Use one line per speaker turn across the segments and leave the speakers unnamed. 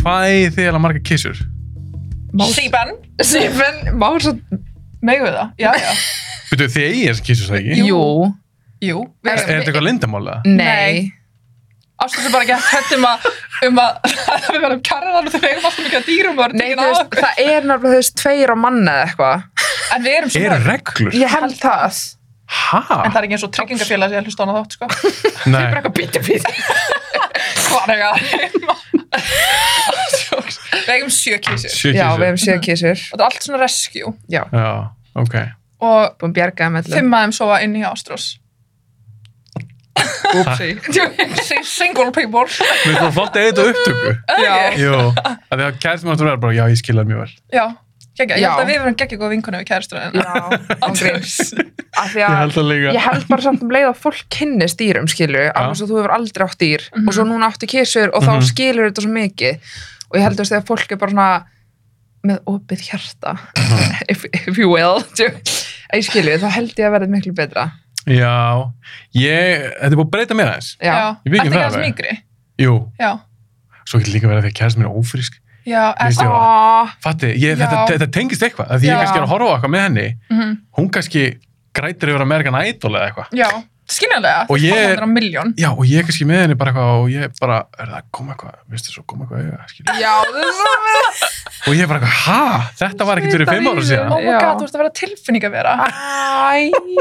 hvað þið er að marga kissur?
Síban
Sýpen, má svo megum við það? Já, já.
Býtu þið eigið þessar kissur það ekki?
Jú.
Jú.
Jú
Er, er þetta eitthvað lindamála?
Nei.
Nei
Ástæðum bara ekki að hættum að um að við verðum kærðan og þau eigum alltaf mikið að dýrum hérna og erum
Nei,
tekin
þú
af
veist,
okkur.
það er náttúrulega, þú veist, tveir á manna eða eitthvað.
En við erum svo
Er
mörg.
reglur?
Ég held það.
En
Hæ?
það er ekki eins og tryggingafélag sem ég hlusta á hana þátt, sko.
Nei,
Bara eitthvað bítið fyrir. Hvað er það? Við eigum sjö kísir.
sjö
Já, við
kissur.
hefum séð kissur.
Og þetta er allt svona rescue.
Já, ok.
Og
Búin bjargaði með allir.
fimm af þeim sofa inni hjá Ástrós.
Upsi.
Single people.
Mér finnst það flott að eiga þetta á upptöku.
Já.
Jú, að því að kært mér að vera bara, já, ég skilja það mjög vel.
Já. Gekkja. Ég
Já.
held að við verum geggja góð vinkunni við kærastunum.
Já, ángríns. Af því
Ég
að
held það líka.
ég held bara samt um leið að fólk kynnist dýrum, skilur, af þess að þú hefur aldrei átt dýr og svo núna áttu kissur og þá
Mhm.
skilur þetta svo mikið og ég held að þegar fólk er bara svona með opið hjarta if, if you will ég skilur, þá held ég að verða miklu betra
Já, ég, þetta er búin að breyta mér aðeins.
Já,
Ég veit ekki það
Ertu ekki alls
alveg.
mýgri?
Jú,
Já.
svo getur líka verið að því að kærast mér er ófrísk.
Já.
Veist
Ertu?
ég-
Ó,
Fatti, ég,
Já.
þetta, þetta tengist eitthvað, að því ég
Já.
kannski er að horfa á eitthvað með henni.
Mhm.
Hún kannski grætir yfir Amerikan Idol eða eitthvað.
Já. Skynjanlega.
Og ég-
Það er á miljón.
Já, og ég er kannski með henni bara eitthvað og ég bara, er það að koma eitthvað, veistu svo, koma eitthvað auðvitað, skilja.
já, þú veist það
Og ég er bara eitthvað, hæ, þetta var ekkert fyrir fimm ára síðan.
Oh my
Já.
god, þú ert að vera tilfinning að vera.
Æ,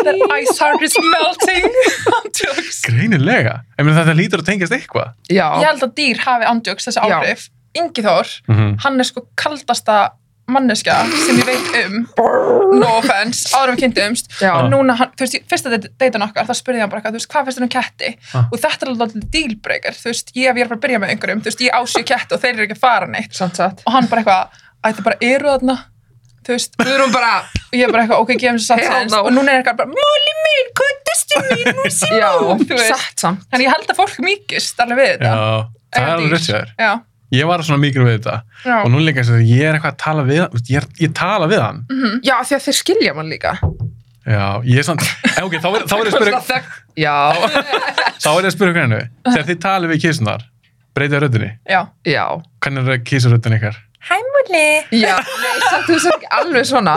Their ice heart is melting. Ándjóks.
Greinilega. En mér þetta lítur að tengjast eitthvað.
já,
Ég held að dýr hafi ándjóks þessi
Já.
áhrif. Ingi Þór,
Mm
hann er sko kaldasta manneskja sem ég veit um. No offense, áður við kynntumst.
já,
Og núna, hann, þú veist, ég- fyrsta deytan okkar, þá spurði ég hann bara eitthvað, þú veist, hvað finnst þér um ketti?
Ah.
Og þetta er alveg alveg dealbreaker, þú veist, ég, ef ég er bara að byrja með einhverjum, þú veist, ég ásju ketti og þeir eru ekki að fara neitt.
samt satt
Og hann bara eitthvað, að það bara eru þarna, þú veist,
Við erum bara,
og ég bara eitthvað, ok, gefum sér satt
Hell
sens
no.
og núna er eitthvað bara, móli mín, kundastu mín músi
já,
mín, þú veist
satt samt
þannig ég held að fólk mýkist alveg við þetta
Já, það
Ef
er
dýr.
alveg rétt sér.
já,
Ég var svona mikil við þetta.
já,
Og nú líka eins og þegar ég er eitthvað að tala við hann, ég, er- ég tala við hann.
Já, af því að þeir skilja mann líka
Já, ég er svona, en ok, þá er, þá er ég að spyrja,
Já,
þá er ég að spyrja hvernig, þegar þið talið við kissunar, breytið röddinni,
já
já
hvernig er kissuröddinni ykkar?
Hæ múli,
Já, nei, samt þú sagði ekki alveg svona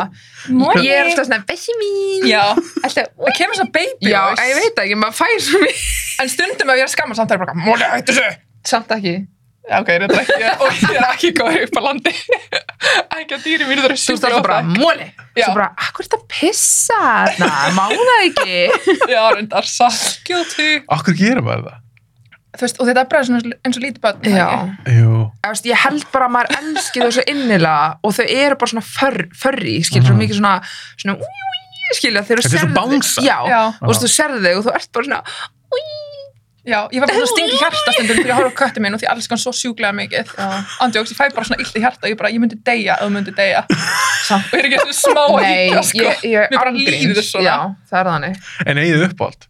Ég er alltaf svona, bessi mín
já,
alltaf,
það kemur svona baby
já
voice.
ég veit ekki, maður fær svo mér
en stundum ef ég er að skamma samt er ég bara, múli, hættu þessu
Samt ekki
já, ok, þetta er ekki, ég- og ég er ekki góð upp á landi ekki að dýri mínu þurfa
Þú veist alltaf bara, móli
Já.
Svo bara, akkur er þetta að pissa Na, má það ekki
já, reyndar, satt, guilty
Akkur gerum við það?
þú veist, og þetta er bara svona eins og lítið börn er það
Já,
ekki?
Jú,
Þú veist, ég held bara að maður elski þau svo innilega og þau eru bara svona förri, förri skilur svo
Mhm.
mikið svona, svona új, új, skilur þegar þú
Þetta er svo
sérð þau-
bangsa.
Já,
Já.
og þú veist, þú serði þau og þú ert bara svona
Já, ég var bara að stinga í hjarta stundum fyrir að horfa á köttu minn og því ég elska hann svo sjúklega mikið. Andjóks, ég fæ bara svona illt í hjarta og ég bara, ég myndi deyja ef þú myndi deyja.
Samt.
Og ég er ekki svona smá að
Nei,
hýta, sko.
ég, ég
Mér bara
ángríns.
líður svona.
Já, það er þannig
en eigið uppáld?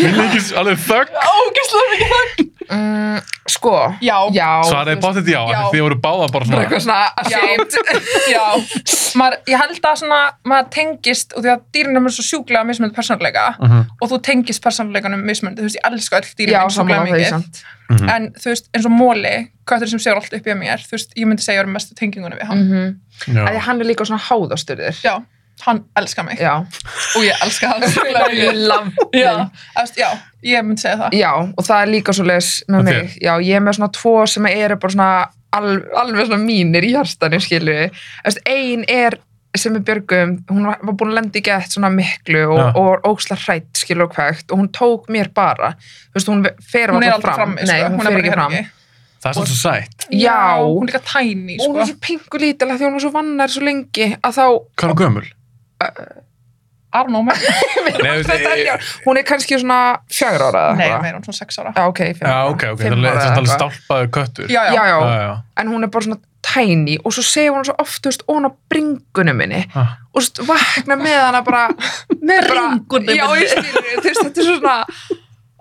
Mér líkist alveg þögg,
Ógæslega mikið það.
mm, Sko,
Já, já,
já
svaraði bátt þetta já,
Já.
því þið voru báða bara
bara
svona,
eitthvað svona
Já.
ashamed
já. Maður, ég held að svona, maður tengist og því að dýrin er með svo sjúklega mismönd persónuleika
Mhm,
og þú tengist persónuleikanum mismönd, þú veist, ég elska öll dýrin
Mm. já,
mín
saman á þau
sjúklega mikið.
samt
mhm.
En þú veist, eins og móli, köttur sem segur allt upp í mér, þú veist, ég myndi segja að ég er mestu tengingunum við hann.
mm að
Já.
því hann er líka svona háðasturður
Já, hann elskar mig
já,
og ég elska hann sjúklega mikið.
já.
já, eftir, já, ég myndi segja það
já, og það er líka svo leis
Og
með
þér?
mig, já, ég er með svona tvo sem eru bara svona alveg, alveg svona mínir í hjartanu, skilur Eftir, ein er sem er Björgum hún var, var búin að lenda í gett svona miklu og,
Já.
og óksla hrætt, skilur og kvægt og hún tók mér bara, þú veist, hún fer
hún er
varla
aldrei
fram,
frammi,
nei,
sko.
hún,
hún
fer
er bara
ekki fram
herbergi.
Það er svona svo sætt.
Já.
hún er líka tæni,
og hún
sko
er svo pingu lítilega því hún var svo vannar svo lengi að þá
Hvað er hún gömul?
Arnó, meir
Nei, þú veist,
Þetta er
ég-
já, hún er kannski svona fjögur ára eða
nei,
eitthvað.
meir, hún er svona 6 ára
Já, ok, fimm
Já,
ára.
ok, ok,
Fimm
það
ára
er alveg
eða eitthvað.
stálpaður köttur.
já, já,
Já, já,
já.
en hún er bara svona tæni og svo segir hún svo oft, þú veist, ón á bringunum minni
Ah.
og þú veist, vakna með hana bara með bara,
Bringunum
já,
minni.
ég skilur, þú veist, þetta er svona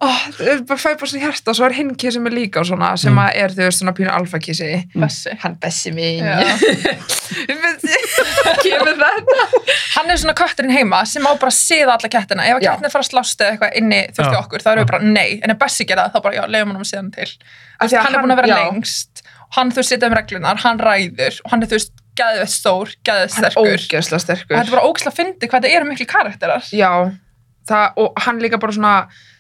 oh, bara fæ bara svona hjarta svo er hinn kissi með líka og svona sem
Mm.
að er þau veist svona pínu alfa kissi
Bessi.
hann bessi mín
Já.
kemur þetta
Hann er svona kötturinn heima sem á bara að siða alla kettina. Ef að
Já.
kettina fara að slást eða eitthvað inni þurfti
Já.
okkur, þá erum við bara nei. En ef Bessi gera það, þá bara já, leiðum hann að siða hann til.
Af því að
hann er búin að vera
já,
lengst. Hann þú veist setja um reglunar, hann ræður og hann er þú veist gæðið stór, gæðið
hann er
sterkur.
ógeðslega
Og
sterkur
Þetta er bara ógæðslega fyndi hvað þetta eru miklu karakterar.
já, það, og hann líka bara svona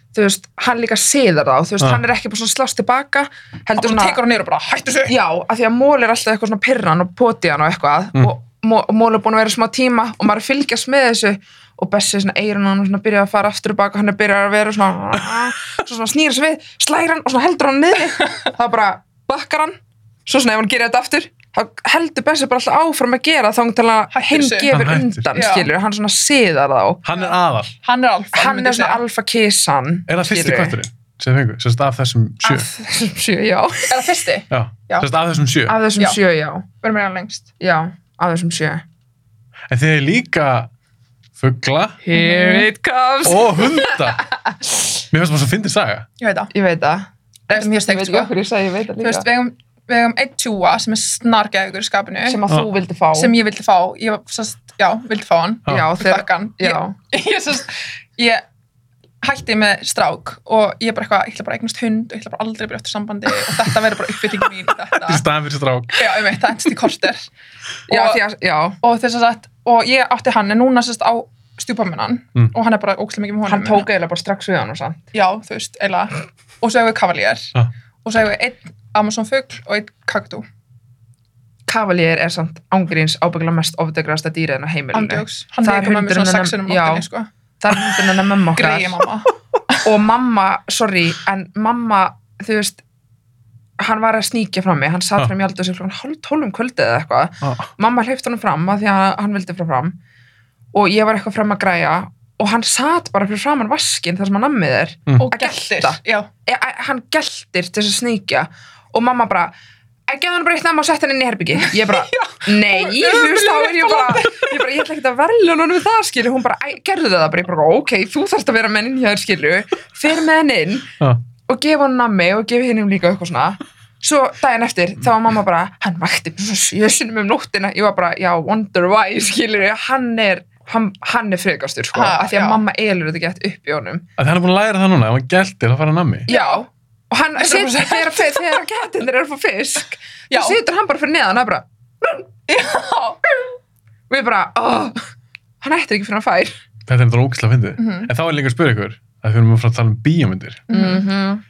þú veist, hann líka siðar þá þú veist,
Já.
hann er ekki bara svona slást tilbaka
Og
heldur
svo
svona,
tekur Ah. hann niður og bara hættu þessu.
já, af því að mól er alltaf eitthvað svona pirran og poti hann og eitthvað
Mm.
og Mó- mól er búin að vera í smá tíma og maður er að fylgjast með þessu og Bessi er svona eirun og hann svona byrjaði að fara aftur tilbaka hann er byrjaði að vera svona svo svona snýra sig við, slæra hann og svona heldur hann niður þá bara bakkar hann svo svona ef hann gerir þetta aftur þá heldur Bessi bara alltaf áfram að gera þá til að
Hættir
hinn
sig.
gefur
Hann hættir.
undan
Já.
skilur, hann svona siðar þá
Hann er aðal.
Hann er alfa.
hann er svona alfa kissan
Er það fyrsti kötturinn sem þið fengu? Sérst af þessum sjö?
af þessum sjö, já
Er það fyrsti?
Já.
Já.
Sérst af þessum sjö.
af þessum
Já.
sjö, já,
Verðum við hann lengst?
já af þessum sjö
En þið er líka fuggla
here it comes
og hunda. Mér finnst það svo fyndið saga.
Ég veit það.
ég veit það
Það er mjög
ég veit
steikt,
ekki
sko.
okkur ég segi, ég veit það
Þú veist,
líka
við eigum, við eigum einn tjúa sem er snargeðugur í skapinu sem,
sem að þú vildi fá
ég vildi fá. Ég var, sest, já, vildi fá hann.
já, þegar
Þakka hann.
já,
Ég, ég, sest, ég hætti með strák og ég bara eitthvað, ég ætla bara að eignast hund og ég ætla bara aldrei að byrja eftir sambandi og þetta verður bara uppfylling mín. í
Í
Þetta.
staðan fyrir strák.
Já, ég veit, það endist í korter.
já,
Og-
því að, já
Og þess að sagt, og ég átti hann en núna sérst á stjúpamunan
Mm.
og hann er bara ókslega mikið með honum.
hann tók eiginlega bara strax við hann og sann
já, þú veist, eiginlega og svo hefur við kavalýjar
Ah.
og svo hefur við einn Amazon fugl og einn kakadú
Kavalýr er samt ángríns ábyggilega mest ofdegraðasta dýrið en á heimilinu
andjóks, hann
Það er
leikur með mér svona
hundurinn
sexunum
hennar-
móttinni sko.
það er myndin hennar mamma okkar
greiði mamma
og mamma, sorry, en mamma þú veist hann var að sníkja fram mig, hann satt
Ah.
fram í aldur sem hann hálf tólum kvöldið eða eitthvað
Ah.
mamma hleypt honum fram að því að hann vildi frá fram og ég var eitthvað fram að græja og hann satt bara fyrir framann vaskinn þar sem hann nammið er
og
Að
gæltir
gelta.
já,
e, e, hann geltir til þess að sníkja og mamma bara að gefa hann bara eitt namn og setja hann inn í herbyggi ég bara, nei, þú veist þá er ég bara ég bara, ég ætla ekki að verðla hann við það skilju, hún bara, "Æ, gerðu það bara, ég bara ok, þú þarfst að vera menn inn hjá þér skilju fer með hann inn
Já.
og gefa hann nammi og gefa hinnum líka eitthvað svona svo daginn eftir þá var mamma bara hann vakti bara svona sjösunum um nóttina ég var bara, já, wonder why, skilur ég hann er, hann, hann er frekastur sko,
Ha,
af því að
já.
mamma elur þetta gett upp í honum
Að hann er búin að læra það núna. Ef hann gæltir, þá fara hann að mig.
já, og hann
Þetta er bara
situr
svo-
þegar, fe- þegar getindir eru að fá fisk
Já.
þá situr hann bara fyrir neðan og er bara og ég bara, oh, hann ættir ekki fyrir hann fær
Þetta er þetta ógislega fyndið.
Mhm.
En þá er líka að spyrja ykkur, að við erum að fara að tala um bíómyndir.
Mhm.
-hmm.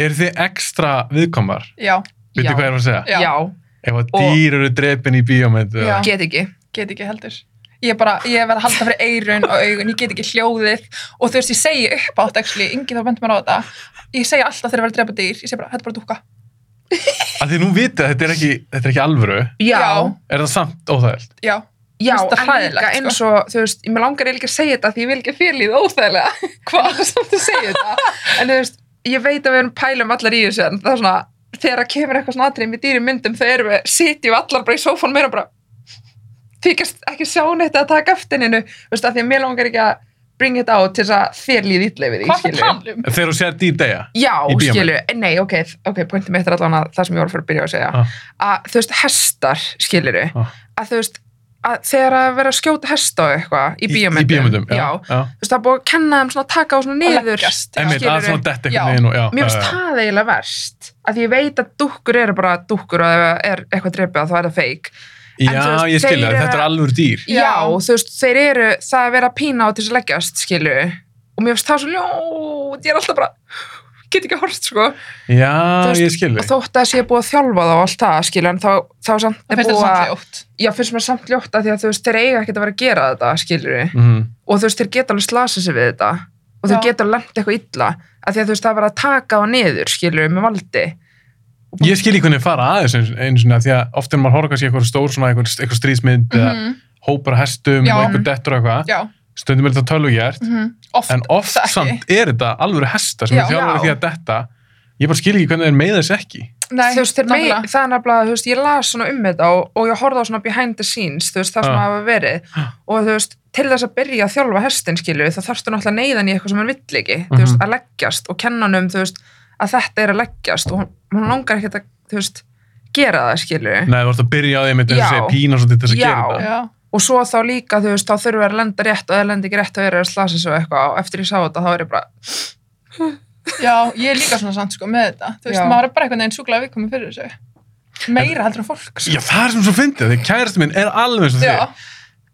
Er þið ekstra viðkomar?
já,
Vitið
Já.
hvað ég er að segja?
já,
já,
Ef að dýr eru drepin í bíómyndu
Já.
get ekki
get ekki heldur ég er bara, ég verð að halda fyrir eirun og augun, ég get ekki hljóðið og þú veist, ég segi upp átt actually, Ingi þá bent mér á þetta ég segi alltaf þegar ég verð að drepa dýr ég segi bara, þetta er bara dúka
að því nú vitið að þetta er ekki, þetta er ekki alvöru
já,
Já.
er það samt óþægild
já,
já,
Finnst það
en
hræðilegt,
líka
sko.
eins og þú veist, ég með langar eiginlega ekki að segja þetta því ég vil ekki félið í það óþægilega hvað samt að segja þetta en þú veist, ég veit að við erum pælum allar í þessu en það er svona, þegar það kemur eitthvað svona atrið með dýri myndum, þau erum við, sitjum við allar bara í sófan meira bara þykast ekki sjá neitt að taka eftir hennu þú veist, af því að mér langar ekki að bring it out til þess að þér líði illa yfir því
hvað það
skilurðu.
tala um?
þegar þú sér dýr deyja
Já,
Í bíómynd.
skilu, nei, ok, ok, pointum eitt er allan að það sem ég voru fyrir að byrja að segja
Ah.
að þú veist, hestar, skiluru
Ah.
að þú veist, að þegar að vera að skjóta hesta og eitthvað í bíómyndum,
í bíómyndum já,
já,
já.
þú veist, það er búið að kenna þeim svona að taka á svona
Og
niður
leggjast, já.
Einmitt, að
skilurðu.
svona detta
Já.
einhvern veginn og já,
Mér
já,
finnst
já.
það eiginlega verst að ég veit að dúkkur eru bara dúkkur og ef er eitthvað drepið að þá er það feik En þú
já,
veist,
ég skilja,
þeir eru-
þetta er alvöru dýr
Já, þú veist, þeir eru það að vera að pína á til þess að leggjast, skilu og mér finnst það svo ljót, ég er alltaf bara get ekki horst, sko
já,
Þú veist,
ég skilja
og þótt að sé búið að þjálfa þá og allt það skilur, en þá, þá samt
það
er
finnst
búið
þetta
að
samtljótt
já, finnst mér samt ljótt að því að þú veist, þeir eiga ekkert að vera að gera þetta skilur
mm.
og þú veist, þeir geta alveg slasa sig við þetta og þeir
Já.
geta alveg lent eitthvað illa að því að þú veist, það er verið að taka á niður skilur með valdi
ég skilja hvernig fara aðeins einu- einu sinni af því að oft er maður horfa kannski eitthvað stór svona eitthvað, eitthvað stríðsmynd eða
Mhm.
hópar af hestum
Já.
og eitthvað dettur og eitthvað
já,
stundum er þetta tölvugjert
mhm. oft
en oft
það ekki.
samt er þetta alvöru hesta sem
Já.
er þjálfur
Já.
því að detta ég bara skil ekki hvernig þeir meiða þess ekki
Nei,
þú veist, þeir mei,
nákvæmlega.
það er nefnilega, þú veist, ég las svona um þetta og, og ég horfði á svona behind the scenes, þú veist, það sem
Ah.
hafa verið
Ah.
og þú veist, til þess að byrja að þjálfa hestin, skilju, þá þarfstu náttúrulega neyðan í eitthvað sem hann vill ekki, þú veist,
Mhm.
að leggjast og kenna hann um, þú veist, að þetta er að leggjast og hún, hún langar ekkert að, þú veist, gera það, skilju,
Nei, þú ert að byrja á því með þess
Já.
að segja pína svolítið til þess að
Já.
gera þetta.
Já.
og svo þá líka, þú veist, þá þurfa að lenda rétt og eða lenda ekki rétt og er að slasa svo eitthvað og eftir ég sá þetta, þá er ég bara,
Já, ég er líka svona samt sko með þetta. Þú veist,
Já.
maður er bara einhvern veginn súklaði viðkomið fyrir þessu. Meira heldur en fólk, sko.
Já, það er sem svo fyndið, því kærasti minn er alveg eins og þig.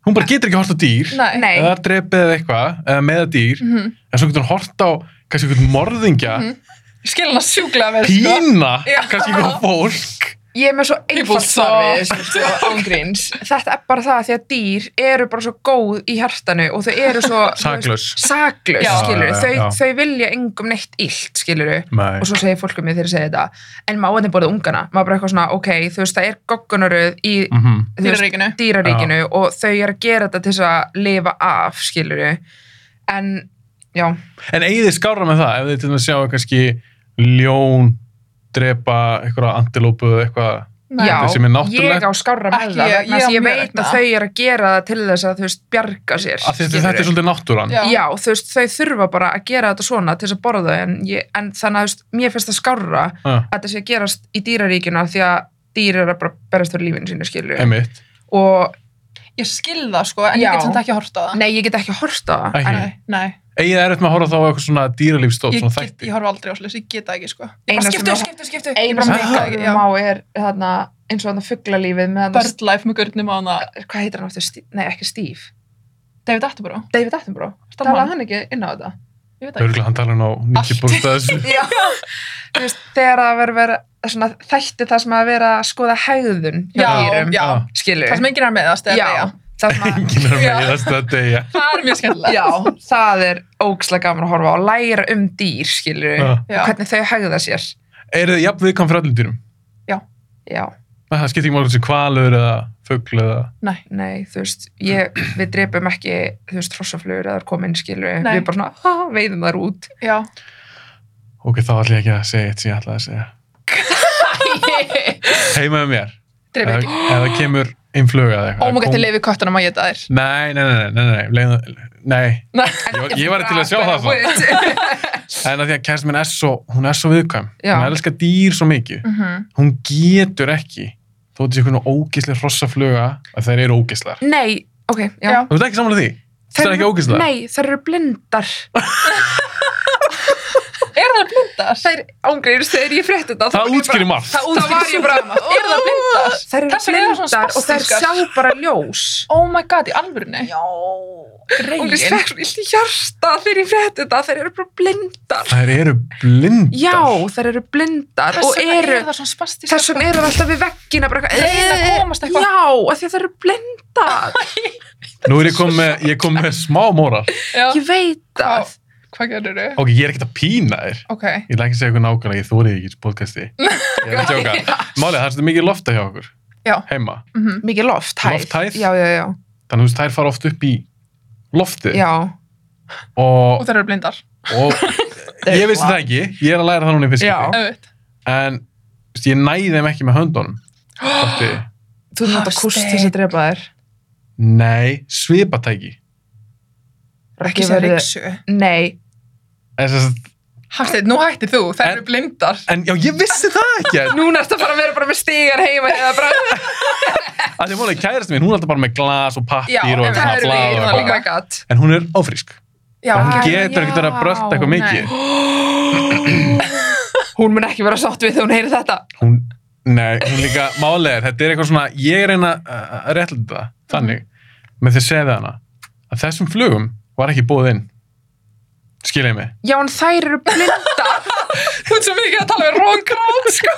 Hún bara getur ekki hort á dýr,
nei.
Nei.
eða drepið eða eitthvað, eða meða dýr,
Mm -hmm.
en svo getur hún hort á kannski einhvern morðingja,
Mhm. Skil hann að sjúklaði með, sko.
pína
Já.
kannski einhvern fólk.
Ég er með svo
Triple
einfalt svar við þessu, sko, ángríns. Þetta er bara það að því að dýr eru bara svo góð í hjartanu og þau eru svo...
Saklaus.
Saklaus,
Já.
skilur.
Já, já, já.
Þau, þau vilja engum neitt illt, skilur.
Nei.
Og svo segir fólk um mig þegar ég segi þetta. En máðin borðið ungana. Maður bara eitthvað svona, ok, þú veist, það er goggunaröð í
Mhm.
þú veist,
Dýraríkinu.
dýraríkinu og þau eru að gera þetta til þess að lifa af, skilur. En, já,
En eigið þið skára með það, ef þið til dæmis sjáu kannski ljón drepa einhverja antilópu eða eitthvað
Nei.
já,
sem er náttúrulegt.
ég á skárra
Ekki
með það. vegna þess
ég, ég á
að Ég
mjög
veit
vegna.
að þau eru að gera það til þess að, þú veist, bjarga
af
sér.
því að
skilurðu.
þetta er svolítið náttúran
Já.
Já, þú veist, þau þurfa bara að gera þetta svona til þess að borða en, ég, en þannig að þú veist, mér finnst það skárra að
Ah,
þetta sé að gerast í dýraríkina því að dýr eru að bara berast fyrir lífinu sínu skilju
einmitt,
og
Ég skil það, sko, en ég
Já.
get samt ekki að horta það.
nei, ég get ekki hort á það
Ekki.
en
Nei, nei.
eigið þið erfitt með að horfa þá á eitthvað svona dýralífstótt
Ég,
svona
get,
þætti
ég horfa aldrei á slis, ég get það ekki, sko. Ég
Eina
bara
sem
skiptu,
ég-
skiptu, skiptu. Ég
eina
bara
sem
meika það
ég
ekki,
horfi
já.
á er þarna, eins og þarna fugglalífið með þarna,
Birdlife með gurnum á hana.
hvað heitir hann aftur, Stí- nei ekki Steve
David Attenborough.
David Attenborough,
Stamman.
talaði hann ekki inn á þetta
Ég veit það ekki.
Örgulega hann tala nú á
Allt.
Nikki Búrstæðs
Já, þú veist, þegar að vera, vera svona, þætti það sem að vera að skoða hegðun hjá
Já,
dýrum,
já.
skilju
Það sem enginn er með það, stefni, já.
það sem að
Enginn er
Já.
með þess að deyja
Það er mjög skemmtilegt.
Já, það er ógslag gaman að horfa á og læra um dýr, skilur
Ah.
Já.
og hvernig þau hegða sér
Eru þið jafn viðkvæm fyrir öllum dýrum?
Já,
Nei, Það skiptir ekki málið sem kvalur eða fugl eða
Nei.
nei, þú veist ég, við drepum ekki, þú veist, hrossaflugur eða komin, skilur,
Nei.
við bara svona "Ha, veiðum þar út
Já.
Ok, þá ætla ég ekki að segja eitt sem ég ætlaði að segja Heima með mér
Dreif
Ef
ekki.
ef það kemur innfluga eða eitthvað
Ómugætti
Kom-
leifi köttunum að geta þér.
Nei, nei, nei, nei, nei, nei, nei, nei.
Nei.
Ég, var- ég var til að sjá það svo.
svo
En að því að kærast minn er svo, hún er svo viðkvæm.
Já.
Hún elskar dýr svo mikið.
Mhm.
Hún getur ekki, þó þessi einhvern ógisli hrossafluga, að þær eru ógislar.
Nei, ok, já,
Já.
Þú ert ekki samanlega því? Það er ekki ógislar?
Nei, þær eru blindar
Er það blindar?
Þær ángreifist þegar ég frétti þetta þá var
Það
ég bara-
útskýrir margt.
Það útskýrir
var ég bara-
sjúkdóma. Er það blindar?
Þær eru
Þess vegna eru þær svona
blindar og þær
spastískar.
sjá bara ljós
Oh my god, í alvörunni?
Já
Greyin.
Hún er svekk svo illt í hjarta þegar ég frétti þetta Þær eru bara blindar
Þær eru blindar.
Já, þær eru blindar
Þess
og
vegna
eru
er það svona spastíska.
þess vegna eru það alltaf við veggina bara
Þær reyna að
Eh,
komast eitthvað.
Já, af því að þær eru blindar
Nú er ég kom með, ég kom með smá móral.
Já.
Ég veit
Hvað,
það
hvað gerir þau?
Ok, ég er ekkert að pína þér.
Ok.
Ég ætla ekki að segja eitthvað nákvæmlega, ég þórið ekki í þessu podcasti. Ég er að tjóka. Málið, það er svolítið mikið lofta hjá okkur.
Já.
Heima.
Mhm.
Mikið loft, hæð
Lofthæð.
Já, já, já,
Þannig að þú veist, þær fara oft upp í loftið.
já.
Og
Og þeir eru blindar.
og ég vissi það ekki, ég er að læra það núna í fyrst
Já.
skipti.
Öfitt.
en þú veist, ég næði þeim ekki með höndunum Þótti,
Þú ert að
Hafsteinn.
kúst þess að drepa þær
nei, svipatæki
Ekki
Ekki
sem
verið-
riksu.
Nei,
en, sem sagt-
Hafsteinn, nú hættir þú. Þær
En-
eru blindar.
en já, ég vissi það ekki en-
núna ertu að fara að vera bara með stígar heima eða bara,
að því að málega kærast mín, hún er alltaf bara með glas og
Já,
pappir og
en það
svona
eru
blað og
við, það
oh
eitthvað
my god
en hún er ófrísk,
Já,
hún
ok.
getur ekki verið að brölda eitthvað
Nei.
mikið
Hún mun ekki vera sátt við þegar hún heyri þetta
hún, nei, hún líka málega er, þetta er eitthvað svona, ég reyna að að réttlæta það, þannig
Mhm.
með því að segja hana, að þessum flugum var ekki búið inn skilja ég mig
Já, en þær eru blindar
Þú ert svo mikið að tala við róngrát, sko.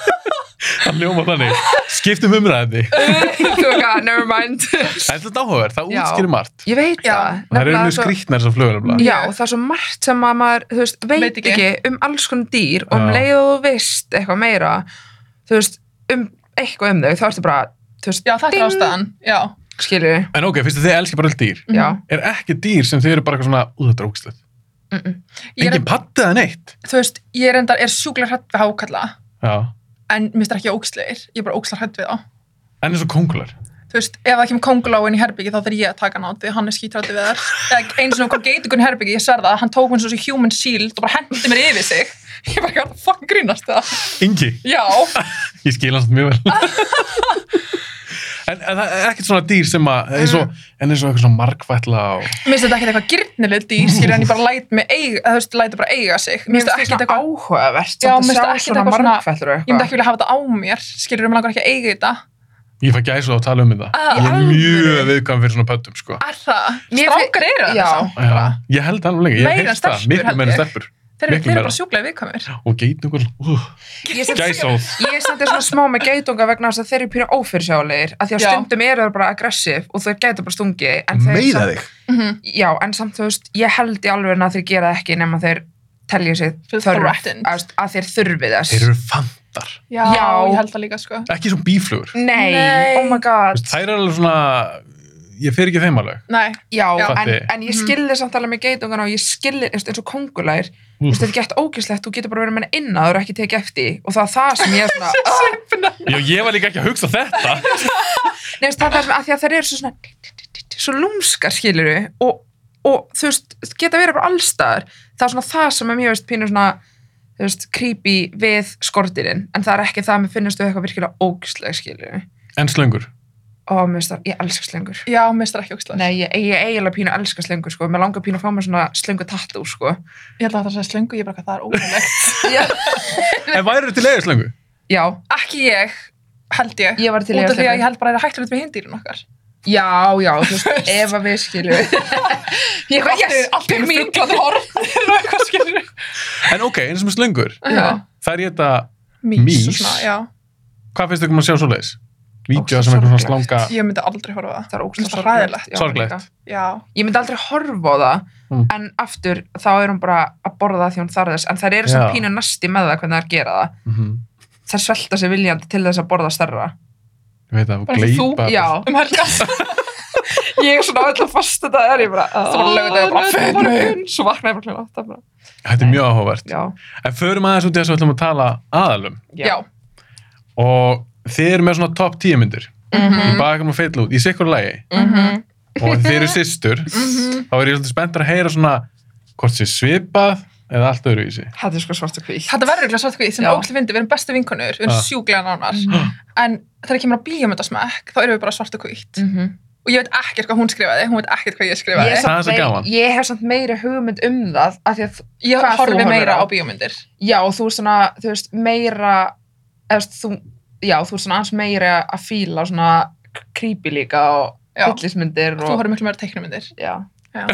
Það ljóma þannig. Skiptum umræði.
Þú veist hvað, never mind
Það er þetta áhugaverð, það
Já.
útskýrir margt.
Ég veit
Já.
það
Það eru
Nefnilega
mjög
svo-
skrýtnar þessar fluguröfla.
Já,
Mjög.
það er svo margt sem að maður þú veist, veit,
Veit ekki.
ekki. um alls konar dýr og um
Já.
leið og þú veist eitthvað meira þú veist, um eitthvað um þau þá ertu bara, þú veist,
Já, þetta er
Ding.
ástæðan. Mhm. Já.
skilur
En ok, fyrst að þið elskir bara öll dýr.
Já,
Er ekki dýr sem þið eru bara eitthvað svona, ú þetta er ógæslegt.
Mm -mm. Ég er,
Engin patti eða neitt.
þú veist, ég er endar, er sjúklega hrætt við hákalla.
Já.
en mér finnst það ekki ógisleir, ég er bara ógislega hrædd við þá
En eins og kongular.
þú veist, ef það kemur kongulóin í herbyggi þá þarf ég að taka hann át því að hann er skítrætti við þar eða eins og kom geitungun í herbyggi, ég sverða að hann tók hann svo sem human shield og bara hendi mér yfir sig ég bara, hvað fucking grínast það
Ingi,
já,
ég skil hans mjög vel. en, en það er ekkert svona dýr sem að, eins
Ah.
og, en eins og eitthvað svona margfætla og...
Mér finnst þetta ekkert eitthvað girnileg dýr, skilur en ég bara læt mig eiga, eða þú veist, læt bara eiga sig. Mér finnst þetta ekkert eitthvað,
áhugavert
Já,
samt að
mér finnst
sjá
það ekkert
svona
eitthvað svona-
margfællur og
ég myndi
eitthvað.
ekki vilja hafa þetta á mér, skilur, mér langar ekki að eiga þetta.
Ég fæ gæsa á að tala um þetta.
Ah,
ég er
í
mjög
alvöru?
viðkvæm fyrir svona pöttum, sko.
Er það?
Mér fin-
Strákar eru
Já.
það þess
Já, ég held það alveg lengi. Ég
Ah. Meira
hef
en
heyrt það,
stelpur,
miklu
held
meira en
ég.
stelpur.
Þeir eru
Miklu
þeir eru
meira.
bara sjúklega viðkvæmir.
Og geitungur, uh,
Ég er samt-
gæsóð.
Ég er samt svona smá með geitunga vegna þess að þeir eru pýra ófyrirsjáleir að því að
Já.
stundum eru þeir bara aggressiv og þeir geta bara stungi en þeir
Meiða
samt,
þig.
Já, en samt þú veist, ég held í alveg að þeir gera það ekki nema þeir telja sér
Feel
þörf
threatened.
að, að þeir þurfi þess
Þeir eru fantar.
Já,
Já.
ég held það líka, sko.
Ekki svona bíflugur.
Nei,
Nei.
oh my god
Þær eru alveg svona, ég fer ekki þeim alveg.
Nei,
Já,
Já.
en,
Fatti.
en ég skilði samt alveg með geitungana og ég skilði eins eins og kongulær Þú
Úff.
veist, þetta er gett ógislegt, þú getur bara verið með henni inn að þú eru ekki tekið eftir því. og það er það sem ég er svona "Ah."
Já, ég var líka ekki að hugsa þetta.
Nei, veist, það er það sem að því að þær eru svo svona svo lúmskar skilur og, og þú veist, geta verið bara allstaðar það er svona það sem er mjög veist pínu svona þú veist, creepy við skortirinn en það er ekki það að mér finnast þau eitthvað virkilega ógisleg skilur
En slöngur.
og mér finnst það, ég elska slengur
já, mér finnst það ekki ógislega.
Nei, ég, ég, ég eiginlega pínu elska slengur sko, mér langar pínu að fá mér svona slengu tattoo sko
Ég held að það sé slöngu, ég bara, hvað það er
Já,
ógæmlegt.
En væri til eiga slöngu?
já
ekki ég, held ég.
ég var til í
Út af því að
slöngu.
ég held bara að það er hættulegt við hindýrun okkar.
Já, já, þú veist, ef að við skilur Ég bara, yes,
allt
pick
er
me
fuglaði horn. Eitthvað skilur.
En ok, eins og með slöngur.
Já.
Það er ég þetta,
Mís. og
Mís?
svona, já.
hvað finnst þau um að sjá svo leiðis? Vídeó
Ógeðslega
sem eitthvað svona
sorglegt.
slanga,
Ég myndi aldrei horfa á það.
Það er ógeðslega
Það er hræðilegt.
sorglegt, já, líka.
sorglegt.
Já.
ég myndi aldrei horfa á það
Mm.
en aftur þá er hún bara að borða það því hún þarf þess en þær eru
Já.
samt pínu nasti með það hvernig þær gera það
Mhm.
þær svelta sér viljandi til þess að borða stærra
Ég veit að
Bara eins og
gleypa.
já,
Um helga.
ég er svona öll að fasta það er ég bara það var lögðið bara
laugardagurinn,
fyrir
morgun.
mig svo vaknaði ég bara kljóða átta bara.
Þetta er mjög áhugavert.
já,
En förum aðeins út í þess að við ætlum að tala aðalum.
Já.
Og þið eru með svona top 10 myndir.
Mhm.
Ég baka um að feitla út í sikkur lagi.
Mhm.
Og þið eru systur. þá er ég svolítið spenntur að heyra svona hvort sé svipað eða allt öðru í sig.
þetta er sko svart og hvítt
Þetta verður ekki svart hvít sem
Já.
ógæslega fyndi. Við erum bestu vinkonur, við erum
Ah.
sjúklega nánar. En þegar kemur á bíómyndasmekk, þá erum við bara svart og hvít.
Mhm.
Og ég veit ekkert hvað hún skrifaði, hún veit ekkert hvað ég skrifaði.
Ég er
Mm. Ég,
Það er
samt
svo gaman.
mei- ég hef samt meira hugmynd um það af því að hvað þú
horfi
horfir
meira
á?
á, bíómyndir.
já, og þú er svona, þú veist, meira eða þú veist, þú, já, þú er svona aðeins meira að fíla svona creepy líka og
Já.
byllismyndir
Þú
og,
horfir miklu meira á teiknumyndir.
já,
Já.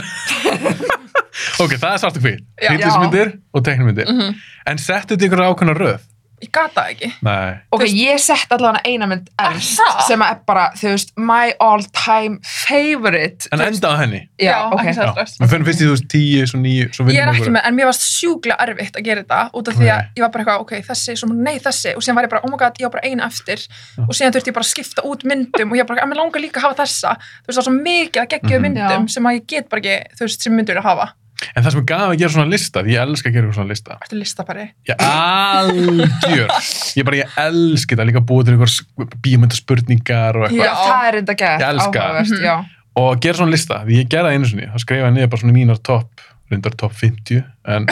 Ok, það er svart og hvít.
Já.
Hrýtlismyndir og teknumyndir.
Mm -hmm.
En settu þetta ykkur ákveðna röð?
Ég gata ekki.
Nei.
Ok,
Þú veist-
ég sett allavega eina mynd erst
það?
sem að er bara, þú veist, my all time favorite
En enda á henni.
Já, ok
ekki
Já.
það strax.
Við fyrir fyrst í þú veist 10, svo 9, svo
Ég
vinnum
er ekki með, en mér varst sjúklega erfitt að gera þetta út af því að
Nei.
ég var bara eitthvað, ok, þessi, svo nei, þessi og síðan var ég bara, oh my god, ég á bara eina eftir og síðan þurfti ég bara að skipta út myndum og ég bara, að mér langar líka að hafa þessa þú veist, það er svo mikið að geggja
Mhm.
myndum
Já.
sem að ég get bara ekki, þú veist, sem myndur að hafa
En það sem er gaf að gera svona lista, því ég elska að gera eitthvað svona lista.
Ertu listapari?
Ég algjör. Ég bara, ég elski það líka að búa til einhver bímyndaspurningar og eitthvað.
Já.
Það er enda gett
Ég elska.
áhugavert,
Mhm.
já
Og gera svona lista, því ég gera það einu sinni. Það skrifaði niður bara svona mínar topp, reyndar topp 50, en,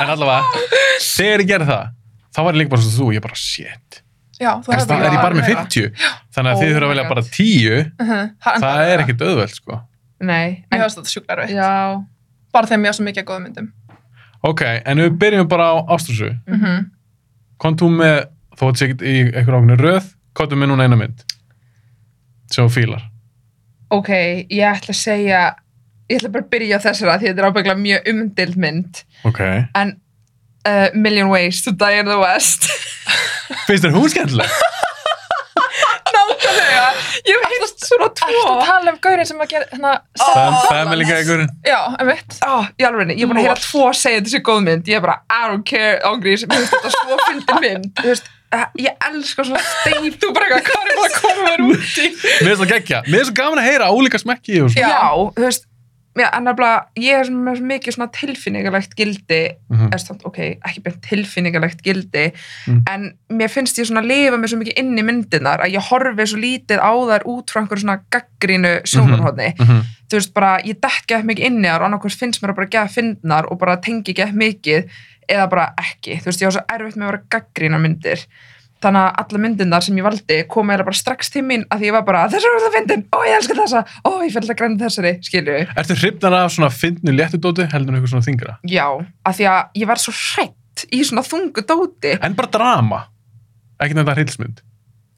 en allavega. Þegar ég gera það, þá var ég líka bara svona þú, ég bara, shit.
Já, þú
Það
hefur
er ég bara með
meira.
50. Þannig að
Oh
þið þurfa
my
að velja
God.
bara 10,
Það,
það er ekkit auðveld, sko.
Nei,
Mhm. Mér
en,
finnst þetta sjúklega erfitt
já
Bara þegar mér var svo mikið að góða myndum
Ok, en við byrjum bara á ástúrsu.
mm
Mhm.
kom þú með, þó að sér í einhver ákveðinu röð, kom þú með núna eina mynd sem þú fílar
Ok, ég ætla að segja ég ætla bara að byrja á þessara því þetta er ábygglega mjög umdild mynd
ok,
en uh, Million Ways to Die in the West
finnst þér hún skemmtileg?
Nákvæmlega, ég hef heyrst svona
Ertu að
tvo
tala um gaurinn sem að gera hérna
Sam
Sam
Family
Rollins?
gægur
Já, emitt
Ó, í alveg, ég er búin að heyra tvo að segja þessi góð mynd ég er bara, I don't care, ángriðis mér finnst þetta svo fyndin mynd Þú veist, eh, ég elska svona stein þú bara eitthvað, hvað er bara að koma mér út í
mér er svo geggja, mér er svo gaman að heyra álíka smekki og svona
Já, þú veist já, en nefnilega, ég er svona með svo mikið svona tilfinningalegt gildi
Mhm.
er samt, ok, ekki beint tilfinningalegt gildi
Mm.
en mér finnst ég svona lifa mér svo mikið inn í myndinar að ég horfi svo lítið á þær út frá einhverjum svona gaggrínu sjónarhóðni
Mhm.
þú veist bara, ég dætt gett mikið inn í þar og annarkvæmst finnst mér að bara geða fyndnar og bara tengi gett mikið eða bara ekki, þú veist, ég var svo erfitt með að vera gaggrína myndir þannig að alla myndirnar sem ég valdi koma eða bara strax til mín að því ég var bara, þessar var það fyndin, ó ég elska þessa ó ég fælt að græna þessari, skilju
Ertu hrifnar af svona fyndnu léttudóti heldur en eitthvað svona þingra?
já, að því að ég var svo hrætt í svona þungu dóti
En bara drama, ekki nefnda hryllismynd.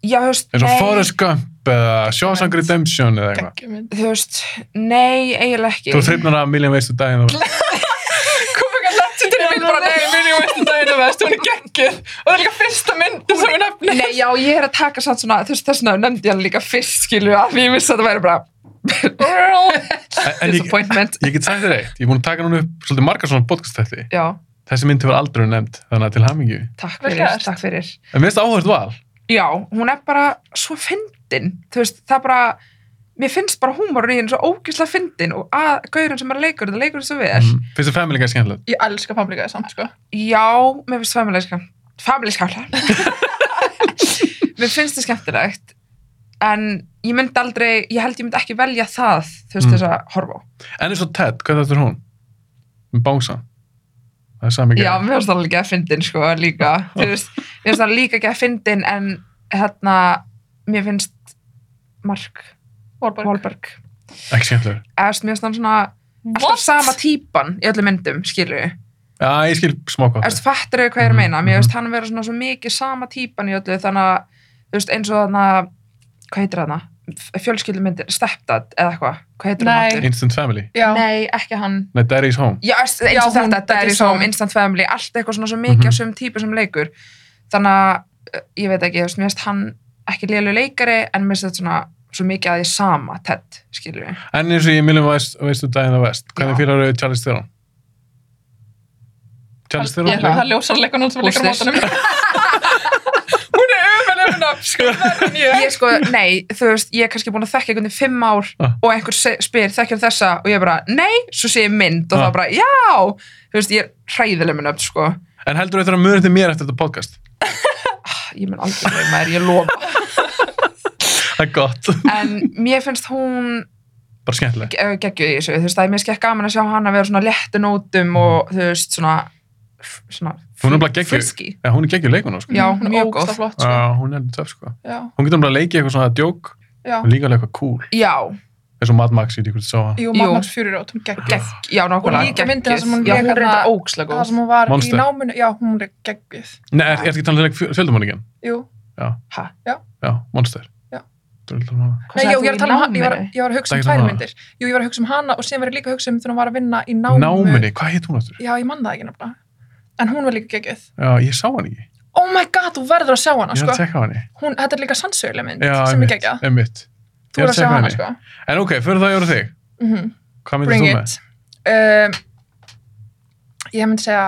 já, þú veist,
eins og Forrest Gump eða Shawshank Redemption eða eitthvað.
Geggjumynd.
þú veist, nei, eiginlega ekki
Þú er hrifnar af Million Ways to Die en þú...
Kom ekki að landa til
Já,
mér bara,
nei.
nei, Million Ways to Die in the West, hún er geggjuð. Og það er líka fyrsta myndin sem við nefnum.
Nei, já, ég er að taka samt svona, þú veist, þess vegna nefndi ég hann líka fyrst, skilju, að ég vissi að það væri bara
En, en ég,
disappointment.
ég get sagt þér eitt, ég er búin að taka núna upp svolítið margar svona podcast-tætti.
Já,
Þessi mynd hefur aldrei verið nefnd, þannig að til hamingju.
takk
Vel
fyrir,
gert.
takk fyrir.
En mér finnst það áhört val.
Já, hún er bara svo fyndin, þú veist, það er bara, mér finnst bara húmorinn í henni svo ógislega fyndin og að gaurinn sem er að leikur, það leikur svo vel.
Mm. Finnst það family guy skemmtilegt?
Ég elska Family Guy samt, sko.
Já, mér finnst familyska, familyskafla. mér finnst það skemmtilegt, en ég myndi aldrei, ég held ég myndi ekki velja það, þú veist,
Mm.
þess að horfa á.
En eins og Ted, hvað þetta er hún? Með bángsan. Það er sami
Já,
gæði.
mér finnst það líka að fyndin sko líka, þú veist, mér finnst það líka ekki að fyndin en hérna mér finnst Mark
Wahlberg.
Wahlberg,
Ekki skemmtilegur.
eða þú veist, mér finnst hann svona alltaf sama típan í öllum myndum, skilur við,
Já, ég skil smá hvað
þú
það.
veist, fattur við hvað ég er að meina,
Mhm,
mér finnst hann vera svona svo mikið sama típan í öllu þannig að, þú veist, eins og þannig að, hvað heitir hann það, fjölskyldumyndir, Stepdad eða eitthvað, hvað heitir
Nei.
hann aftur?
Instant family.
Já.
Nei, ekki hann.
Nei, Daddy's Home.
Já, eins og
Já, hún
þetta, Daddy's
Daddy's
Home,
Home.
Instant Family, allt eitthvað svona svo mikið
Mhm.
af söm típu sem leikur. Þannig að, eh, ég veit ekki, þú veist, mér finnst hann ekki lélu leikari, en mér finnst þetta svona svo mikið að því sama, Ted, skilur við.
En eins og ég miljum veist, veistu daginn að vest, hvernig
Já.
fyrir eru Charles Theron? Charles Theron?
Ég held að það ljósar leikunum sem leikur á
Húsdís.
mótanum. Hún er umvelið um nafn, sko. Það er
Ég sko, nei, þú veist, ég er kannski búin að þekka einhvern í fimm ár
Ah.
og einhver se- spyr, þekkjar þessa, og ég bara, nei, svo sé ég mynd, og
Ah.
þá bara, já, þú veist, ég er hræðileg minn upp, sko.
En heldur þú þetta að muna til mér eftir þetta podcast?
Ég mun aldrei með maður, ég lofa.
Það er gott,
En mér finnst hún eh,
bara skemmtileg.
geggjuð í þessu, þú veist, það er mér skekk gaman að sjá hann að vera svona léttu nótum og þú veist, svona, svona
Hún er bara geggjuð.
friski.
Já, hún er geggjur leikuna, sko.
Já,
hún er
mjög
ógsta
góð.
flott, sko.
Já, hún er töf, sko.
Já,
Hún getur bara að leiki eitthvað svona djók,
já.
hún líka alveg eitthvað cool.
Já,
Eins og Mad Max, ég veit ekki hvort þú sá hann.
Jú,
Jú.
Magnús Fjúri Rót, hún geggjuð.
gegg, já, nákvæmlega
Og líka
geggjuð.
myndin þar sem hún hérna-
Já, hún
lék
er
þarna-
reynda ógslega
Það
góð
sem hún var
Monster.
í náminu, já, hún er geggjuð.
Nei, er, er ekki um talað leik fjöldumanningin?
Jú.
Ha?
Já, Monster.
Já.
Þú vil tala um hana.
Hvað
Nei, jú,
sagði
ég, er að
þú í
tala um hann, ég, var,
náminu?
ég var að hugsa um
Sagði
tvær
hana.
myndir. Jú, ég var að hugsa um hana og síðan var ég líka að hugsa um þegar hún var að vinna í námu.
Náminni, hvað hétt hún aftur?
Já, ég mann það ekki nefnilega. En hún var líka geggjuð.
Já, ég sá hann ekki.
Oh my god, þú verður að sjá hana,
Ég er
sko.
að tekka hann.
Hún, þetta er líka sannsöguleg mynd
Já,
sem er
einmitt,
geggjað.
einmitt.
Þú verður að sjá hana, sko.
En ok, fyrir það ég voru þig.
Mm
Hvað myndir
Bring
þú með?
it. Um, ég myndi segja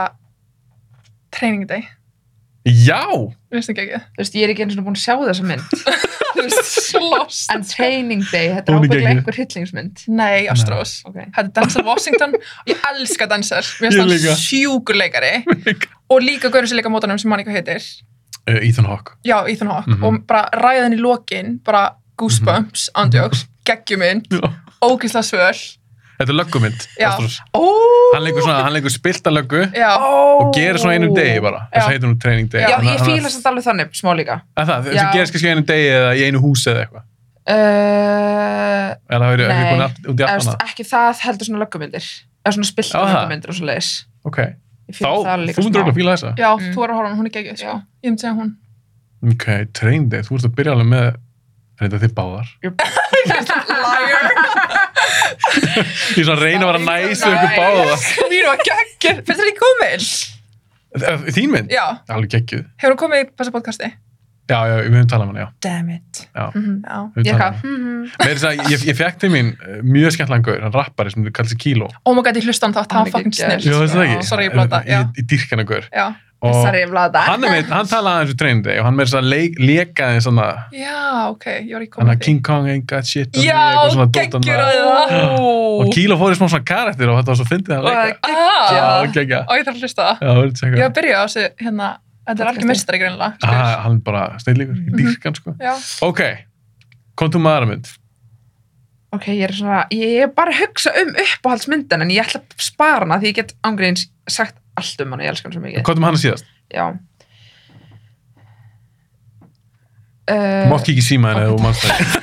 Training Day.
Já!
Mér finnst það geggjuð.
Þú veist, ég er ekki eins og búin að sjá þessa mynd
Þú veist, slóst.
En Training Day, þetta er
Hún er
ábygglega
geggjuð.
einhver hryllingsmynd
Nei, Ástrós.
Ok.
Þetta er Denzel Washington. Ég elska Denzel. Mér
Ég
finnst
líka.
hann sjúkur leikari.
líka.
og líka gaurið sem leika mótanum sem manni hvað heitir.
Uh, Ethan Hawke.
Já, Ethan Hawke.
Mhm.
Og bara ræðan í lokin, bara goosebumps, andjóks, geggjuminn,
Já.
ógisla svöl.
Þetta er löggumynd.
Já.
Ástrós.
Ó,
Hann leikur svona, hann leikur spilta löggu
Já,
og gerir svona einum degi bara. Þess að heitir hún training day.
Já,
Þannig að-
ég fíla þetta alveg þannig, smá líka
að það, þess
Já.
að gerist kannski einu degi eða í einu húsi eða eitthvað.
uh,
Eh,
Eða það verður ekki
Nei.
búin allt út í allt
eða,
annað.
Ekki það heldur svona löggumyndir Eða svona spilta
Á, það.
löggumyndir og svo leiðis
Ok, þá, þú myndir okkur að fíla þessa.
já,
Mm.
þú er að horfa á hana, hún er geggjuð, sko.
Já.
Ég myndi segja hún.
Ok, training day, þú ert að byrja alveg með, er þetta þið báðar?
Liar
Ég er svona að reyna að vera
Sorry,
næs
so
við ykkur
nice.
báðar.
Mínu var geggjuð. Finnst þetta ekki komið?
Eh, Þín mynd?
Já,
Alveg geggjuð.
hefur hún komið í þessu podcasti?
já, já, við höfum talað um hana, já.
Damn it.
Já.
Mhm, já.
Við höfum talað um
Ég eitthvað,
hana.
mm -hmm.
Meira þess að ég, ég fekk til mín eh, mjög skemmtlan gaur, hann rappari sem kallar sig Kilo. Eh,
Oh my god, ég hlusta hann þátt,
Hann
það
er
var fucking
geggjaður.
snill.
Já, það er ekki.
Sorry, ég blanda, já.
Ég, ég dýrk hann að gaur.
Já.
Og
Sorry, ég vlaða.
hann, er með, hann talaði aðeins við treinandi og hann meira þess að leik, lekaði svona,
Já, ok, ég var ekki
hann
komið
að King Kong ain't got shit on me,
Já,
eitthvað svona dót hann
geggjur
að-
að það.
Og Kilo fór í smá svona karakter og þetta var svo fyndið hann að leika. Já,
Ah,
geggjað.
geggja.
og ég þarf að hlusta á
Já,
það.
verður þetta
Ég
eitthvað.
var að byrja á þessu, hérna, þetta er algjör mistari greinlega.
Ah, hann er bara snillíkur,
Mhm.
ég dýrk hann sko.
Já.
Ok, komdu með aðra mynd.
Ok, ég er svona, ég er bara að hugsa um uppáhaldsmyndin en ég ætla að spara hana því ég get ángríns sagt allt um hana, ég elska hana svo mikið.
Komdu með hana síðast.
Já.
Þú
Uh,
mátt kíkja í síma henni ef þú mannst það.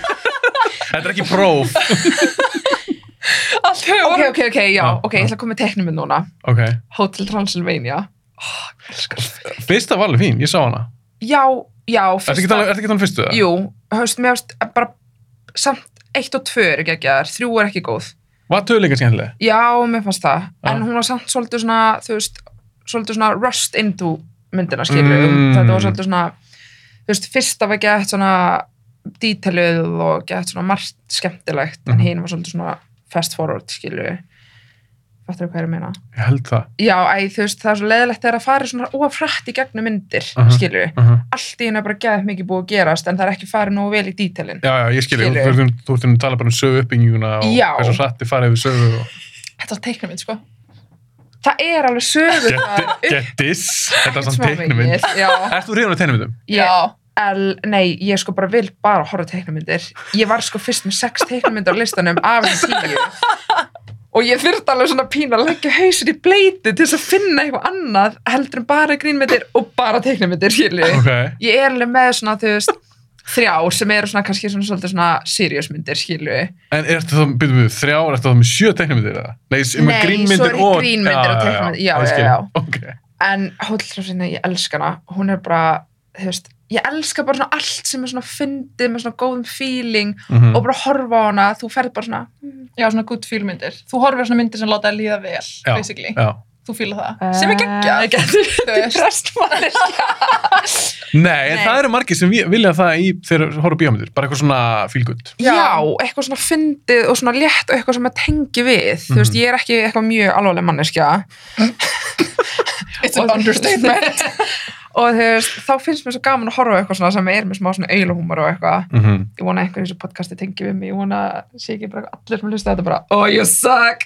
Þetta er ekki próf.
Allt hefur
Eh, ok,
voru.
ok, ok, já,
Já,
ok, ég ætla að koma með teknuminn núna.
Ok.
Hotel Transylvania. Oh, ég elska hana.
Fyrsta var alveg fín, ég sá hana.
já, já,
Ertu ekki talað er um fyrstu það?
Jú, höfst, mér höfst, bara samt eitt og tvö eru geggjaðar, þrjú er ekki góð.
Var töluleika skemmtileg?
Já, mér fannst það.
Já.
En hún var samt svolítið svona, þú veist, svolítið svona rust into myndina, skilur
Mm.
Þetta var svolítið svona, þú veist, fyrsta var gett svona detailuð og gett svona margt skemmtilegt, en
Mhm.
hinn var svolítið svona fast forward, skilur við. Fattur hvað ég er að meina?
Ég held það.
Já, æ, þú veist, það er svo leiðilegt þegar að fara svona ofrætt í gegnum myndir, uh
Mhm.
skilur við.
Uh
Allt í henni er bara gett mikið búið að gerast, en það er ekki farið nógu vel í detailin.
Já, já, ég skilja.
Skilur.
Þú ert um- þú ert um að tala bara um sögu uppbygginguna og
Já.
hversu hrætti farið við sögu og...
Þetta var teiknum minn, sko.
Það er alveg sögur
Get this. Þetta er samt teiknum minn.
Já,
Ert þú hrifun á teiknumindum?
ég El, nei, ég sko bara vil bara horfa á teiknumyndir. Ég var sko fyrst með sex teiknumyndir á listanum af þessum tíu. Og ég þurfti alveg svona pína að leggja hausin í bleiti til þess að finna eitthvað annað heldur en bara grínmyndir og bara teiknumyndir, skilju.
Ok.
Ég er alveg með svona, þú veist, þrjár sem eru svona kannski svona svolítið svona seriósmyndir, skilju.
En ertu þá, byrjum við, þrjá, ertu þá með sjö teiknumyndir eða? Nei, s- um
Nei, svo
grínmyndir
eru
og...
grínmyndir og teiknimyndir. Já,
ég
já,
skil.
já.
Ok.
En Hólltrafsina, ég elska hana. Hún er bara, þú veist, ég elska bara svona allt sem er svona fyndið með svona góðum feeling
Mhm.
og bara horfa á hana, þú ferð bara svona
Já, svona good feel myndir. Þú horfir á svona myndir sem láta þér líða vel,
Já.
basically.
Já.
Þú fíla
Eh,
það. Sem er geggjað. Þú veist.
prestmanniska
Nei, en
Nei.
það eru margir sem vi- vilja það í þegar horfum bíómyndir, bara eitthvað svona fílgöld.
Já, eitthvað svona fyndið og svona létt og eitthvað sem maður tengi við þú veist, ég er ekki eitthvað mjög alvarleg manneskja
It's an
Og-
understatement.
og þú veist, þá finnst mér svo gaman að horfa á eitthvað svona sem er með smá svona eiluhúmar og eitthvað
Mm -hmm.
ég vona að einhverjum í þessu podcasti tengi við mig ég vona að sé ekki bara allir sem hlusta þetta bara oh you suck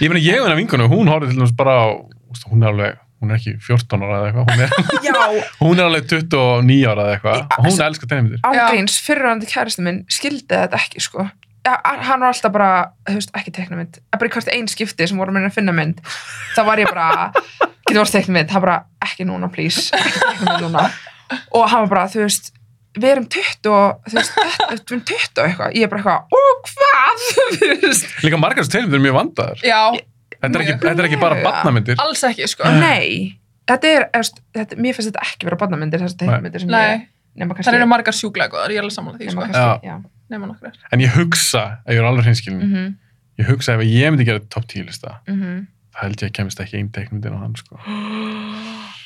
Ég meina, ég og hennar vinkonu, hún horfði til dæmis bara á, úst, hún er alveg, hún er ekki 14 ára eða eitthvað, hún er,
Já,
hún er alveg 29 ára eða eitthvað og hún elskar tegnmyndir.
ángríns, fyrirrandi kæristu minn skildi þetta ekki sko Ja, hann var alltaf bara, þú veist, ekki teiknumynd bara í hvert einn skipti sem voru minna að finna mynd þá var ég bara, getur voru teiknumynd það bara, ekki núna please ekki teiknumynd núna og hann var bara, þú veist, við erum 20 og þú veist, þetta- við erum 20 og eitthvað ég er bara eitthvað, og hvað þú veist,
Líka margar þessu tegnmyndir eru mjög vandar.
Já,
Þetta er ekki,
Mjög.
þetta er ekki bara
Mjög.
barnamyndir.
alls ekki, sko.
Eh.
nei þetta er, þú veist, þetta, mér finnst þetta ekki vera barnamyndir þessar teiknumyndir sem
Nei,
ég nema kannski,
það eru margar sjúklega góðar, ég er alveg samanlega því,
nema
sko.
kannski, já,
Nefna nokkrar.
En ég hugsa, ef ég er alveg hinskilin,
mhm,
ég hugsa ef ég myndi gera top 10 lista,
mhm
það held ég að kemist ekki einn tegnmyndin á hann, sko.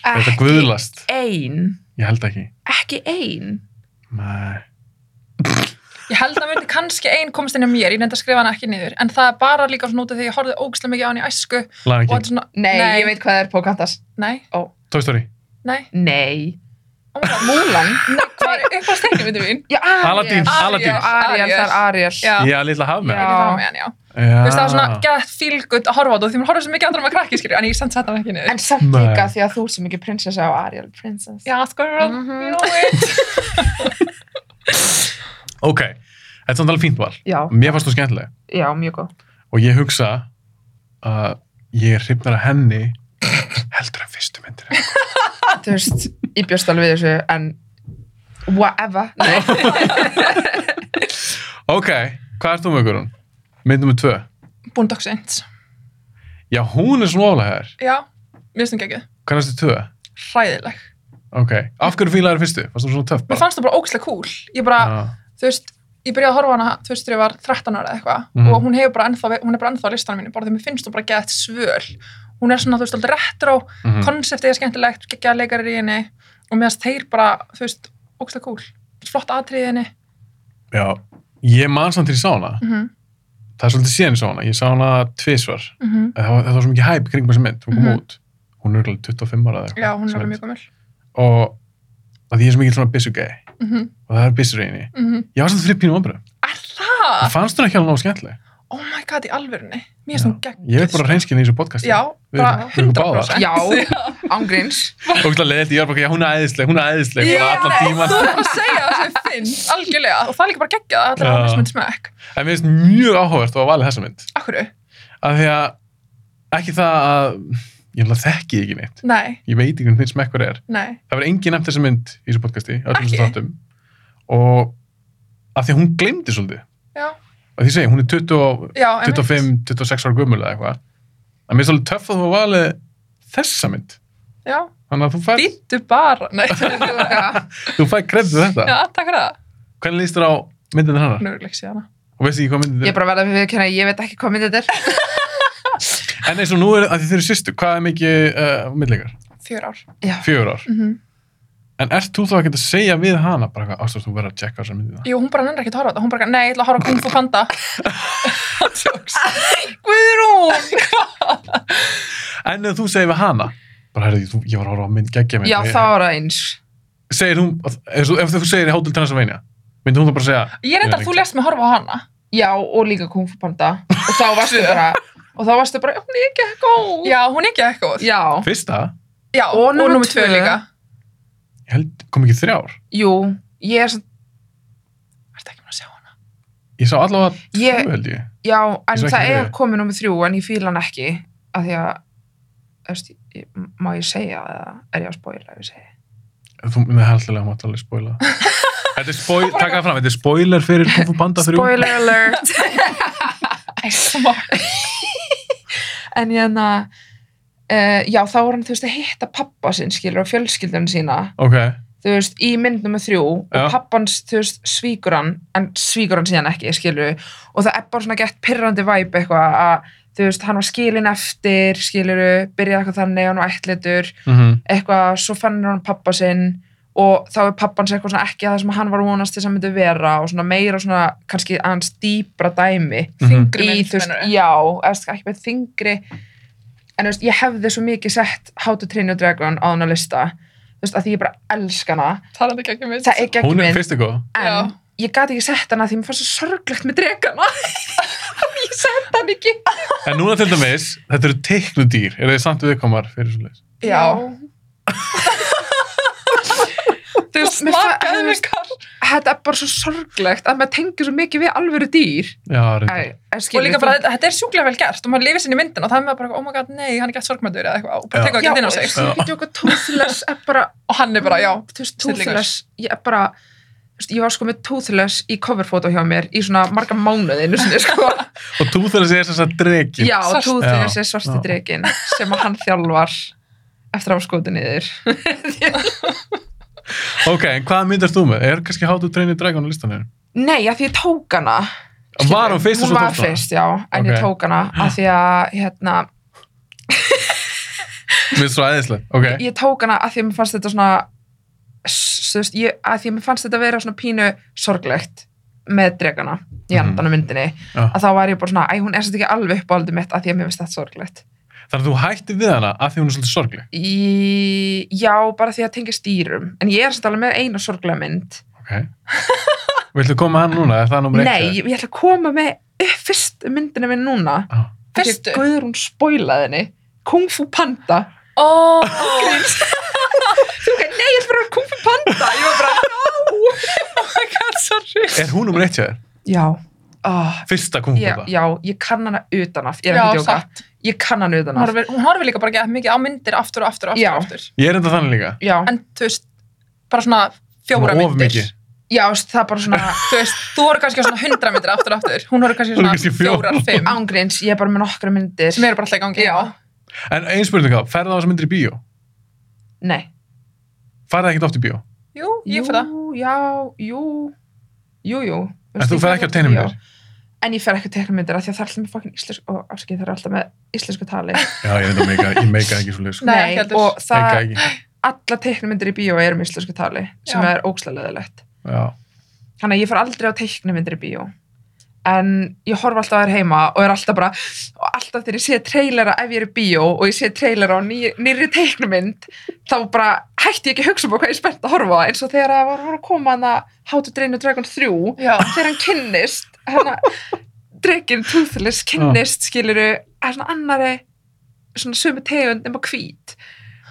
Er þetta
ekki
guðlast?
ein
Ég held ekki.
ekki ein
Nei.
Ég held að myndi kannski ein komst inn á mér, ég nefndi að skrifa hana ekki niður, en það er bara líka svona út af því að ég horfði ógislega mikið á hann í æsku og
Lion
þetta er
King.
svona,
nei,
Nei.
ég veit hvað það er Pocahontas
nei,
Toy Story.
nei,
nei,
oh my god,
Mulan
nei, hvað er eitthvað stegnum myndi mín?
já, Ariel.
Aladdin. Aladdin.
Ariel, Ariel, það er Ariel
Já.
Já, Ah. litla hafmenn.
Ég er það með hann, já.
Já.
Þú veist, það var svona gett feel good að horfa á þetta og því maður horfði svo mikið andur um að krakki, skilju, en ég samt sett hann ekki niður.
en samt
Nei.
líka því að þú ert sem ekki prinsessa á Ariel princess
Já, sko,
Mhm.
you know it.
Ok, þetta er samt alveg fínt val.
já,
Mér fannst þú skemmtileg
já, mjög góð
og ég hugsa að ég er hrifnar að henni heldur en fyrstu myndir.
þú veist, ég bjóst alveg við þessu en whatever nei,
Ok, hvað ert þú með Guðrún? Mynd nummer tvö.
Boondock Saints.
Já, hún er svona oflega hér.
Já, mér finnst hún geggjuð.
Hvað er þetta tvö?
Hræðileg.
Ok, af hverju fílaður fyrstu? Fannst þú svona töff
Mér
bara?
fannst það bara ógislega cool. Ég bara,
Ah.
þú veist, ég byrjaði að horfa á hana, þú veist, þegar ég var 13 ára eða eitthvað
Mhm.
og hún, hefur bara ennþá, hún er bara ennþá á listanum mínu, bara þegar mér finnst hún bara gett svöl. Hún er svona, þú veist, alltaf retro,
Já. Mhm.
konseptið er skemmtilegt, geggjaða leikarir í henni og meðan þeir bara, þú veist, ógstlega cool. Flott atriðinni.
Já, ég man samt til ég sá hana.
Mm -hmm.
Það er svolítið síðan ég sá hana. Ég sá hana tvisvar.
Mm -hmm.
Það var, það var svo mikið hæp kringum þessa mynd. Hún kom
Mhm.
út. Hún er örugglega 25 ára eða eitthvað.
Já, hún er alveg
Svoleiðis.
mjög gömul.
Og að því ég er svo mikið svona byssugæ.
Mm -hmm.
Og það er byssur í henni.
Mm -hmm.
Ég var svolítið fyrir pínum ombröðum.
Er það?
Það fannst hún ekki alveg náðu skemmtileg.
Oh my god, í alvörunni. Mér er
Já.
svona gegn.
Ég veit bara reynskinn í þessu podcasti.
Já, bara
Við erum- við erum báðar.
100%.
Já, ángríns.
Og ekki að leiðilegt, ég var bara ekki, já, hún er æðisleg, hún er æðisleg,
Já,
bara allan tíman.
þú er að segja það sem ég finn, algjörlega. Og það er líka bara geggjað að allir
Já.
hafa mismunandi smekk.
En mér finnst mjög áhugavert að valið þessa mynd.
Akkur?
Af því að ekki það að, ég held að þekki ekki neitt.
Nei,
Ég veit ekki hvernig þinn smekkur er.
nei.
Það var engin nefnt þessa mynd í þessu podcasti, öllum
Ekki?
þessum þáttum. Og af því að hún glemdi svolítið.
Já,
Af því að segja, hún er 20, og-
já. einmitt.
25, 26 ára gömul eða eitthvað. Það mér finnst alveg töff að þú hafa valið þessa mynd.
Já,
Þannig að þú fær,
býttu bara. Nei,
Já,
þú fær kreddu þetta.
já, takk fyrir það.
Hvernig líst þér á myndin hennar?
Nú er ekki síðan.
Og veist ekki hvað myndin
ég er bara verða fyrir viðkynna, ég veit ekki hvað myndið þetta er.
En eins og nú er að þið eru sýstu, hvað er mikið uh, millleikar?
Fjör ár.
Fjögur ár.
Mm
Mhm.
En ert þú þá ekkert að segja við hana bara hvað ástæðast þú verður að checka þessar myndina?
Jú, hún bara nennir ekki að horfa á þetta. Hún bara, nei, ég ætla að horfa á Kung Fu Panda. Jokes.
Guðrún!
En ef þú segir við hana, bara herrðu, þú- ég var að horfa á mynd geggja mynd.
Já,
ég,
það var það eins.
Segir hún, ef, þú- ef þú segir í Hotel Transylvania, myndi hún þá bara segja,
Ég reyndar að þú lest mig horfa á hana.
Já, og líka Kung Fu Panda. Og þá varstu bara, og þá varstu bara, hún er ekki góð.
Já, hún er ekki eitthvað.
Já,
fyrsta,
Já,
Og númer
númer
tvö.
tvö líka.
ég held, kom ekki þrjár.
jú, ég er svona,
Ertu ekki maður að sjá hana?
Ég sá allavega
Ég-
tvö held ég.
já,
Ég
en
sá ekki
það er
þriðju.
komið nummið þrjú, en ég fíla hann ekki, af því að, efst, ég, má ég segja það, er ég að spoila, ef ég segja.
Þú myndið heldilega mátt alveg spoila. þetta er spoil, taka það fram, þetta er spoiler fyrir Kung Fu Panda 3.
Spoiler alert!
Æ, smart.
en ég enna, uh, já, þá var hann, þú veist, að hitta pappa sinn, skilur, og fjölskyldun sína,
Ok,
þú veist, í mynd nummer þrjú
Já.
og pappans, þú veist, svíkur hann en svíkur hann síðan ekki, skilur og það er bara svona gett pirrandi væp eitthvað að, þú veist, hann var skilin eftir skilur, byrjaði eitthvað þannig hann var ættlitur,
mm
eitthvað svo fannir hann pappa sinn og þá er pappans eitthvað svona ekki að það sem hann var að vonast til sem myndi vera og svona meira svona kannski aðeins dýpra dæmi
Mhm.
Þyngri
í,
mynd,
þú veist,
meinarðu?
já, eða ekki með þingri en þú veist, ég hefði svo mikið sett How to Train Your Dragon á hann að lista þú veist, að því ég bara elska hana
Talandi ekki mynd.
það er gegn
hún er
mynd
fyrstu góð.
en
Já.
ég gati ekki sett hana því mér fannst svo sorglegt með dregana þannig ég sett hann ekki
En núna til dæmis, þetta eru teiknu dýr, eru þið samt viðkomar fyrir svo
já, þú
Þú
veist, mér fa-
smakaði
þú
mig
veist,
kall.
þetta er bara svo sorglegt að maður tengir svo mikið við alvöru dýr
Já, reyndar.
Æ, en skilur,
Og líka bara,
þú-
þetta- þetta er sjúklega vel gert og maður lifir sinni í myndin og það er maður bara, eitthvað, oh my god, nei, hann er gett sorgmættur eða eitthvað og bara
Já.
tekur það
já,
gett inn á
og
sig.
þú veist, ég ekki tóðless er bara,
Og hann er bara, já,
þú veist,
Snillingur.
tóðless ég er bara þú veist, ég var sko með tóðless í coverfótó hjá mér í svona marga mánuði einu sinni sko
Og þú þurfir að segja þess að dregi.
já,
Svart-
tóðless
Já,
er svarti
já.
dregin sem að hann þjálfar eftir að hafa skotið niður
Ok, en hvað myndast þú með? Er kannski How to Train Your Dragon á listanir?
Nei, af því ég tók hana
Var hún fyrst og
Hún
svo
var
tókstu hana?
fyrst, já, en
Ok.
ég tók hana af því að, hérna,
Mér er svo æðislega. Ok,
ég tók hana af því að mér fannst þetta svona s- þú veist, ég, af því að mér fannst þetta vera svona pínu sorglegt með dregana í
Mhm.
andan á myndinni
Já.
að þá var ég bara svona, æ, hún er svolítið ekki alveg uppáldið mitt af því að mér finnst þetta sorglegt
þannig að þú hættir við hana af því hún er svolítið sorgleg.
í, Já, bara því að tengja stýrum en ég er svolítið alveg með eina sorglega mynd
Ok. Viltu koma að hann núna? Er það nummer eitt?
Nei, ég, ég ætla að koma með upp fyrst myndina minn núna
Ah.
Af því að
Fyrstu?
Guðrún spoilaði henni Kung Fu Panda Oh
Ó,
Þú veist, nei, ég er bara Kung Fu Panda Ég var bara,
my god, sorry.
Er hún nummer eitt hjá þér?
já oh,
Fyrsta kungfóta?
ég, Já, ég kann hana utanaf Ég er
Já,
ekki að djóka
satt.
Ég kann hana
Hún
utanaf
horfir, hún horfir líka bara gett mikið á myndir aftur og aftur og aftur,
Já.
og aftur.
Ég er enda þannig líka.
Já,
En þú veist, bara svona fjóra
Svona of
myndir.
mikið.
já, veist, það er bara svona
Þú veist, þú horfir kannski á svona hundra myndir aftur og aftur. Hún horfir kannski á
Hún
svona
horfir kannski fjórar.
fjórar, fimm.
Ángríns, ég er bara með nokkra myndir
Sem eru bara alltaf í gangi.
Já,
En einn spurning þá, ferðu á þessar myndir í bíó?
nei
Farðu ekkert oft í bíó?
Jú, ég fyrir það.
Jú, já, jú Jú, jú
En þú ferð ekki á teinumyndir?
En ég fer ekki á teiknumyndir af því að það er alltaf með fokkin íslensk og afsakið það er alltaf með íslensku tali
Já, ég er enda meika, ég meika ekki svo
Nei, ekki heldur.
og það
Meika ekki.
alla teiknumyndir í bíó eru með íslensku tali sem
Já.
er ógslega leðilegt
já,
þannig að ég fór aldrei á teiknumyndir í bíó en ég horf alltaf að þér heima og er alltaf bara, og alltaf þegar ég sé trailera ef ég er í bíó og ég sé trailera á ný, nýri teiknumynd þá bara hætti ég ekki að hugsa um hvað ég er spennt að horfa á, eins og þegar það var var að koma hann að How to Drain a Dragon 3
Já.
þegar hann kynnist hana, drekinn Toothless kynnist skiluru að svona annari svona sömu tegund nema hvít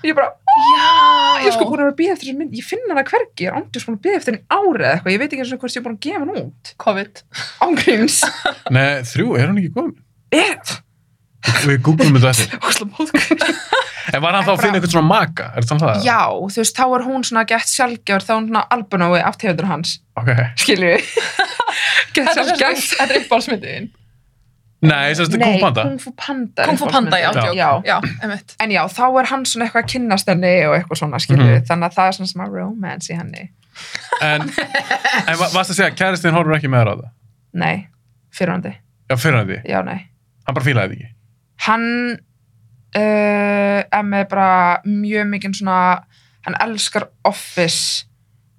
ég bara, "Oh,
Já.
ég er sko búin að vera að býða eftir þessu mynd ég finn hana hvergi, ég er ándur sko búin að býða eftir henni árið eða eitthvað, ég veit ekki eins og hvort ég er búin að gefa hann út
COVID.
ángríns
nei, þrjú, er hún ekki komin?
er
við googlum þetta eftir
ósla móðkvæð
en var hann þá að finna eitthvað svona maka, er það það?
já, þú veist, þá er hún svona gett sjálfgjör þá er hún svona albanói af tegundur hans
ok,
skilju gett
Þetta er
sjálfgjör
sérst- þetta er uppbálsmyndin.
nei, þess að þetta kom panda
Kung Fu Panda er
Kung Fu Panda, já,
Já.
já. Já, já emitt.
en já, þá er hann svona eitthvað að kynnast henni og eitthvað svona, skilju, þannig að það er svona smá romance í henni,
en, en va- varstu að segja, kæristinn horfur ekki með þér á það
nei fyrrandi,
já, fyrir hann því,
já, nei
hann bara fílaði þetta ekki
hann uh, er með bara mjög mikið svona hann elskar Office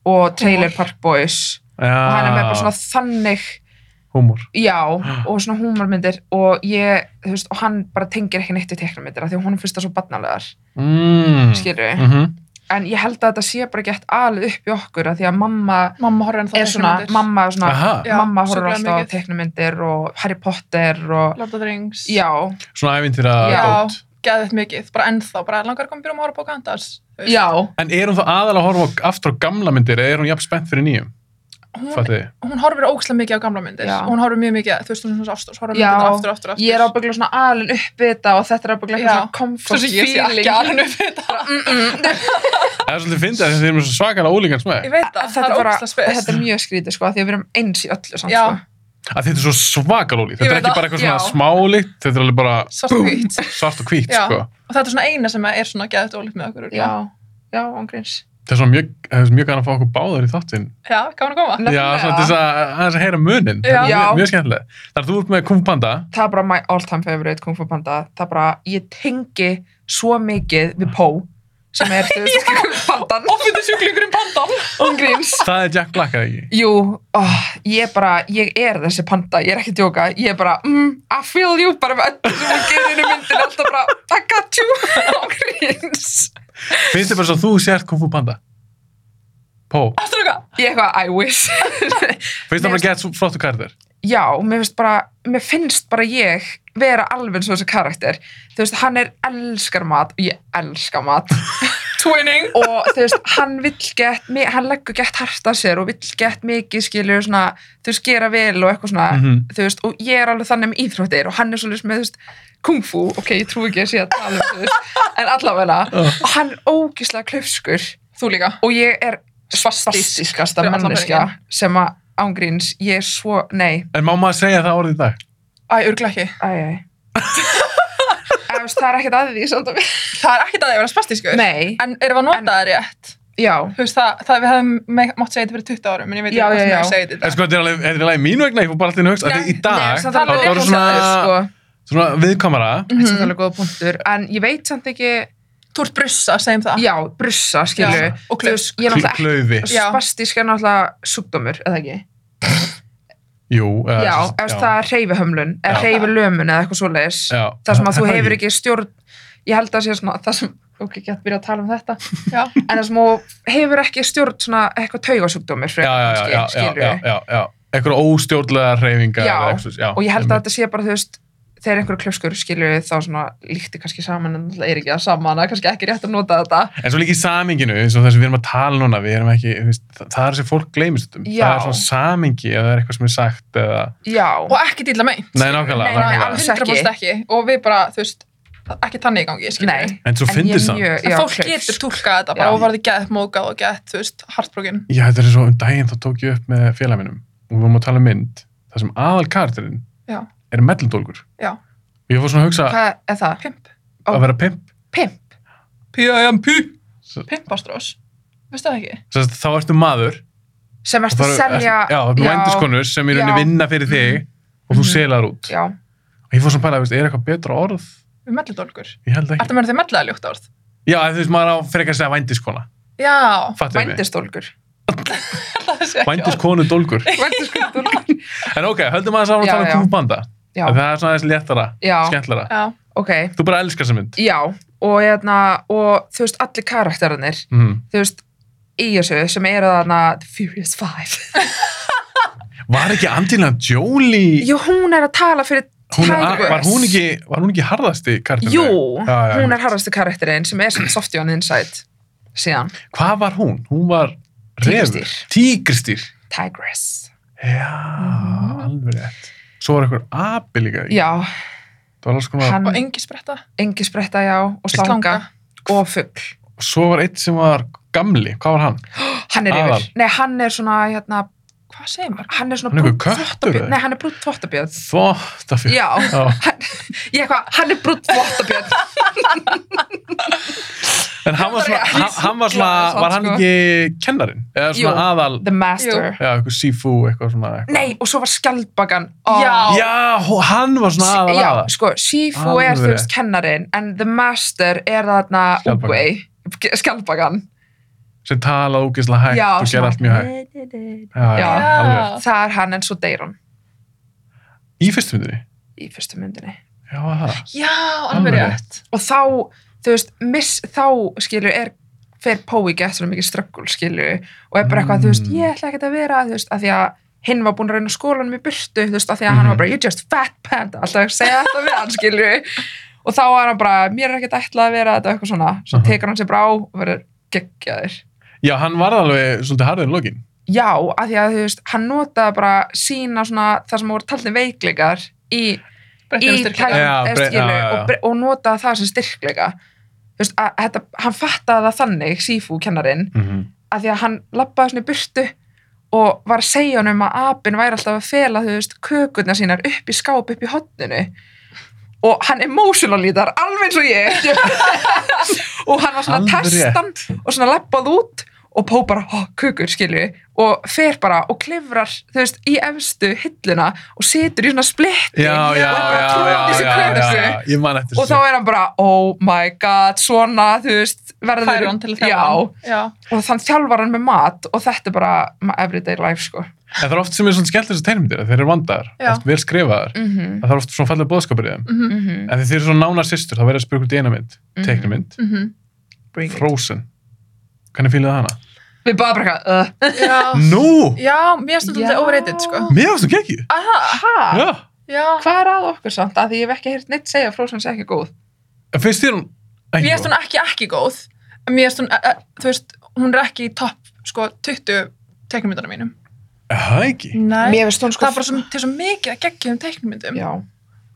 og Trailer Park Boys og hann er með bara svona þannig
húmor
já, og svona húmarmyndir og ég, þú veist, og hann bara tengir ekki neitt við teknumyndir af því að honum finnst það svo barnalegar
mm.
skilju,
mm
en ég held að þetta sé bara gett alveg upp í okkur af því að mamma
Mamma horfði en það
er svona, mamma er svona
Aha,
Já,
mamma horfður
sjúklega
alltaf á
mikið.
teknumyndir og Harry Potter og
Lord of the Rings.
já,
svona ævintýra
Já,
dót
geðið mikið. Bara ennþá, bara langar komið byrjum að horfa á Pocahontas. þú veist.
já
En er hún þá aðalega að horfa á- aftur á gamla myndir eða er hún jafn spennt fyrir nýjum?
Hún,
Fattu þið?
hún horfir ókslega mikið á gamla myndir.
Já.
Hún horfir mjög mikið, þú veist, hún er svona ástúrs, horfir
Já.
myndir aftur, aftur, aftur.
ég er ábygglega svona alin upp við þetta og þetta er ábygglega
Já.
eitthvað svona
Svo
comfort
sem ég sé ekki alveg upp við þetta.
Það er svolítið fyndið að þið erum svo svakalega ólíkans með.
Ég veit
þetta
það, það
er,
er
bara,
ókslega spes.
þetta er mjög skrítið sko, af því að við erum eins í öllu samt,
Já.
sko.
Að þetta er svo svakalega ólíkt.
Ég
Þetta er
veit
ekki
það,
bara eitthvað svona
já.
smálikt, þetta er alveg bara
Svart og hvít.
svart og hvít,
Já.
sko.
Og þetta er svona eina sem er svona geðið ólíkt með okkur.
já,
örugglega.
já, ángríns
Það er svona mjög, það er mjög gana að fá okkur báðar í þáttinn.
Já, gaman að koma.
Já, svona til þess að, aðeins að heyra munin.
Já.
Það er
Já.
mjög, mjög skemmtilega. Þannig að þú ert með Kung Panda.
það er bara my all time favorite Kung Fu Panda það er bara, ég tengi svo mikið við Pó sem er þú veist, Kung Fu Pandan
Offitu sjúklingurinn pandan.
ángríns
Það er Jack Black, eða ekki?
Jú, oh, ég bara, ég er þessi panda, ég er ekki að djóka, ég er bara, mm, I feel you, bara með öllu sem hún gerir inn í myndinu, alltaf bara, I got you, ángríns.
Finnst þið bara svo að þú sért Kung Fu Panda? Pó.
Aftur okkar.
Ég eitthvað, I wish.
Finnst það bara gett svo flottu karakter?
já, mér finnst bara, mér finnst bara ég vera alveg eins og þessi karakter þú veist, hann er elskar mat og ég elska mat
Twinning.
og þú veist, hann vill gett mi- hann leggur gett hart að sér og vill gett mikið skilur svona, þú veist, gera vel og eitthvað svona,
Mhm.
þú veist, og ég er alveg þannig með íþróttir og hann er svolítið með, þú veist kungfu, ok, ég trú ekki að sé að tala um þú veist, en allavega og hann er ógislega klaufskur
Þú líka.
og ég er
Svastisk.
svastiskasta
Fyrir allan
manneska sem að ángríns, ég er svo, nei
En má maður segja það orðið í dag?
Æ, örgla ekki.
Æj, æj. Eða, veist, það er ekkert að því samt að við.
Það er ekkert að það vera spastískur.
Nei,
En erum við að nota það rétt?
já.
Þú veist það, það við hefum me- mátt segja þetta fyrir 20 árum, en ég veit
Já, já,
ekki hvað sem
já.
ég segja þetta.
En sko, þetta er alveg, þetta er alveg mín vegna, ég fór bara alltaf inn að hugsa,
Nei,
af því í dag,
Nei, samt
þá
alveg
er
rétt
svona,
að segja, sko.
svona viðkamara,
Það er samt alveg góða punktur. En ég veit samt ekki,
Mhm. Þú ert brussa, segjum það.
já, brussa, skilju.
Já, og klaufs.
Ég er náttúrulega
klöfi,
ekki,
Já.
spastísk er náttúrulega sjúkdómur, eða ekki?
jú,
Já,
eða,
já
sem sagt,
eða það er reyfihömlun, eða
Já.
reyfilömun eða eitthvað svoleiðis.
já.
Það sem að þú hefur
ekki,
ekki stjórn, ég held að sé svona, það sem, ok, ég gett byrjað að tala um þetta,
Já.
en það sem þú hefur ekki stjórn svona eitthvað taugasjúkdómur,
já, já, já, já, já, já, já, já, eitthvað óstjórnlega reyfingar,
Já,
eða eitthvað svoleiðis, já,
og ég held að
einmitt.
þetta sé bara, þú veist þegar einhverju klöskur skilur við þá svona líkti kannski saman en náttúrulega er ekki að saman það er kannski ekki rétt að nota þetta
En svo líka í saminginu, eins og það sem við erum að tala núna, við erum ekki, þú veist, það, það er sem fólk gleymist um,
Já.
það er svona samingi, eða það er eitthvað sem er sagt, eða,
já,
Og ekki dýla meint.
nei, nákvæmlega,
Nei, nei,
nákvæmlega.
alls-
100% ekki. Og við bara, þú veist, ekki þannig í gangi, skilur
nei
við.
En svo
ég
fyndist
er
það.
mjög-
En
já,
fólk
klöks.
getur túlkað þetta
Já.
bara og varði gett mókað og gett, þú veist, hartbrókin.
Já, þetta er svo um daginn, þá tók ég upp með félag minnum, og við vorum að tala um mynd, það sem aðal karakterinn
Já.
er mellindólgur.
Já.
Og ég fór svona að hugsa
hvað er það?
Pimp.
að vera pimp.
pimp
P.I.M.P.
Pimpastrós. Veistu það ekki?
Sest, þá ertu maður.
sem erst
þá
að
eru-
selja
ertu- Já, þú ertu vendiskonur sem í rauninni
Já.
vinna fyrir þig og þú
Mhm.
selar út.
já,
Og ég fór svona að pæla, veist, er eitthvað betra orð?
Við melludólkur.
Ég held ekki.
Ertu að menna þau mellaða ljótt orð?
Já, þú veist, maður á frekar að segja vændiskona.
Já,
Fattum við.
Vændistólkur.
það sé ekki orð.
Vændiskonu dólgur.
Vændistólkur.
En ok, höldum maður saman að
Já,
tala um
já.
kúfubanda.
Já,
Það er svona aðeins léttara,
Já.
skemmtlara.
Já,
ok.
Þú bara elskar þessa mynd.
Já, og, hérna, og þú veist, allir karakterarnir,
Mm.
þú veist, í þessu sem eru þarna The Furious Five.
Var ekki Angelina Jolie?
Jú, hún er að tala fyrir
Hún er,
Tigress.
var, hún ekki, var hún ekki harðasti kartinu?
Jú,
já, já,
hún er harrastu karakterinn sem er sem softi on the inside síðan.
Hvað var hún? Hún var refur.
Tígristýr.
Tígristýr.
Tigress.
Já, alveg rétt. Svo var einhver api líka. í.
Já,
Það var alls konar.
hann,
og engi spretta.
engi spretta já, og slanga,
Slanga.
og fugg.
Svo var eitt sem var gamli. Hvað var hann?
Hann er
Aðal.
yfir. Nei, hann er svona, hérna,
Hvað segir maður?
hann er svona
Hann er einhver
brúnn
köttur,
þvottabjörn.
eða?
Nei, hann er brútt þvottabjörn.
Þvóttafjörn.
Já, hann, ég eitthvað, hann er brútt þvottabjörn.
En hann var svona,
Hann var-
hann, hann var svona,
Já, samt,
var hann
sko.
ekki kennarin? Eða svona
Jú.
aðal,
The Master.
já, eitthvað sífú, eitthvað svona. Eitthvað.
Nei, og svo var skjaldbakan. Ó.
Já.
Já, hó- hann var svona aðal
já,
aðal.
sko, Shifu
Alveg
er þú veist
rétt.
kennarin, en The Master er þarna
Skjaldbakan.
Uguay, skjaldbakan.
Sem talaði ógeðslega hægt
Já,
og gerði
svona-
allt mjög hægt. Já, já,
Já.
alveg rétt.
Það er hann en svo deyr hann
Í fyrstu myndinni?
í fyrstu myndinni.
Já, var það.
Já, alveg
Alveg
rétt.
Og þá, þú veist, miss, þá skilur er fer Pói gett svona mikið ströggul skilur og er bara eitthvað, þú veist,
Mm.
ég ætla ekkert að vera, þú veist, að því að hinn var búin að reyna skólanum í burtu, þú veist, að því að hann
Mhm.
var bara, you just fat panda, alltaf að segja þetta við hann skilur og þá var hann bara, mér er ekkert ætlað að vera þetta og eitthvað svona, svo
Aha.
tekur hann sér brá og verður geggjaður.
Já, hann var alveg svolítið harðin lokin.
Já, að því að þú veist, hann notaði bara sína svona það sem voru talin veiklegar í
Brettir
í
og styrkja.
tæ- Já,
Thailand,
bre-
skilu,
já, já, já.
og, bre- og notaði það sem styrkleika Þú veist, að, þetta, hann fattaði það þannig Sifu kennarinn,
Mm -hmm.
að því að hann lappaði svona í burtu og var að segja hann um að apinn væri alltaf að fela þú veist, kökurnar sínar upp í skáp upp í hotninu og hann emotionalítar alveg eins og ég og hann var svona
Alveg
að testa hann og svona lappað út og Pó bara, ó, kökur, skilju og fer bara og klifrar þú veist, í efstu hilluna og situr í svona splitti
Já, já,
og
já,
bara
já,
tróði
já,
þessi
já, já,
kökur
já, ég man eftir
og þá er hann bara, oh my god svona, þú veist, verður
Færa hann til
já,
þjálfan. Já.
og þann þjálfar hann með mat og þetta er bara my everyday life sko
En það er oft sem er svona skemmt þessar tegnmyndir, að þeir eru vandaðar,
Já.
oft vel skrifaðar.
mm -hmm.
að Það er oft svona fallega bóðskapur í þeim.
Mhm,
En þegar þeir eru svona nánar systur, þá verður að spyrja út í eina mynd,
Mhm.
teiknumynd,
mhm.
Frozen. Hvernig fílaði hana?
við bara bara eitthvað, uh,
Já.
Nú!
Já, mér finnst þetta
Já.
overrated, sko.
Mér varst ekki ekki.
Aha,
ha?
Já.
já.
hvað er að okkur samt að því ég hef ekki heyrt neitt segja að Frozen sé ekki góð
En finnst þér hún ekki
Mér finnst hún ekki ekki góð. En Mér finnst hún, eh, eh, þú veist, hún er ekki í topp, sko, 20 teknumyndunum mínum.
Það ekki.
Nei.
finnst hún sko
Það er bara svo, til svo mikið að gegja um teknumyndum.
já,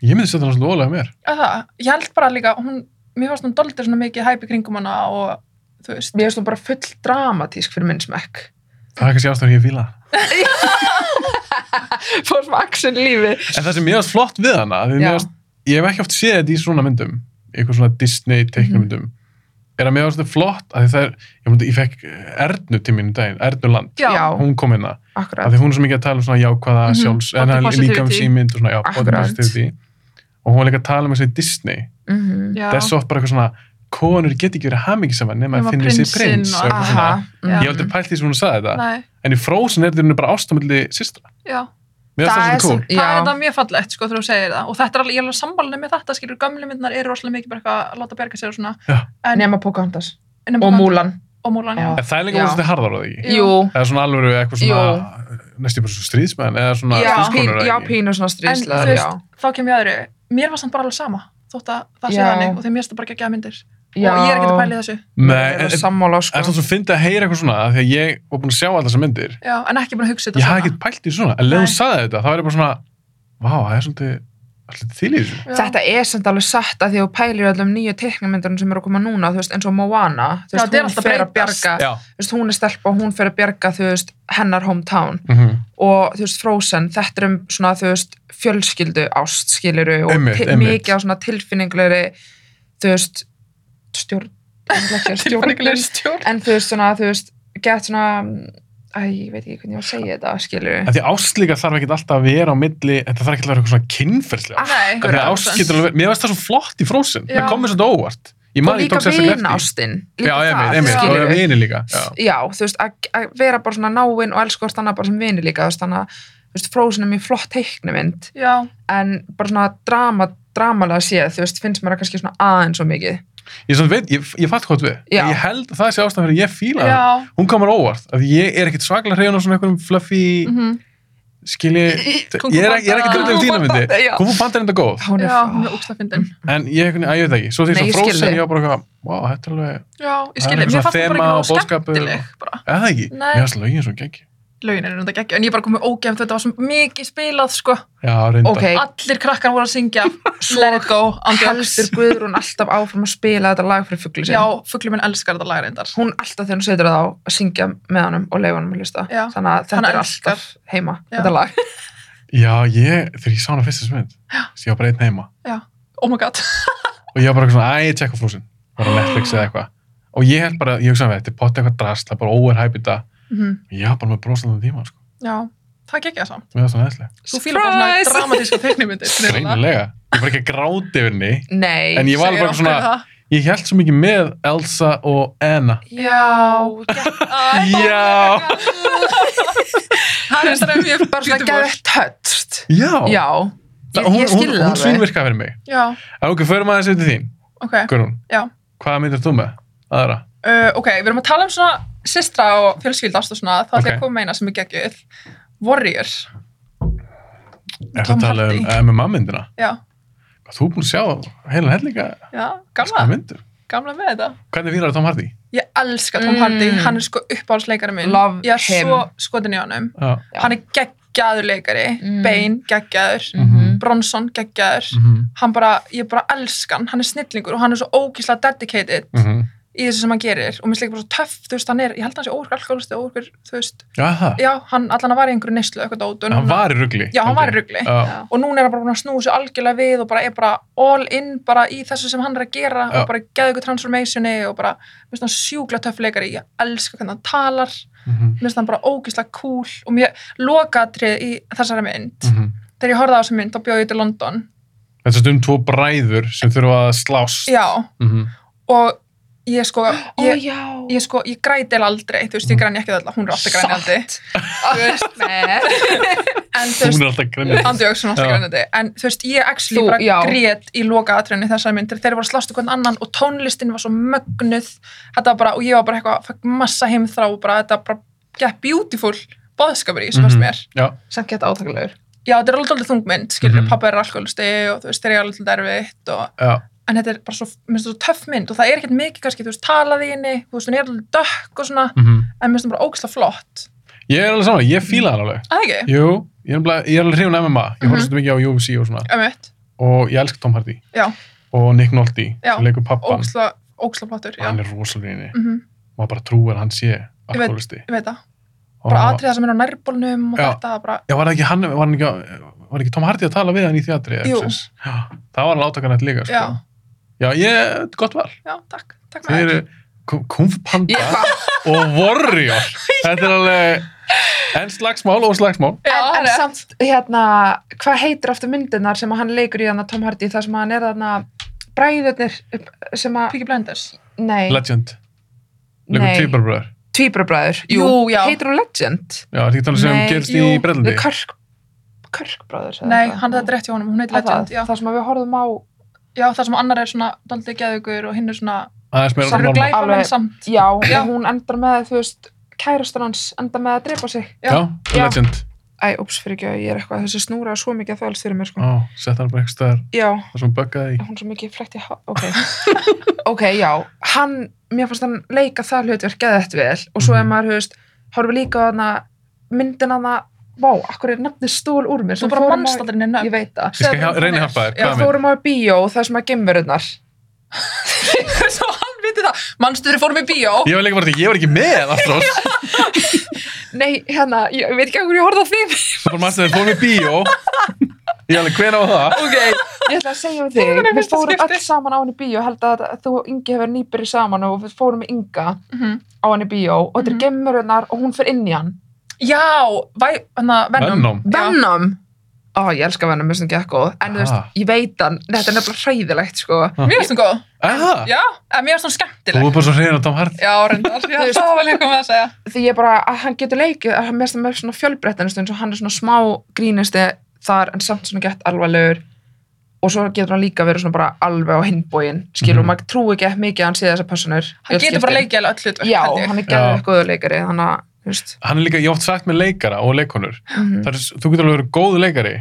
Ég myndi setja hann svona ólega mér.
Að það, ég held bara líka, hún, mér finnst hún doldir svona mikið hæpi kringum hana og, þú veist,
mér finnst hún bara full dramatísk fyrir minn smekk
Það er kannski ástæður ég fíla. hana.
fór sem action lífi
En það sem mér varst flott við hana, af því mér
Já.
varst, ég hef ekki oft séð þetta í svona myndum, í eitthvað svona Disney teiknumyndum, er að mér varst þetta flott að það er, ég, myndi, ég fekk Ernu til mínum daginn, Ernu Land,
já,
hún kom hérna, af
akkurat
því hún er svo mikið að tala um svona jákvæða
Mhm,
sjálfs, en það er
body
líka um
positivity.
símynd og svona, já, body
Akkurat.
positivity. Og hún var líka að tala um þessi Disney,
mm -hmm.
já.
það er svo oft bara eitthvað svona, konur get ekki verið hamingisamar nema að
Nema
finna sér
prinsinn
prins.
og-
og eitthvað
aha
svona.
mm.
Ég hef aldrei pælt því sem hún sagði þetta,
Nei,
en í Frozen er þetta bara ástamöldi systra.
já.
Mér finnst það
Það er
svolítið cool.
sem-
Það
Já.
er þetta mjög fallegt, sko, þegar þú segir það. Og þetta er alveg, ég er alveg sambalinu með þetta, skilur, gamli myndnar eru rosalega mikið bara eitthvað að láta berga sér og svona.
nema Pocahontas
En um
og
hann-
Mulan
Og Múlan, já.
Já.
En það er líka
Já.
mjög svolítið harðar á það ekki.
Já.
jú
Það er svona alveg eitthvað svona, næstu bara svo stríðsmenn eða svona
já, pín,
stríðskonur
já,
eða ekki.
pínu svona
En,
stríðslega
þú
já,
Þá kem ég að öðru. Mér var samt bara alveg sama, þótt að það sé
Já.
þannig og þegar mér finnst það bara geggjaðar myndir.
já.
Og ég er ekki að pæli þessu.
Nei,
Ég er
en en-
sammála sko
en það er svo fyndið að heyra eitthvað svona af því að ég var búin að sjá allar þessar myndir
Já, en ekki búin að hugsa þetta
ég hafði ekkert pælt í svona, en leðum
Nei.
saði þetta þá er ég bara svona, vá, það er svolítið allir til í þessu.
Já.
Þetta er samt alveg satt að því að þú pælir í öllum nýju teiknumyndunum sem eru að koma núna, þú veist, eins og Moana, þú
Já,
veist,
þetta er
hún
alltaf
fer að
breytast.
bjarga,
Já,
þú veist, hún er stelpa og hún fer að bjarga, þú veist, hennar hometown
mhm,
og, þú veist, Frozen, þetta er um svona, þú veist, fjölskyldu ást, skiluru, og
Einmitt,
ti-
einmitt.
mikið á svona tilfinninglegri, þú veist, stjórn, ekki,
Tilfinninguleg
stjórn,
stjórn.
en þú veist, svona, þú veist, gett svona, æ, ég veit ekki hvernig ég var að segja þetta, skiluru,
en því ást líka þarf ekkert alltaf að vera á milli, þetta þarf ekkert að vera eitthvað svona kynferðslega.
Nei.
Af því að ást getur alveg, mér veist það svo flott í frósin,
Já.
það komið svolítið óvart. Ég
og
man, ég
líka
tók sérstaklega eftir.
vinástinn
Já,
líka
einmitt,
það,
einmitt, og
skilur
það er
við
vini líka. Já.
já, þú veist, að að vera bara svona náinn og elska hvort annað bara sem vini líka þú veist, þannig að, þú veist, Frozen er mjög flott teiknumynd
já,
en bara svona drama, dramalega séð þú veist, finnst mér það kannski svona aðeins og mikið
Ég, samt veit, ég, ég fatt hvað þú við.
Já.
Ég held að það sé ástæðan fyrir að ég fíla
já,
það. Hún komur óvart. Af því ég er ekkit svaklega hreifin á svona einhverjum fluffy,
mhm.
skilji...
Kung Fu
Ég er ekki- ég er ekkit
Kung
Panda.
Fu
auðvitað í þína
Panda,
myndi.
já.
Kung Fu Panda er enda góð.
hún er
já,
já,
hún er ógsta fyndin
En ég, einhvern veginn- að ég veit það ekki. Svo því
Nei,
sem
ég skil
Frozen,
þig.
ég var bara eitthvað, wow, þetta er alveg...
já, ég
Það er eitthvað
skilði, mér
svona
fannst það
þema
bara
og
ekki nógu
boðskapur
skemmtileg bara.
Eða það ekki?
Nei.
Ég hans lögin svo geggi.
lögin er þetta ekki, en ég bara komið ógæmt þetta var svo mikið spilað sko
Já, reynda.
ok,
allir krakkar voru að syngja let it go, andjóks
heldur Guðrún alltaf áfram að spila þetta lag fyrir fugglu
já,
sinn
fugglum minn elskar þetta lag reyndar
hún alltaf þegar hún setur það á að syngja með honum og leifa honum að hlusta
Já.
þannig að
Hann
þetta er
elskar.
alltaf heima
Já.
þetta lag
Já, ég, þegar ég sá hana fyrsta smynd, ég var bara einn heima.
oh my god,
og ég var bara eitthvað svona, æ, ég tjekka frúsin bara á Netflix eða eitthvað og ég held bara, ég hugsaði með, þetta er potti eitthvað drast það er bara overhype í dag
Mhm.
ég var bara með brosandi tíma, sko
já það gekk ég samt
mér var svona eðslega,
þú fílar bara svona
Surprise!
dramatíska teknimyndir
greinilega ég var ekki að gráti yfir henni
nei,
En ég var- bara svona- ég held svo mikið með Elsa og Anna
já,
já,
það er það mjög
bara svona geðið tötst
já,
já,
Það-
ég,
hún, hún,
ég skilði
hún
það alveg.
svínvirkaði fyrir mig
já,
en ok, förum aðeins yfir til þín,
ok
Guðrún
Já.
hvaða myndir þú með? aðra,
uh, ok, við erum að tala um svona systra og fjölskyldast og svona þá ætla ég
Ok.
að koma meina sem er geggjuð Warrior,
er
Tom
það tala um
Hardy.
MMA myndina
já,
Hvað, þú er búin að sjá heilan hellinga
já,
sko,
gamla
myndir,
gamla með þetta
hvernig fílar Tom Hardy?
Ég elska Tom Hardy,
Mm.
hann er sko uppáhaldsleikari minn
Love
Ég er
him.
svo skotin í honum
Já.
Já.
Hann er geggjaður leikari
Mm.
Bane geggjaður,
Mhm.
Bronson geggjaður
Mhm,
Hann bara, ég bara elska hann Hann er snillingur og hann er svo ógislega dedicated
mhm.
Í þessu sem hann gerir Og mér slikir bara svo töff, þú veist, hann er Ég held að hann sé óverkur alkoholist og óverkur, þú veist
Já, það.
Já, hann allan að var í einhverju neyslu eitthvað dótun
hann var í rugli
Já,
held
hann var
ég.
í rugli
Já.
Já.
Og núna er hann bara búinn að snúa sér algjörlega við og bara er bara all in bara í þessu sem hann er að gera
Já.
og bara geða ykkur transformationi og bara, mér finnst hann sjúkla töff leikari, ég elska hvernig hann talar
Mhm,
mér finnst hann bara ógislega cool og mér lokatrið í þessari mynd
mhm.
þegar ég horfði á þessari mynd þá bjóði ég til London
Þetta er sem sagt um tvo bræður sem þurfa að slást.
já,
Mhm.
og ég sko
Ó,
ég,
já.
ég sko, ég græti eil aldrei þú veist, ég græni ekki alltaf, hún er alltaf grænjandi
Þú veist, nei.
en þú
Hún
veist,
er alltaf grænir.
Andi Jóksson alltaf
Já.
grænjandi en þú veist, ég actually
Þú-
bara
já.
grét í lokatriðinu í þessari mynd þegar þeir voru að slástu hvern annan og tónlistin var svo mögnuð þetta var bara, og ég var bara eitthvað, fæk massa heimþrá og bara, þetta bara, yeah, beautiful boðskapur í, sem fannst
Mhm.
mér
Já,
samt gett átaklegur
já, þetta er alveg dálítið þungmynd, skilur,
Mhm.
pappa er alkoholisti og þú veist, þeir eru alveg derfitt og,
já,
en þetta er bara svo, minnst það svo töff mynd og það er ekkert mikið kannski, þú veist, talað í henni, þú veist, hún er alveg dökk og svona,
mhm.
en minnst það bara ógæslega flott.
Ég er alveg saman, ég fíla hann alveg.
Að það ekki?
Jú, ég er, alveg, ég er alveg hrifun MMA. Ég horfði
Mhm.
svolítið mikið á UFC og svona.
Ömmitt,
Og ég elska Tom Hardy.
Já.
Og Nick Nolte,
Já.
sem leikur pappan.
ógæslega, ógæslega flottur, já.
Hann er rosalega inni.
Mhm,
Maður bara trúir að hann sé
Ég veit-
alkoholisti.
Ég veit það.
Og
Bara
hann var-
atriða sem er á nærbólnum og
Já.
þetta, bara,
Já, var það ekki hann, var hann ekki, á- var ekki Tom Hardy að tala við hann í þjátri?
Jú.
Það var hann átakanætt líka, sko.
já,
Já, ég, gott val.
já, takk, takk
Þeir
með
eru
þér.
Kung- Kung Fu Panda.
Ég bara-
og Warrior þetta er alveg en slagsmál og slagsmál
Já,
en, en
rétt.
samt, hérna, hvað heitir aftur myndirnar sem að hann leikur í hann Tom Hardy þar sem hann er þarna bræðurnir upp- sem að,
Peaky Blinders.
nei,
Legend, leikur
nei
tvíbarbröður
Tvíbrabröður,
Jú, já.
heitir hún Legend
já, þetta er ekki talað um sem
Nei,
gerist
jú,
í
Við
Breitlandi
Körk, Körkbræður
Nei, hann þetta er rétt hjá honum, hún heitir Legend, já.
Það sem að við horfum á
Já, það sem annar er svona daldið geðugur og hinn er svona,
aðeins meira
það
svona
eru
normal
glæpamenn
Alveg-
samt.
Já,
Já.
já. hún endar með, þú veist, kærastan hans endar með að drepa sig.
já,
Já.
Legend,
Æ, úps, fyrir ekki að ég er eitthvað, þessi snúra er svo mikið að þvæls fyrir mér, sko.
ó, sett hann bara eitthvað stöðar
Já,
og svo buggaði í
hún er svo mikið flækt í há... Ok, ok, já, hann, mér fannst hann leika það hlutverk geða þetta vel og svo ef
Mhm.
maður, þú veist, horfum líka á hana, myndin hana, vá, akkur er nafnið stól úr mér.
Þú
sem
bara
fórum á-
mannst aldrei henni
Ég veit það.
ég skal hjá- reyna að hjálpa þér,
Já,
hvað er minn?
Fórum á bíó, það sem að gemverunar.
svo hann viti það mannstu þeir fórum í bíó
ég var líka bara því, ég var ekki með aftur
Nei, hérna, ég veit ekki hvernig ég horfði á þig.
svo bara mannstu þeir fórum í bíó ég alveg hver á það
ok,
Ég ætla að segja um þig,
Fórum í
við
fyrsta
fórum
skipti.
öll saman á henni bíó, held að þú og Ingi hefur nýbyrði saman og við fórum með Inga
Mhm.
á henni bíó og þetta er
Mhm.
gemmurinnar og hún fyrir inn í hann.
já væ, hana, Venom.
Venom.
Já.
Venom! Ó, Ó, ég elska vennar, mér finnst hún gekk góð. En þú veist,
Ah.
ég veit hann, þetta er nefnilega hræðilegt, sko.
Mér finnst hún góð.
Aha,
Já, en mér finnst hún
þú
skemmtileg.
er bara svo hrein á Tom Hardy.
Já, reyndar. Já,
Þú veist-
það var líka með að segja.
Því ég bara, að hann getur leikið, að hann mest með svona fjölbrettanist, eins og hann er svona smá grínisti þar, en samt svona gett alvarlegur. Og svo getur hann líka verið svona bara alveg á hinbóin, skilur, mm
Mhm.
maður trú ekki eftir mikið að hann sé þessar personur.
Hann getur bara leikið alveg öll hlutverk.
Já,
held ég.
hann er
Já.
gerður góður leikari, þannig að, þú veist,
Hann er líka, ég hef oft sagt með leikara og leikonur.
Mhm.
Það Er, þú getur alveg verið góð leikari,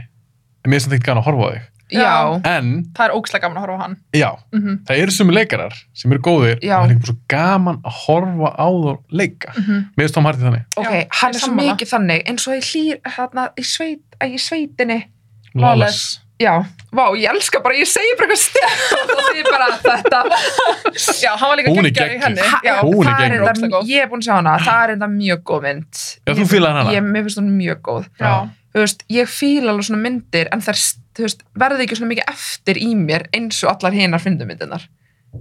en mér er samt ekkert gana að horfa á þig.
já,
En,
Það er ógslag gaman að horfa á hann.
já,
Mm
það eru sumi leikarar sem eru góðir
Já.
og það er líka bara svo gaman að horfa á þá leika. Mér finnst Tom Hardy þannig.
ok,
Já,
hann
ég
er svo
sammála.
mikið þannig, eins og ég hlýr, hérna, í, sveit, í sveitinni,
Lawless.
Já, vá, ég elska bara, ég segi bara eitthvað stjætt og því bara þetta
Já, hann var líka
Hún er
geggjær í
geggjuð.
henni. Já,
Hún er
það
geggjur.
enda-
Ógeðslega góð.
Ég er búin að sjá hana, það er enda mjög góð mynd
Já, þú fílar hana?
Ég, mér finnst hún mjög góð
já.
Þú veist, ég fíla alveg svona myndir en það veist, verði ekki svona mikið eftir í mér eins og allar hinar myndinnar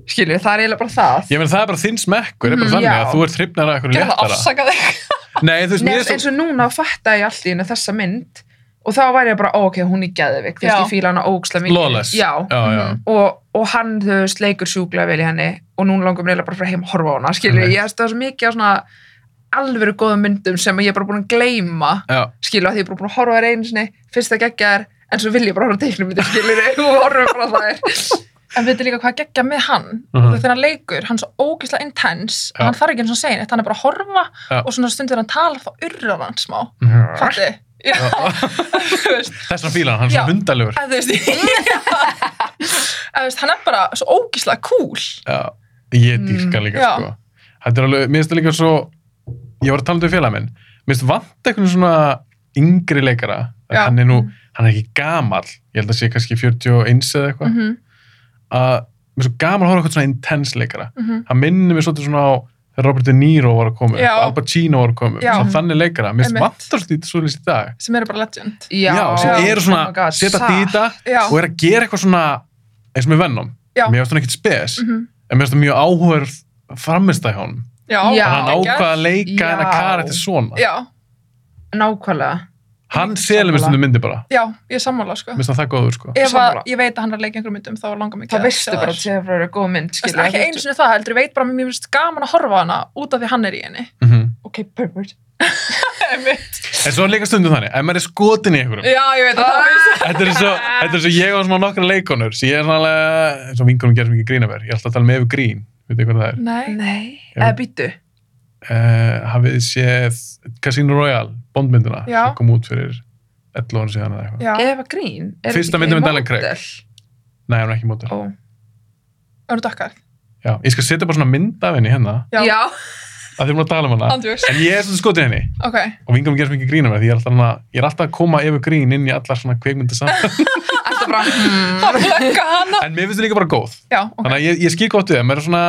Skilju, það er eiginlega bara það
Ég menn það er bara þinn smekkur, er bara
Mhm,
þannig
já.
að þú ert hrifnar af eitthvað
Gerðu það
léttara.
afsaka þig.
Nei, þú veist,
Nei,
mér
eins,
er
eins
svo...
og núna fatta ég allt í henni þessa mynd og þá væri ég bara, ó, ok, hún er geðvik þú veist,
Já.
ég fíla hana ógslega mikið
Lawless.
Já,
já, já.
Mhm.
og, og hann þú veist, leikur sjúklega vel í henni og núna langum reyla bara frá heim að horfa á hana skilur,
Einmitt.
ég veist það er svo mikið á svona alvöru góðum myndum sem ég er bara búin að gleyma
já.
skilur, að því ég er bara búin að horfa á þær einu sinni fyrst það geggja þær, en svo vil ég bara horfa á teiknum myndum skilur, og horfa bara á þær
En veitir líka hvað geggja með hann uh
Mhm.
-huh. þegar hann leikur, hann er svo ógeðslega intens
Já.
hann þarf ekki eins og segja neitt, hann er bara að horfa
Já.
og svona stundir hann talar þá urrar hann smá
Mhm.
Fatti? Já, þú veist,
Þess vegna fílar hann, hann er
Já.
svona hundalegur.
að þú veist að þú veist, hann er bara svo ógeðslega cool
Já, ég dýrka líka,
Já.
sko. Þetta er alveg, mér finnst það líka svo... Ég var að tala um þetta við félag minn. Mér finnst vant eitthvað svona yngri leikara.
Já.
Hann er nú, hann er ekki gamall. Ég held að sé kannski 41 eða eitthvað.
Mhm,
Að, mér er svo gaman að horfa á eitthvað svona intens leikara.
mhm.
hann minnir mér svolítið svona á þegar Robert De Niro var að koma upp,
Já.
Al Pacino var að koma upp,
Já.
svona þannig leikara mér
Einmitt.
vantar svolítið svolítið í dag
sem eru bara legend
já, sem eru
já.
oh my
svona,
God,
setja
satt.
dýta
Já,
og er að gera eitthvað svona eins og með Venom,
Já.
mér finnst hann ekkit spes
Mhm.
en mér finnst það mjög áhugaður framist að honum,
já,
Já.
hann ákvað að leika
Já.
hennar kara til svona,
já,
nákvæmlega
hann selur mér stundum myndi bara,
já, ég er sammála sko
mér finnst hann það góður sko
ef að
sammála.
ég veit að hann er að leika einhverjum myndum þá langar mig
þá
að sjá
veistu bara
þær.
að segja frá þér góð mynd
Þú veist,
skilur,
ekki einu sinni það heldur, ég veit bara að mér finnst gaman að horfa á hana út af því hann er í henni
mm
ok, perfect
en svo er líka stundum þannig, ef maður er skotin í einhverjum
Já,
Ah,
ég veit að það veist
Þetta er svo, þetta er svo ég á svona nokkra leikonur sem ég er svona alveg, eins og vinkunum gerir sem ekki grínaver ég er alltaf að tala með yfir grín, veit þið hvað það er
Nei,
nei,
Já.
eða býttu
uh, hafið þið séð Casino Royale, bondmyndina
Já.
sem kom út fyrir 11 ára síðan eða eitthvað
já,
Eva Green er
Fyrsta
ekki
myndin með Daniel
model?
Craig. Nei, hún er ekki mótil
Ó.
önnur dökkar
Já, ég skal setja bara svona mynd af henni hérna
Já.
já,
að þið erum að tala um hana
Andjúrs,
en ég er svona skotið henni
ok
og vinkunum gerir sem ekki grínaver því ég er alltaf, hana, ég er alltaf að koma yfir grín inn í allar svona kveikmynda saman
alltaf bara hmm.
Það er að plugga hana
en mér finnst þið líka bara góð
Já, ok,
þannig að ég, ég skil gott við það, maður er svona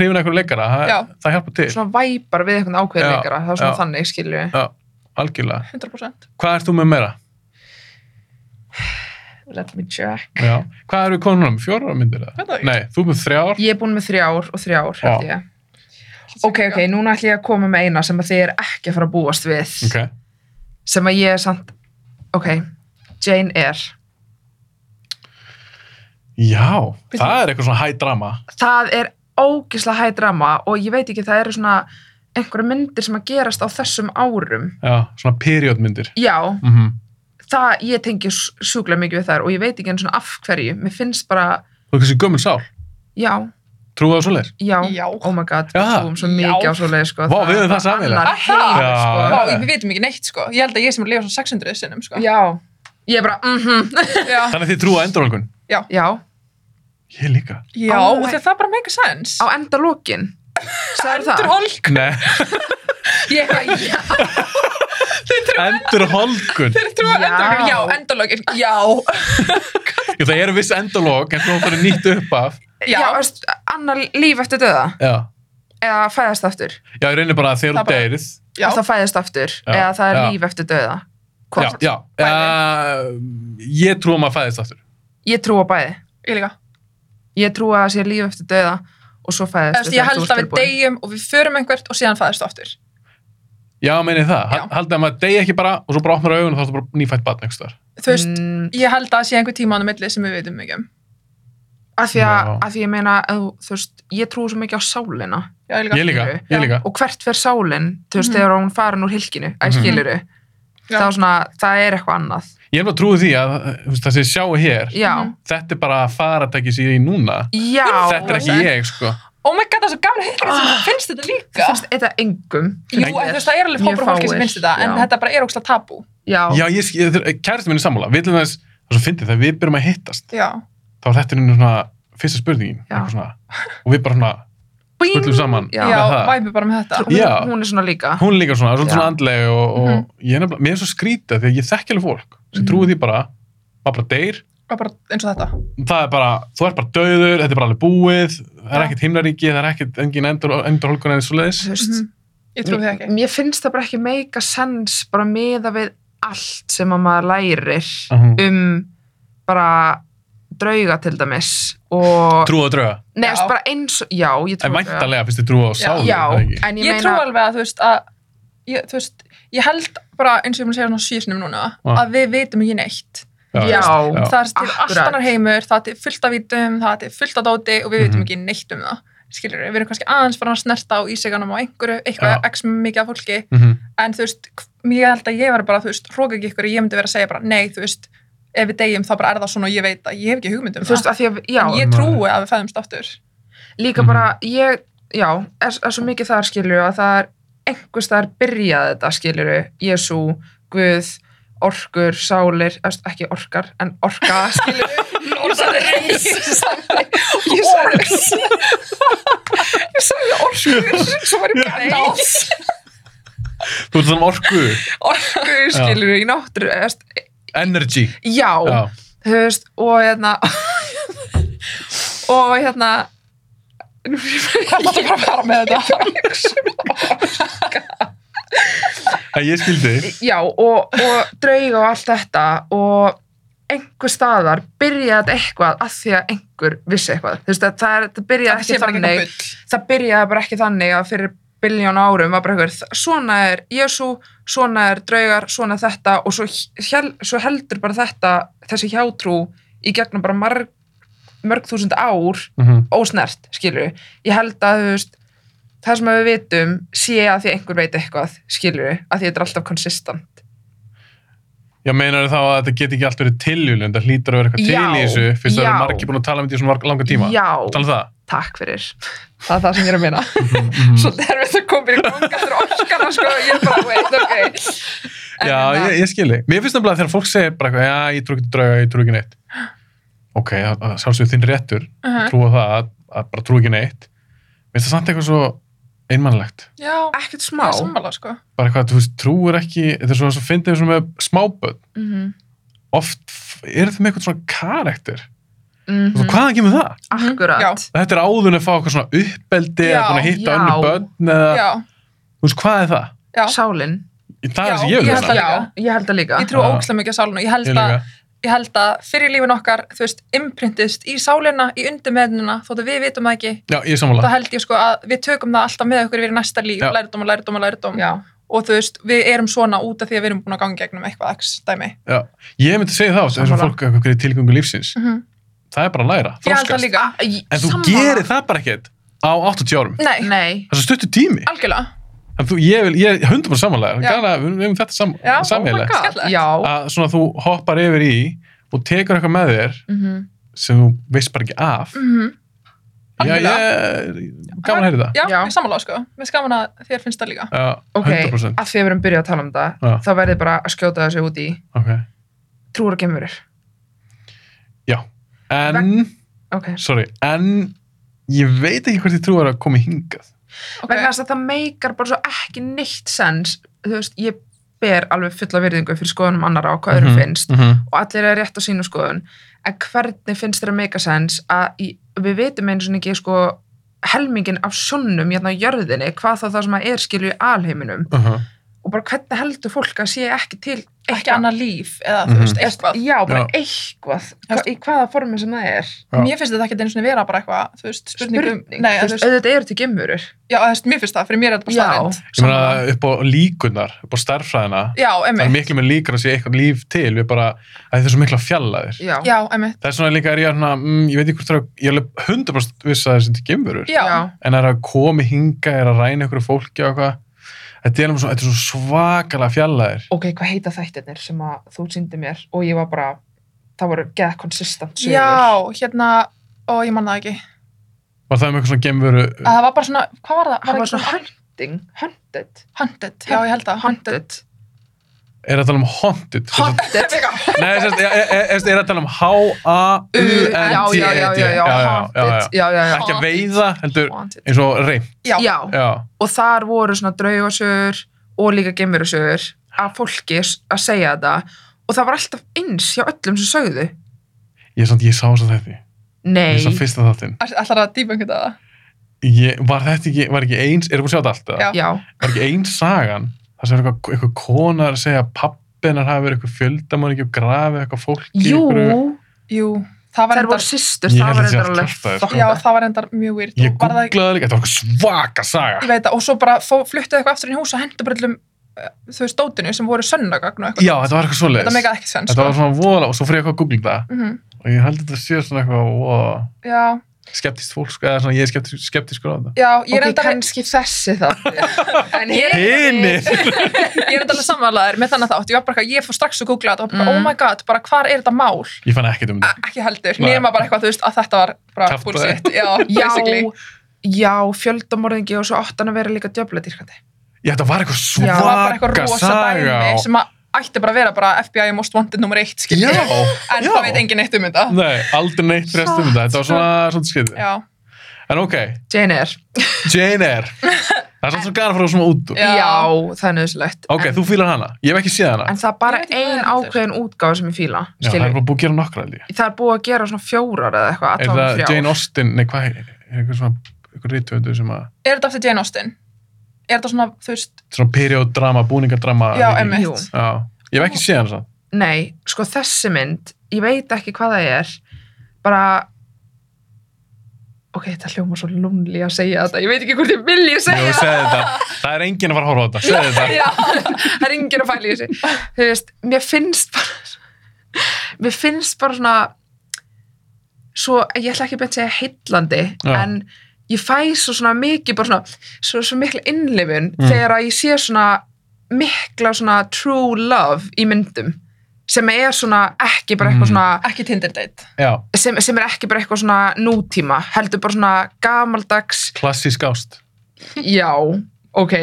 hrifin eitthvað leikara,
Já.
það, það hjálpa til
svona væpar við eitthvað ákveðin
Já,
leikara, það er svona
já.
þannig, skilju
Já, algjörlega
100%
Hvað ert þú með meira?
let me check,
Já. Hvað eru komin núna með? Fjórar myndir
Veit það
eða?
ekki.
Nei, þú ert með þrjár.
ég er búin með þrjár og þrjár, held ég ok, ok, núna ætlum ég að koma með eina sem að þið er ekki að fara að búast við
Ok.
sem að ég er samt, ok Jane Eyre,
Já,
Bíddu.
það er eitthvað svona high drama.
það er ógislega hæg drama og ég veit ekki, það eru svona einhverja myndir sem að gerast á þessum árum
Já, svona period myndir.
já,
Mm
það, ég tengi sjúklega mikið við þar og ég veit ekki enn svona af hverju, mér finnst bara
Þú er kannski gömul sál.
já,
Trúið á svoleiðir.
já,
Já.
oh my god, við
Já.
trúum svo mikið
Já.
á svo leið sko,
Vá, við höfum það sameiginlegt.
annar
Ah,
heimur
Já,
sko
Vá, við veitum ekki neitt sko Ég held að ég sem er að lifa svona 600 sinnum sko
já, ég er bara mhm,
Já,
Þannig að þið trúið á endurálgun.
já,
Ég líka.
já
Oh
oh
my-
þegar það bara make a sense
á enda lókin sagður það
Endur holk
Nei,
ég, já,
endurálgun.
Þeir trú að
Já.
endurlögin, já, endurlögin, já
Það eru viss endurálg en þú fyrir nýtt upp af.
já,
Já,
já veist, annar líf eftir döða
Já.
eða fæðast aftur,
Já, ég reynir bara að þegar
Það
þú
bara-
deyrið.
já,
að það fæðast aftur
Já.
eða það er
Já.
líf eftir döða
Já,
Hvort?
já. Uh, ég trúið að maður fæðist aftur.
ég trú á bæði,
ég líka
ég trú að það sé líf eftir döða og svo
Þú
fæðast
veist, Ég
þegar þú
held
ert
að við
tilbúin.
deyjum og við förum einhvert og síðan fæðist þú aftur
Já, meini það.
Já.
Já. Haldið að maður degi ekki bara og svo bara opnar augun og þá er það bara nýfætt batn einhvers þar.
Þú veist,
mm,
ég held að það sé einhver tíma á milli sem við veitum mikið um.
að, því að,
Já.
að því ég meina að þú, þú veist, ég trúi svo mikið á sálina
Já,
Ég líka,
skilurðu.
ég líka.
og hvert fer sálin þú veist,
Mhm.
þegar hún farin úr hilkinu
Mhm.
að skiluru,
Já.
þá svona það er eitthvað annað,
Ég er bara trúið því að þú veist, það sem ég sjái hér,
já
Mhm.
þetta er bara faratækis í því núna.
já,
þetta er ekki
en-
ég, sko.
Oh my god, það er svo gaman að hitta þetta sem finnst þetta líka.
finnst þetta engum
Jú, en þú veist, það er alveg
Mjög
hópur af fólki
fáir,
sem finnst þetta, en
já.
þetta bara er ógslag tabú.
já,
Já, ég, ég, ég kæristu minni sammála. Við til þess, það er svo fyndið þegar við byrjum að hittast,
Já.
þá er þetta einu svona fyrsta spurningin,
Já.
eitthvað svona. Og við bara svona
Bing!
spullum saman.
Já.
Já,
með það.
væpi bara með þetta.
Hún,
Já.
hún er svona líka
hún er líka svona, svolítið
Já.
svona andlega og, og
Mhm.
ég er nefnilega, mér er svo skrýta því að ég þekki alveg fólk sem
Mhm.
trúið því bara, maður bara deyr
Var bara eins og þetta.
það er bara, þú ert bara döður, þetta er bara alveg búið það er
Já.
ekkert himnaríki, það er ekkert engin endur, endur holgun eins og leiðis
þú veist,
Mhm. Ég trúi því ekki.
mér finnst það bara ekki meika sens bara meða við allt sem að maður lærir um bara drauga til dæmis og
trúið og drauga,
Nei,
Já.
veist, bara eins og, já, ég trúi
en
á drauga.
væntalega finnst þið trúið og
Já.
sáðu,
já,
það ekki
en ég,
ég trú
meina
alveg að þú veist að ég, þú veist, ég held bara eins og ég mun að segja svona síðsnum núna
Já.
að við vitum ekki neitt
já,
já.
það er til allt
Akkurat.
annar heimur, það er til fullt af vítum það er til fullt af dóti og við vitum
Mhm.
ekki neitt um það skilur við, við erum kannski aðeins farin að snerta á íseganum á einhverju, eitthvað
Já.
x mikið af fólki
Mhm.
en þú veist, ég held að ég var bara þú veist, hróka ekki ykkur, ég myndi vera að segja bara nei, þú veist, ef við deyjum þá bara er það svona og ég veit að ég hef ekki hugmynd um
þú veist,
það
að því að, já,
en ég trúi að við fæðumst aftur
líka
Mhm.
bara, ég, já er, er svo mikið þar skilju að það er einhvers þar byrjaði þetta skilju Jésu, Guð, orkur sálir, þú veist, ekki orkar en orka, skilju ég sagði reis, ég sagði ég sagði ég sagði orkur, svo var ég bara
Já.
reis
þú ert svona orku,
orku, skilur í náttúru eða, veist,
energy
já,
já,
þú veist, og hérna og hérna nú er ég bara-
hvað er það að fara með þetta?
það ég skildi
já, og, og drauga og allt þetta og einhver staðar byrjaði þetta eitthvað að því að einhver vissi eitthvað, þú veist, að það, er, það byrjaði
Þetta sé
ekki
bara
þannig,
eitthvað bull.
það byrjaði bara ekki þannig að fyrir biljón árum var bara eitthvað, svona er Jésu, svona er draugar, svona þetta og svo, hjel, svo heldur bara þetta, þessi hjátrú í gegnum bara marg, mörg þúsund ár
Mhm.
ósnert, skilur ég held að, þú veist, það sem við vitum sé að því einhver veit eitthvað skilur að því þetta er alltaf konsistant
já, meinar þá að þetta geti ekki allt verið tiljulund það hlýtur að vera eitthvað
Já,
til í þessu fyrst að það
já.
eru margir búin að tala um þetta í svona langa tíma Mm.
já,
tala um það
takk fyrir það er það sem ég er að minna
Mhm.
svolítið er við það komið í ganga þar orkana, sko, ég er bara veit, ok En
Já,
hérna-
ég, ég skilji. Mér finnst nefnilega þegar fólk segir bara eitthvað, já, ég trú ekki drauga, ég trú ekki neitt. Ok, það- það- sjálfsögðu þinn réttur,
Uh-huh.
Mhm.
trú á það, að, að bara trú ekki neitt. Mér finnst það samt eitthvað svo einmannlegt.
já,
ekkert
það
smá
er sammála sko
Bara eitthvað, þú veist, trúir ekki, þetta er svo að finna þessum með smáböld.
mm -hmm.
Oft f- eru það með eitthvað svona karakter.
Mm
Mhm.
Mm. Hvaðan kemur það?
akkurat
Já.
Þetta er áðun að fá eitthvað svona uppbeldi
Já,
eða búin að hitta
já.
önnu börn eða,
já,
þú veist, hvað er það?
já,
sálin
Það er
Já,
sem ég
ég
vil
held
veist.
að- líka.
já, ég held það líka
ég trú
Já.
ógæslega mikið á sálinu ég held,
Ég
að,
líka.
ég held að fyrir lífin okkar þú veist, imprintist í sálina í undirmeðnina, þótt að við vitum það ekki
Já, ég er
þá
sammála.
held ég sko að við tökum það alltaf með okkur við næsta líf,
Já.
lærdóm og lærdóm og lærdóm
já,
og þú veist, við erum svona út af því að við erum búin að ganga í gegnum eitthvað x dæmi
Já. Ég myndi segja það, þess að
Sammála.
fólk eitthvað er tilgöngu lífsins.
Mhm.
Það er bara að læra,
ég held
þroskast.
það líka,
Ah,
En þú
Sammála.
gerir það bara ekkert á 80 árum.
nei,
nei,
Það er svo stuttur tími.
algjörlega
En þú, ég vil, ég hundum bara samanlega,
Já.
gana, við við höfum þetta sam,
Já, oh my
sammeilegt.
God. Skemmtilegt.
já
Að svona þú hoppar yfir í og tekur eitthvað með þér
mm
sem þú veist bara ekki af.
mm
Já, ég
algjörlega.
gaman að heyra það.
já,
Já.
ég sammála sko, við skaman að þér finnst það líka
Já,
ok,
100%.
að því að við erum byrjað að tala um það
Já.
þá verðið bara að skjóta þessu út í
Ok.
trúur og gemurur
En,
ok,
sorry, en ég veit ekki hvort ég trúar að komi hingað.
okay.
vegna þess að það meikar bara svo ekki neitt sens þú veist, ég ber alveg fulla virðingu fyrir skoðunum annara og hvað öðrum
Mhm,
finnst
mhm.
og allir er rétt á sínu skoðun en hvernig finnst þér að meika sens að í, við vitum eins og ekki sko helmingin af sjónum hérna á jörðinni hvað þá það sem að er skilju í alheiminum
Uh -huh.
og bara hvernig heldur fólk að sé ekki til
ekki annað líf eða þú
Mhm.
veist, eitthvað
Já, bara
Já.
eitthvað, hva, í hvaða formi sem það er
Já.
mér finnst þetta ekki einu svona vera bara eitthvað þú veist, spurningum,
Spurning, um-
nei,
þú
þú
veist,
veist,
auðvitað eru til gemurur
já, þú veist, mér finnst það fyrir mér er þetta bara
Já.
staðrind
Ég meina upp á líkunar, upp á starffræðina,
já,
það er
emmi,
miklu með líkur að sé eitthvað líf til, við bara, að þetta er svo miklu að fjalla þér.
Já,
já, emmi
Það er svona líka er ég svona, mm, ég veit ekki hvort það er, ég er alveg 100% viss að það er sem til gemurur.
já,
En er að komi hinga, er að ræna ykkur fólki og eitthvað. Þetta er alveg svona, þetta er svo svakalega fjallaðir.
Ok, hvað heita þættirnir sem að þú síndi mér og ég var bara, það voru geða konsistant sögur
já, hérna og ég man það ekki,
Var það um eitthvað svona gemuru,
að
Ah.
það var bara svona hvað var það,
Það var
ekki
svona hunting, hunted
haunted, já, ég held það, haunted
Haunted
er að tala um haunted?
Haunted
Nei, þess að, er, er, er að tala um H-A-U-N-T-E-D.
E Já, já, já, já, já, haunted Já, já, já
Ekki að veiða, heldur
Haunted.
eins og reynd.
já,
Já,
Já,
og þar voru svona draugasögur og líka gemurusögur að fólki s- að segja þetta og það var alltaf eins hjá öllum sem sögðu
ég er svona, ég sá þess að þetta.
Nei,
Ég sá fyrsta þáttinn.
allar að dýpa einhvern veginn
Ég, var þetta ekki, var ekki eins, erum við að sjá þetta allt eða?
Já.
já,
Var ekki eins sagan, það sem er eitthvað, eitthvað konar að segja að pappinar hafi verið eitthvað fjöldamann og grafið eitthvað fólk í
jú
einhverju-
jú, það
þær
var
voru
endar
systur,
Ég
það
held
var
að sé
reyndar
allt
alveg
kjaftaðir, sko.
þokkalegt.
já, það var endar mjög weird
Ég
og var það,
googlaði líka, þetta var eitthvað svaka
ég
saga.
veit það, og svo bara fó- fluttu eitthvað aftur inn í hús og hendur bara allum eh, þú veist, dótinu sem voru sönnagagn og eitthvað
Já, þetta var eitthvað
þetta
svoleiðis.
meika ekki sens sko.
Þetta var svona vola og svo fyrir ég eitthvað að googla það
mm
og ég held að þetta sé svona eitthvað wow,
já,
skeptist fólk, sko, eða svona ég er skeptisk, skeptiskur á þetta.
já, ég er
Ok,
enda
kannski þessi þáttir En
Hinir!
ég er þetta alveg samanlegaður með þannig þátt ég var bara eitthvað, ég fór strax að googla þetta og bara,
Mm.
oh my god, bara hvar er þetta mál
Ég fann ekkert um þetta.
ekki heldur,
Nei.
nema bara eitthvað, þú veist, að þetta var bara
Kjaftaði.
bullshit, já,
Já,
basically
já, fjöldamorðingi og svo áttan að vera líka djöfladýrkandi
Já, þetta var eitthvað
Já,
svaka
það var bara eitthvað rosa
saga.
dæmi sem að ætti bara að vera bara FBI most wanted nummer eitt, skilur
Já,
en
já.
það veit engin eitt um þetta
Nei, aldrei neitt fyrir um þetta. Þetta var svona, svona skriðið.
já,
En ok,
Jane Eyre,
Jane Eyre. Það er samt svo gana að fara svona út úr.
Já.
já, það er nöðsilegt
Ok, þú fýlar hana. Ég hef ekki séð hana.
En það er bara
Ég veit ekki hvað
ein
það heitir.
ákveðin útgáð sem ég fíla
Já, það er
skilur.
bara búið að gera nokkra held ég.
Það er búið að gera svona fjórar eða eitthvað
Er
allavega
það
þrjár.
Jane Austen, nei hvað er, er eitthvað svona, eitthvað rítvöndu sem að,
er þetta eftir Jane Austen er þetta svona, þú veist,
svona perioddrama, búningardrama.
já,
ekki?
Jú.
emmitt
Já, ég hef ekki séð hana samt.
Nei, sko þessi mynd, ég veit ekki hvað það er, bara, ok, þetta hljóma svo lúnli að segja þetta, ég veit ekki hvort ég vilji
Jú,
segja það,
segði þetta. Það er enginn að fara að horfa á þetta. Segði þetta.
Já, það er enginn að fæla í þessu. Þú veist, mér finnst bara, mér finnst bara svona, svo, ég ætla ekki beint að segja heillandi,
Já.
en ég fæ svo svona mikið, bara svona, svo, svo mikla innlifun
Mm.
þegar að ég sé svona mikla svona true love í myndum, sem er svona ekki bara
Mm.
eitthvað svona,
ekki Tinder date
Já,
sem, sem er ekki bara eitthvað svona nútíma, heldur bara svona gamaldags,
klassísk ást.
já, ok,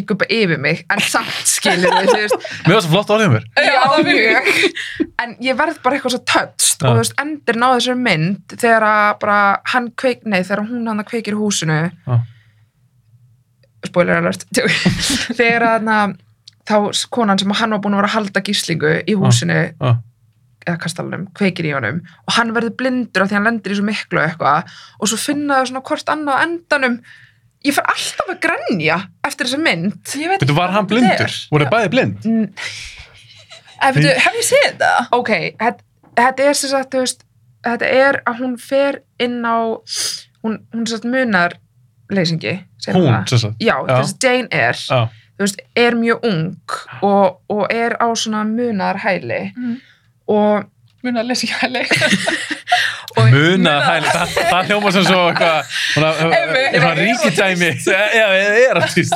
ég gupa yfir mig, en samt skilur við, þú veist,
Mér var svo flott orðið um mér.
já, það
já,
er mjög
mjög en ég verð bara eitthvað svo tötst
Já.
og þú veist, endir náðu þessari mynd þegar að bara hann kveik, nei, þegar hún hann kveikir í húsinu
Já.
spoiler alert tjók. þegar hann að þá s- konan sem hann var búin að vera að halda gíslingu í húsinu
Já.
eða kastalunum, kveikir í honum og hann verður blindur af því hann lendir í svo miklu og eitthvað og svo finna þau svona hvort annað á endanum ég fer alltaf að grenja eftir þessa mynd
Ég veit
Veitu,
ekki
var
hvað
hann
þetta
blindur?
er.
Voru þið bæði blind?
N-
Eh, veitu, Hef ég séð þetta?
ok, þetta, þetta er sem sagt, þú veist, þetta er að hún fer inn á, hún, hún sem sagt munar leysingi. segir
Hún,
það?
sem sagt.
Já,
Já.
þess að Jane er,
Já.
þú veist, er mjög ung og, og er á svona munarhæli
Mhm.
og
Muna að lesa ekki hæli
Og-
Munað hæli, það, það hljóma sem svo eitthvað svona-
Einmitt.
svona ríkidæmi Já, ég er artist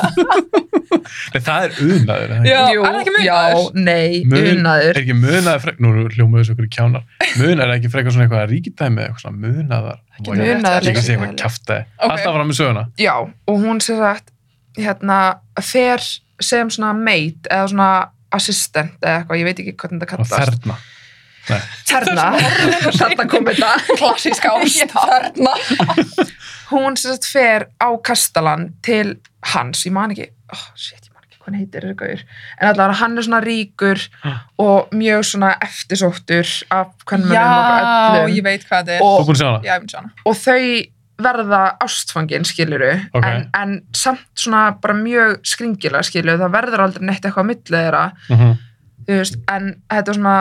Nei, það er unaður er það ekki?
Já, er það ekki munaður?
Já, nei,
Mun- Er
munaður.
ekki munaður frekar, nú hljómaðu þessu okkur í kjánar Munaður er ekki frekar svona eitthvað ríkidæmi eða eitthvað svona munaðar Vá, ég-
munaður
Ég ekki segja eitthvað
leysingi.
kjafta
Ok.
Alltaf fram með söguna
Já, og hún sem sagt, hérna, fer sem svona mate eða svona assistant eða eitthvað, ég veit ekki hvernig þetta
og
kallast.
þerna
Þarna, þarna kom þetta.
Klassíska ást Þarna
hún sem sagt fer á kastalan til hans, ég man ekki oh, shit, ég man ekki hvað hann heitir þessi gauður en allavega hann er svona ríkur og mjög svona eftirsóttur af hvernig
Já,
mönnum og
ég
öllum
veit hvað þetta er
Þú
og,
búin að sjá hana?
Já, ég myndi sjá hana
og þau verða ástfangin skiluru
Ok.
en, en samt svona bara mjög skringilega skiluru það verður aldrei neitt eitthvað á milli þeirra
Mm -hmm.
þú veist, en þetta er svona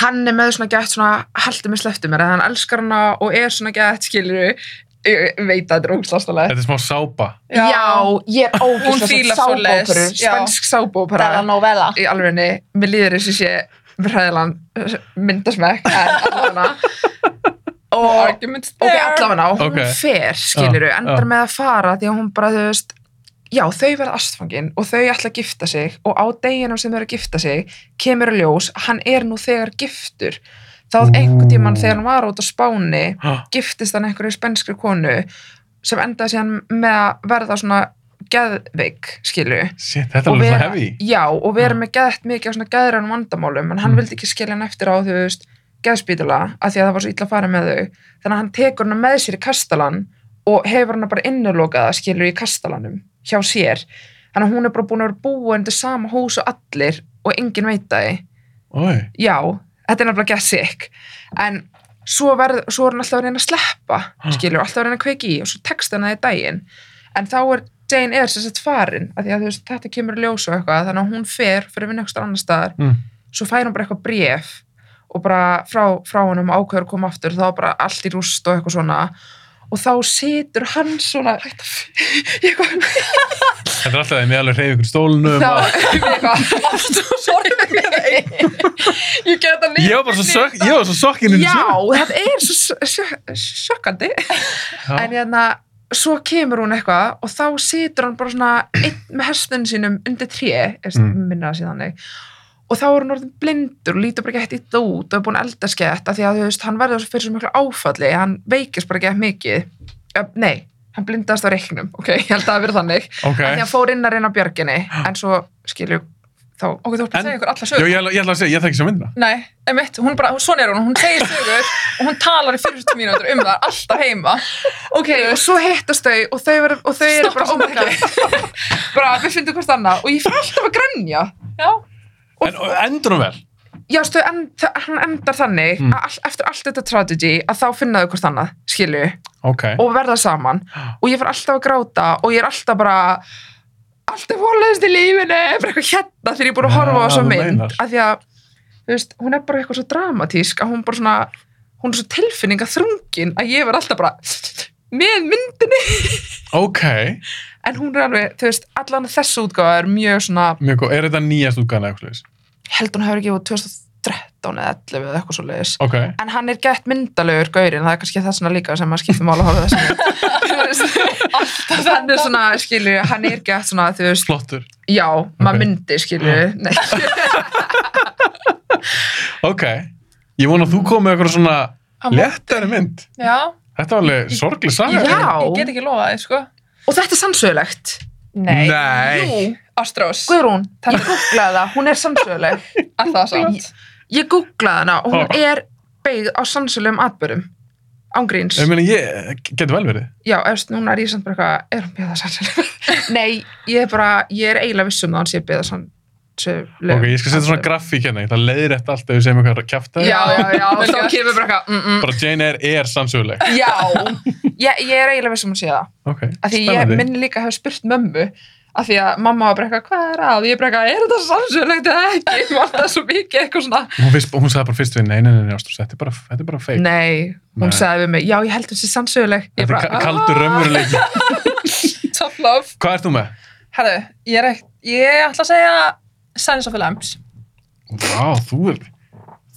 hann er með svona gett svona haldið með sleftu mér, að hann elskar hana og er svona gett, skilur ég veit að þetta er ógslastalega
Þetta er smá sápa.
já. ég er
Hún fílar
ógslastalega
svoleiðis,
sábópera
já.
svensk sábópera
novella.
í alveginni, mér líður eins og sé verðilan myndasmekk en allavega og
Arguments
ok,
there.
allavega, hún
Ok.
fer skilur
Já,
endar
já.
með að fara því að hún bara, þú veist já, þau verða astfangin og þau ætla að gifta sig og á deginum sem þau eru að gifta sig kemur að ljós, hann er nú þegar giftur þá
Ú.
einhvern tímann þegar hann var út á Spáni
Ah,
giftist hann einhverju spenskri konu sem endaði síðan með að verða svona geðveik, skilur
Shit, þetta er alveg um svona hefði.
já, og vera
Já.
með geðt mikið á svona geðrænum vandamálum en hann
Mm.
vildi ekki skilja hann eftir á þú veist geðspítala af því að það var svo illa að fara með þau þannig að hann tekur hann með sér í kastalan og hefur hann bara innulokaða skilur í kastalanum hjá sér þannig að hún er bara búin að vera búin til sama hús og allir og enginn veit það
Oi.
já, þetta er nefnilega get sick en svo, verð, svo er hann alltaf að reyna að sleppa
Ha.
skilur, alltaf að reyna að kveiki í og svo tekst hann það í daginn en þá er Jane er sem sagt farin af því að þú veist, þetta kemur í ljós og eitthvað þannig að hún fer, fyrir að vinna eitthvað annar staðar
Mm.
svo fær hún bara eitthvað bref og bara frá, frá hann um ákveður að koma aftur þá er bara allt í rúst og eitthvað svona og þá situr hann svona hætt að ég kom
Þetta er alltaf að ég með alveg hreyfi ykkur stólnum.
þá
að-
eitthvað
Aftur og sorgið með einn. Ég get það
Ég var bara svo, sök, ég var svo sokkin inn í
já,
þessu.
það er svo sjö- sjokkandi
Já.
en hérna, svo kemur hún eitthvað og þá situr hann bara svona einn með hestin sínum undir tré
Mm.
mm. minna það síðan þannig og þá er hann orðin blindur og lítur bara ekki eitt illa út og er búin að elda skett af því að þú veist, hann verður fyrir svo miklu áfalli hann veikist bara ekki mikið Ö, nei, hann blindast á reiknum ok, ég held að það hafi verið þannig okay.
Ok.
því hann fór inn að reyna á björginni en svo skilju þá
Ok, þú ert
En-
að segja ykkur alla
Jó,
sögur.
ég, ætla- ég ætla að segja, ég þekki svo myndina.
Nei, emitt, hún bara, hún- svona er hún, hún segir sögur og hún talar í 40 mínútur um það, alltaf heima.
ok, og svo hittast þau og þau, ver, og þau eru bara oh
Stoppa
my god, bara við fundum hvort annað og ég fyrir alltaf að grænja
Já.
Og-
En og endur hún vel.
já, stu, en, þa- hann endar þannig
Mm.
að all, eftir allt þetta tragedy að þá finna þau hvort annað, skilju
Ok.
og verða saman og ég fyrir alltaf að gráta og ég er alltaf bara alltaf hólaðist í lífinu bara eitthvað hérna þegar ég er búin að horfa á
Ja,
þessa
þú
mynd
meinar.
af því að, þú veist, hún er bara eitthvað svo dramatísk að hún bara svona hún er svo tilfinninga þrungin að ég verð alltaf bara með myndinni
Ok.
en hún er alveg, þú veist, allan þessu útgáfa er mjög svona,
Mjög góð. Er þetta nýjast útgæðan eða eitthvað? svoleiðis?
ég held hún hefur ekki úr 2013 eða 11 eða eitthvað svo leiðis
Ok.
en hann er gett myndalegur gaurin það er kannski þess vegna líka sem maður skiptir mál að horfa þess alltaf hann er svona, skilju, hann er gett svona þú veist,
Flottur.
já,
Ok.
maður myndi skilju, nei,
Ok. Ég vona að þú kom með eitthvað svona
Hann-
léttari mynd.
Já.
Þetta var alveg sorglega saga.
Já.
Ég get ekki lofað þið, sko.
og þetta er sannsögulegt
Nei.
Nei.
Jú, Ástrós.
Guðrún, ég googlaði það, hún er sannsöguleg
Alltaf samt.
ég googlaði hana og
Ah.
hún er beigð á sannsögulegum atbyrðum ángríns,
Ég meina, ég getur vel verið.
já, eftir núna er ég samt bara eitthvað, er hún beigð á sannsögulegum nei, ég er bara, ég er eiginlega viss um það hann sé beigð á sannsögulegum
Ok, ég skal setja svona grafík hérna. Það leiðir eftir allt ef við segjum eitthvað kjæftið.
já, já, já, og þá
Vel gert.
kemur bara eitthvað mm -mm.
Bara Jane Eyre er sannsöguleg.
já, ég, ég er eiginlega viss um að sé það
Ok.
af því ég
Spennandi.
minni líka að hafa spurt mömmu af því að mamma var bara eitthvað, hvað er að? Ég bara eitthvað, er þetta sannsögulegt eða ekki? Ég var alltaf svo mikið eitthvað svona.
Hún, fyrst, hún sagði bara fyrst við, nei, nei, nei, nei, Ástrós, þetta er bara, þetta er bara feik.
Nei, hún
Nei.
sagði við mig, já, ég held þessi sannsöguleg. Ég
Þetta
bara,
er ka- kaldur
"Ah."
raunveruleiki.
Tough love.
Hvað ert þú með?
Herðu, ég er ekkert, ég ætla að segja Silence of the Lambs.
Vá, þú er,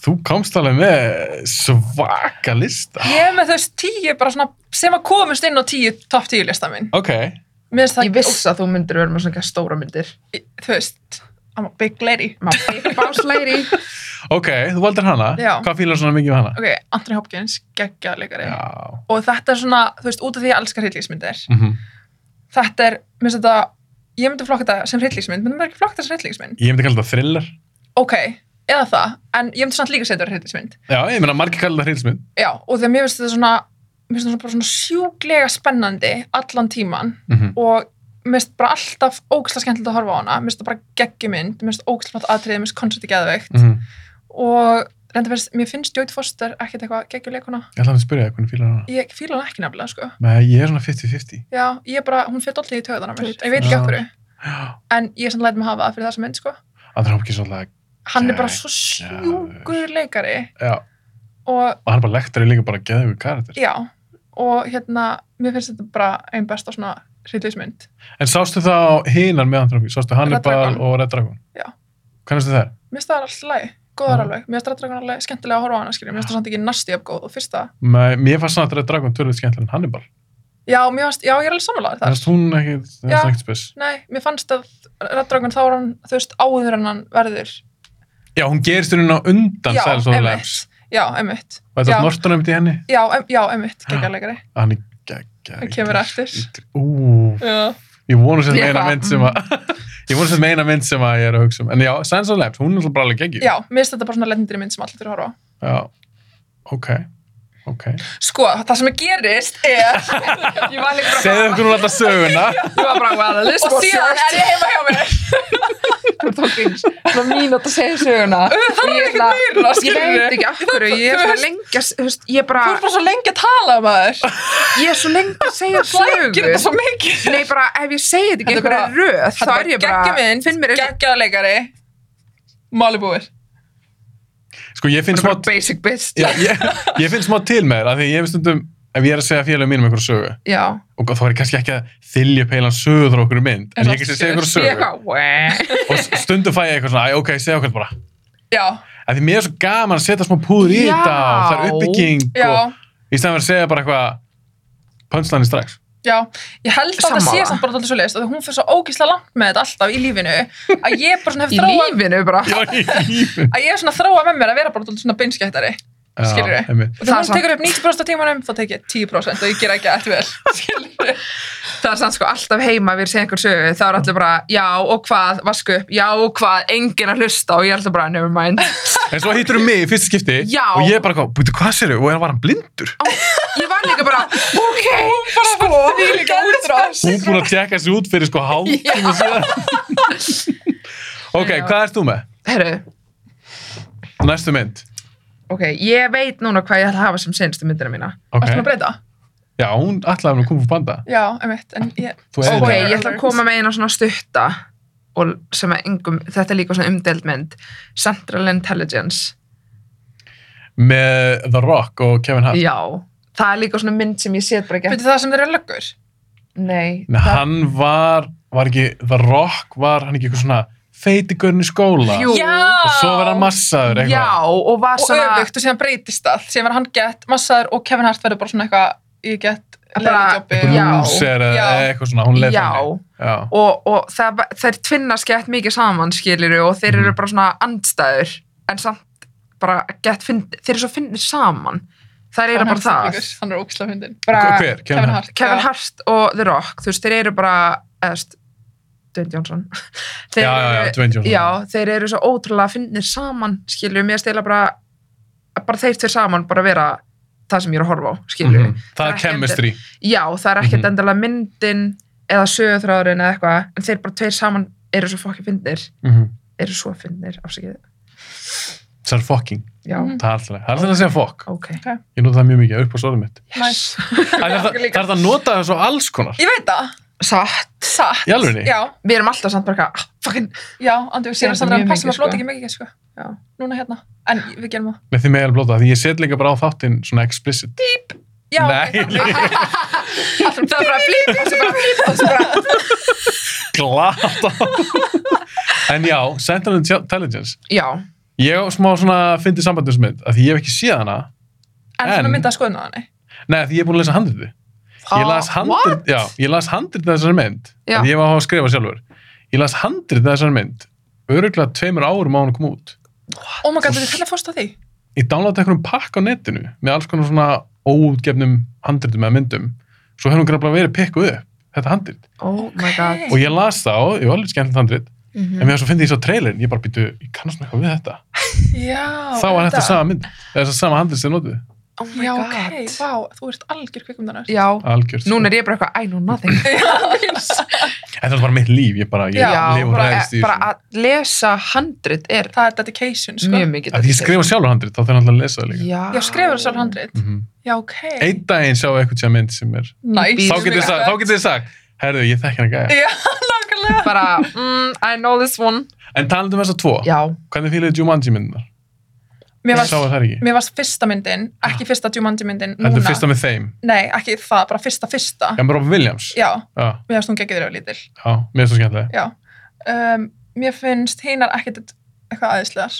þú komst alveg með svaka lista.
Ég er með þess tíu bara svona sem að komast inn á tíu topp tíu lista minn.
Ok,
Mér finnst það
Ég viss að þú myndir vera með svona ekki stóra myndir.
þú veist, I'm a big lady.
Má, básleiri.
ok, þú valdir hana.
Já.
Hvað fýlar svona mikið um hana?
Ok, Anthony Hopkins, geggjaðleikari.
Já.
Og þetta er svona, þú veist, út af því ég elskar hryllíksmyndir.
Mm
Þetta er, mér finnst þetta, ég myndi flokka þetta sem hryllíksmynd, menn það er ekki flokka þetta sem hryllíksmynd.
Ég myndi kalla þetta thriller.
Ok, eða það, en ég myndi samt líka setja þetta hryllíksmynd.
Já, ég meina, margir kalla þetta hreilsmynd.
Já, og þegar mér finnst þetta svona, mér finnst þetta bara svona sjúklega spennandi allan tíman
Mm -hmm.
og mér finnst bara alltaf ógæslega skemmtilegt
mhm.
að horfa á hana, mér finnst þetta bara geggjumynd, mér finnst ógæslega flott atriði, mér finnst koncerti geðveikt
Mm
og reynda verið, mér finnst Jóit Foster ekkert eitthvað geggjuleikuna.
Ég ætla að spyrja það hvernig fílar hana.
Ég fíla hann ekki nefnilega, sko.
Nei, ég er svona 50-50.
Já, ég er bara, hún fyrir dollið í töðan á mér.
Jói
Ég veit ekki
Foster.
af hverju.
Já.
En ég er samt læt mig hafa það fyrir þessa mynd, sko.
Andra Hopkins alltaf,
Hann er bara svo
Geggjaður.
sjúkur leikari
já,
og
og hann er bara lektar í líka bara geðugur karakter.
já, og hérna, mér finnst þetta bara einn besta svona hryllismynd.
En sástu það á hinar með Andra Hopkins? Sástu Hannibal
Dragon.
og Red Dragon?
Já.
Hvernig stu þær?
Mér finnst það alltaf læg, góðar
Já.
alveg. Mér finnst þetta alveg skemmtilega að horfa á hana, skilja. Mér finnst það samt ekki næstu jafn góð og fyrsta.
Nei, Mér fannst samt Red Dragon tölvöld skemmtilega en Hannibal.
Já, mér fannst, já, ég er alveg samanlagður þar.
Þannig að hún ekki, það
Já.
er ekkert spes.
Nei, mér fannst að Rættdragun þá er hann, þú veist, áður en hann verður.
Já, hún gerist henni á undan
Já,
Sælis og Lems.
einmitt. Já, einmitt.
Og þetta
Já.
er Norton einmitt í henni.
Já, em, já, einmitt, geggjarleikari.
Hann er geggja.
Hann kemur eftir.
Ú,
Já,
ég vonu sem
Ég
meina
bara,
mynd sem að, ég vonu sem meina mynd sem að ég er að hugsa um. En já, Sælis og Lems, hún er náttúrulega bara alveg geggju.
já mér finnst þetta bara svona lendri mynd sem allir þurfa að horfa á.
Já. Ok, ok.
Sko, það sem gerist er
Ég var líka bara
Segðu okkur hún alltaf söguna.
Ég var bara, well, this
og
was
síðan er ég heima hjá mér.
Þú tókins, svona mínútt að segja söguna Það er ekkert meira, Ég
skilurðu.
veit ekki af hverju, ég er
Þú
svo
veist-
lengi að, þú veist, ég bara
Þú er bara svo lengi að tala um það.
Ég er svo lengi að segja
Flækir
sögu
þetta svo mikið.
Nei, bara, ef ég segi þetta ekki
Þetta er bara-
einhverju röð þá er ég bara,
geggjumynd,
finn mér eins-
geggjarleikari, málibúir.
Sko, ég finn
Bara
smá,
basic bitch
já, ég, ég finn smá til með þér, af því ég hef stundum, ef ég er að segja félagum mínum einhverju sögu,
Já,
og þá er ég kannski ekki að þylja upp heilan sögu þrá okkur mynd, en
En
ég kannski
allt
segja einhverju
gerist.
ég
sögu,
eitthvað wah.
og s- stundum fæ ég eitthvað svona, "Æ, ok, segja okkur bara,
Já,
af því mér er svo gaman að setja smá púður í
Já.
þetta, og það er uppbygging,
já,
Sko.
og í stæðan verið að segja bara eitthvað, pönslanir strax.
já. Ég held að það sé
Sammála.
samt bara alltaf svo leiðist og hún fyrir svo ógísla langt með þetta alltaf í lífinu að ég bara svona hef
Í
þróað
lífinu bara
Já, í lífinu.
að ég er svona þróa með mér að vera bara alltaf svona beinskættari
Já,
Skilurðu?
einmitt.
og
Það er
þegar hún tekur upp 90% á tímanum þá tek ég 10% og ég ger ekki allt vel Skilurðu?
Það er sann sko alltaf heima við segjum einhver sögu, þá er allir bara já og hvað, vasku upp, já og hvað, enginn að hlusta og ég er alltaf bara never mind.
En svo hittur um mig í fyrsta skipti
Já.
og ég er bara, eitthvað, "Bíddu, hvað sér og hann var hann blindur?
Ég var líka bara, ok, sko,
því líka útrás
Hún er búin að tjekka sig út fyrir sko hálftíma síðan. ok,
Já.
hvað ert þú með?
herru,
Næstu mynd.
ok, ég veit núna hvað ég ætla að hafa sem senstu myndina mína.
Ok.
Varstu maður að breyta?
Já, hún ætlaði hann að koma fyrir banda.
Já, emitt, en ég
Þú
Ok,
eyðilagðir.
ég ætla að koma með eina svona stutta og sem að engum, þetta er líka svona umdeld mynd, Central Intelligence,
Með The Rock og Kevin Hart.
já, það er líka svona mynd sem ég set bara ekki,
Veitir það sem þeir eru löggur?
nei,
Nei,
það,
hann var, var ekki, The Rock var hann ekki eitthvað svona feitigurinn í skóla.
Jú.
Og svo verða hann massaður
já,
eitthvað.
og var
Og
svona,
öfugt og síðan breytist það Síðan var hann gett massaður og Kevin Hart verður bara svona eitthvað Ég gett
Bara-
leirjobbi
Já.
Brúser eða
Já.
eitthvað svona, hún leiði
Já.
þannig. Já.
og, og það, þær tvinnast gett mikið saman skilur og þeir eru
Mhm.
bara svona andstæður en samt bara gett fynd, þeir eru svo fyndið saman það er eiginlega bara það
Hann er ógislega hundin
Hver-
bara,
Hver? Kevin Hart?
Kevin Hart og The Rock þú veist, þeir eru bara eðst, Dwayne Johnson
Já, já,
þeir,
já,
eru-
Dwayne Johnson.
já, þeir eru svo ótrúlega fyndið saman skilur, mér stila bara bara þeir tveir saman bara vera það sem ég er að horfa á skilur
Mhm. Það er
Ekki
chemistry.
já, það er ekkert
Mhm.
endilega myndin eða sögurþráðurinn eða eitthvað en þeir bara tveir saman eru svo fokki fyndir
Mhm.
eru svo fyndir, afsakið
Það er fucking.
já,
Mhm.
Það er alltaf. Það er alltaf að segja fuck.
ok
Ég nota það mjög mikið upp á svolum mitt.
Næs.
Það er það- það er það að nota það svo alls konar.
Ég veit það
satt,
Satt
Í alvörunni?
Já,
við erum alltaf samt bara eitthvað, ah, fucking
já,
Ég
andur
er
Síðan
þetta
samt
mjög
að hann passum
mikið,
að flóta
sko.
ekki mikið sko
Já.
Núna hérna En við gerum það
Nei, þið með alveg blóta, því ég set líka bara á þáttinn svona explicit.
Já,
Nei,
ok,
nei.
það er bara flip og svo bara flip og svo bara
glata en já, Central Intelligence
já,
ég á smá svona fyndið sambandinsmynd að því ég hef ekki séð hana
En
En-
svona mynda að skoðna þannig
nei, af því ég er búin að lesa handriti ég
Ah,
las handrit, já, ég las handrit þessari mynd
Já.
að ég var að hafa að skrifa sjálfur ég las handrit þessari mynd öruglega tveimur árum á hann að koma út
Oh my god, þetta er til að fórsta því
ég downloadaði einhverjum pakk á netinu með alls konar svona óútgefnum handritum eða myndum svo hefur hún graflega verið pikkuð upp þetta handrit
oh my god
og ég las þá, ég var alveg skemmtilegt handrit en
Mhm.
mér var svo fyndið ég svo trailerin, ég bara býtu ég kannast með eitthvað við þetta
Já
þá var þetta sama mynd, eða þess að sama handlis sem notuð
Oh my
Já,
god.
ok, vá, þú ert algjör kvikmyndanar.
Já,
algjört. sko.
núna er ég bara eitthvað, I know nothing.
Þetta er bara mitt líf, ég bara, ég
Já,
lif og
bara, e-
ræðist í
bara
þessu.
að lesa handrit er
Það er dedication, sko.
mjög mikið.
Að ég skrifa sjálfur handrit, þá þarf ég alltaf að lesa það líka.
Já,
Já, skrifur sjálf handrit.
Mm -hmm.
Já, ok.
Einn daginn sjá eitthvað sem mynd sem er,
Nice.
þá getið
Sem er
þið sagt, þá getið þið sagt, herðu, ég þekk hérna gæja.
Já, nákvæmlega.
Bara, mm, I know this one.
En talandi um þessa tvo,
Já,
hvernig fílaði Jumanji myndunar?
Mér
Sá
varst,
það ekki.
mér varst fyrsta myndin, ekki fyrsta Jumanji myndin núna.
Þetta er fyrsta með þeim.
Nei, ekki það, bara fyrsta fyrsta.
Já, með Robin Williams.
Já,
Já,
mér varst hún geggjur yfir lítil.
já, mér er svo skemmtilega.
Já. Um, mér finnst hinar ekkert eitthvað aðeinslegar.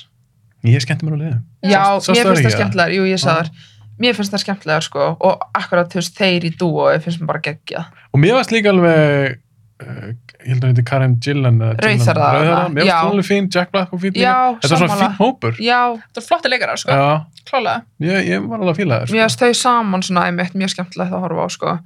Ég skemmti mér á liðum.
Já,
Sástu- sástu
mér
þær
finnst
ekki,
það skemmtilegar, jú ég
Ah.
sagði þar Mér finnst það skemmtilegar sko og akkurat þú veist þeir í dúo finnst mér bara geggja
Og mér varst líka alveg, uh, ég held að hérna Karen Gillan. eða Gillan-
Rauðhærða,
Rauðhærða, mér
já.
varst hún alveg fín, Jack Black kom fín líka.
Já,
Þetta var svona
sammála.
fín hópur.
Já,
Þetta er flotti leikarar, sko.
Já,
Klálega.
ég, ég var alveg að fíla sko. þér.
mér finnst þau saman svona einmitt mjög skemmtilegt að horfa á sko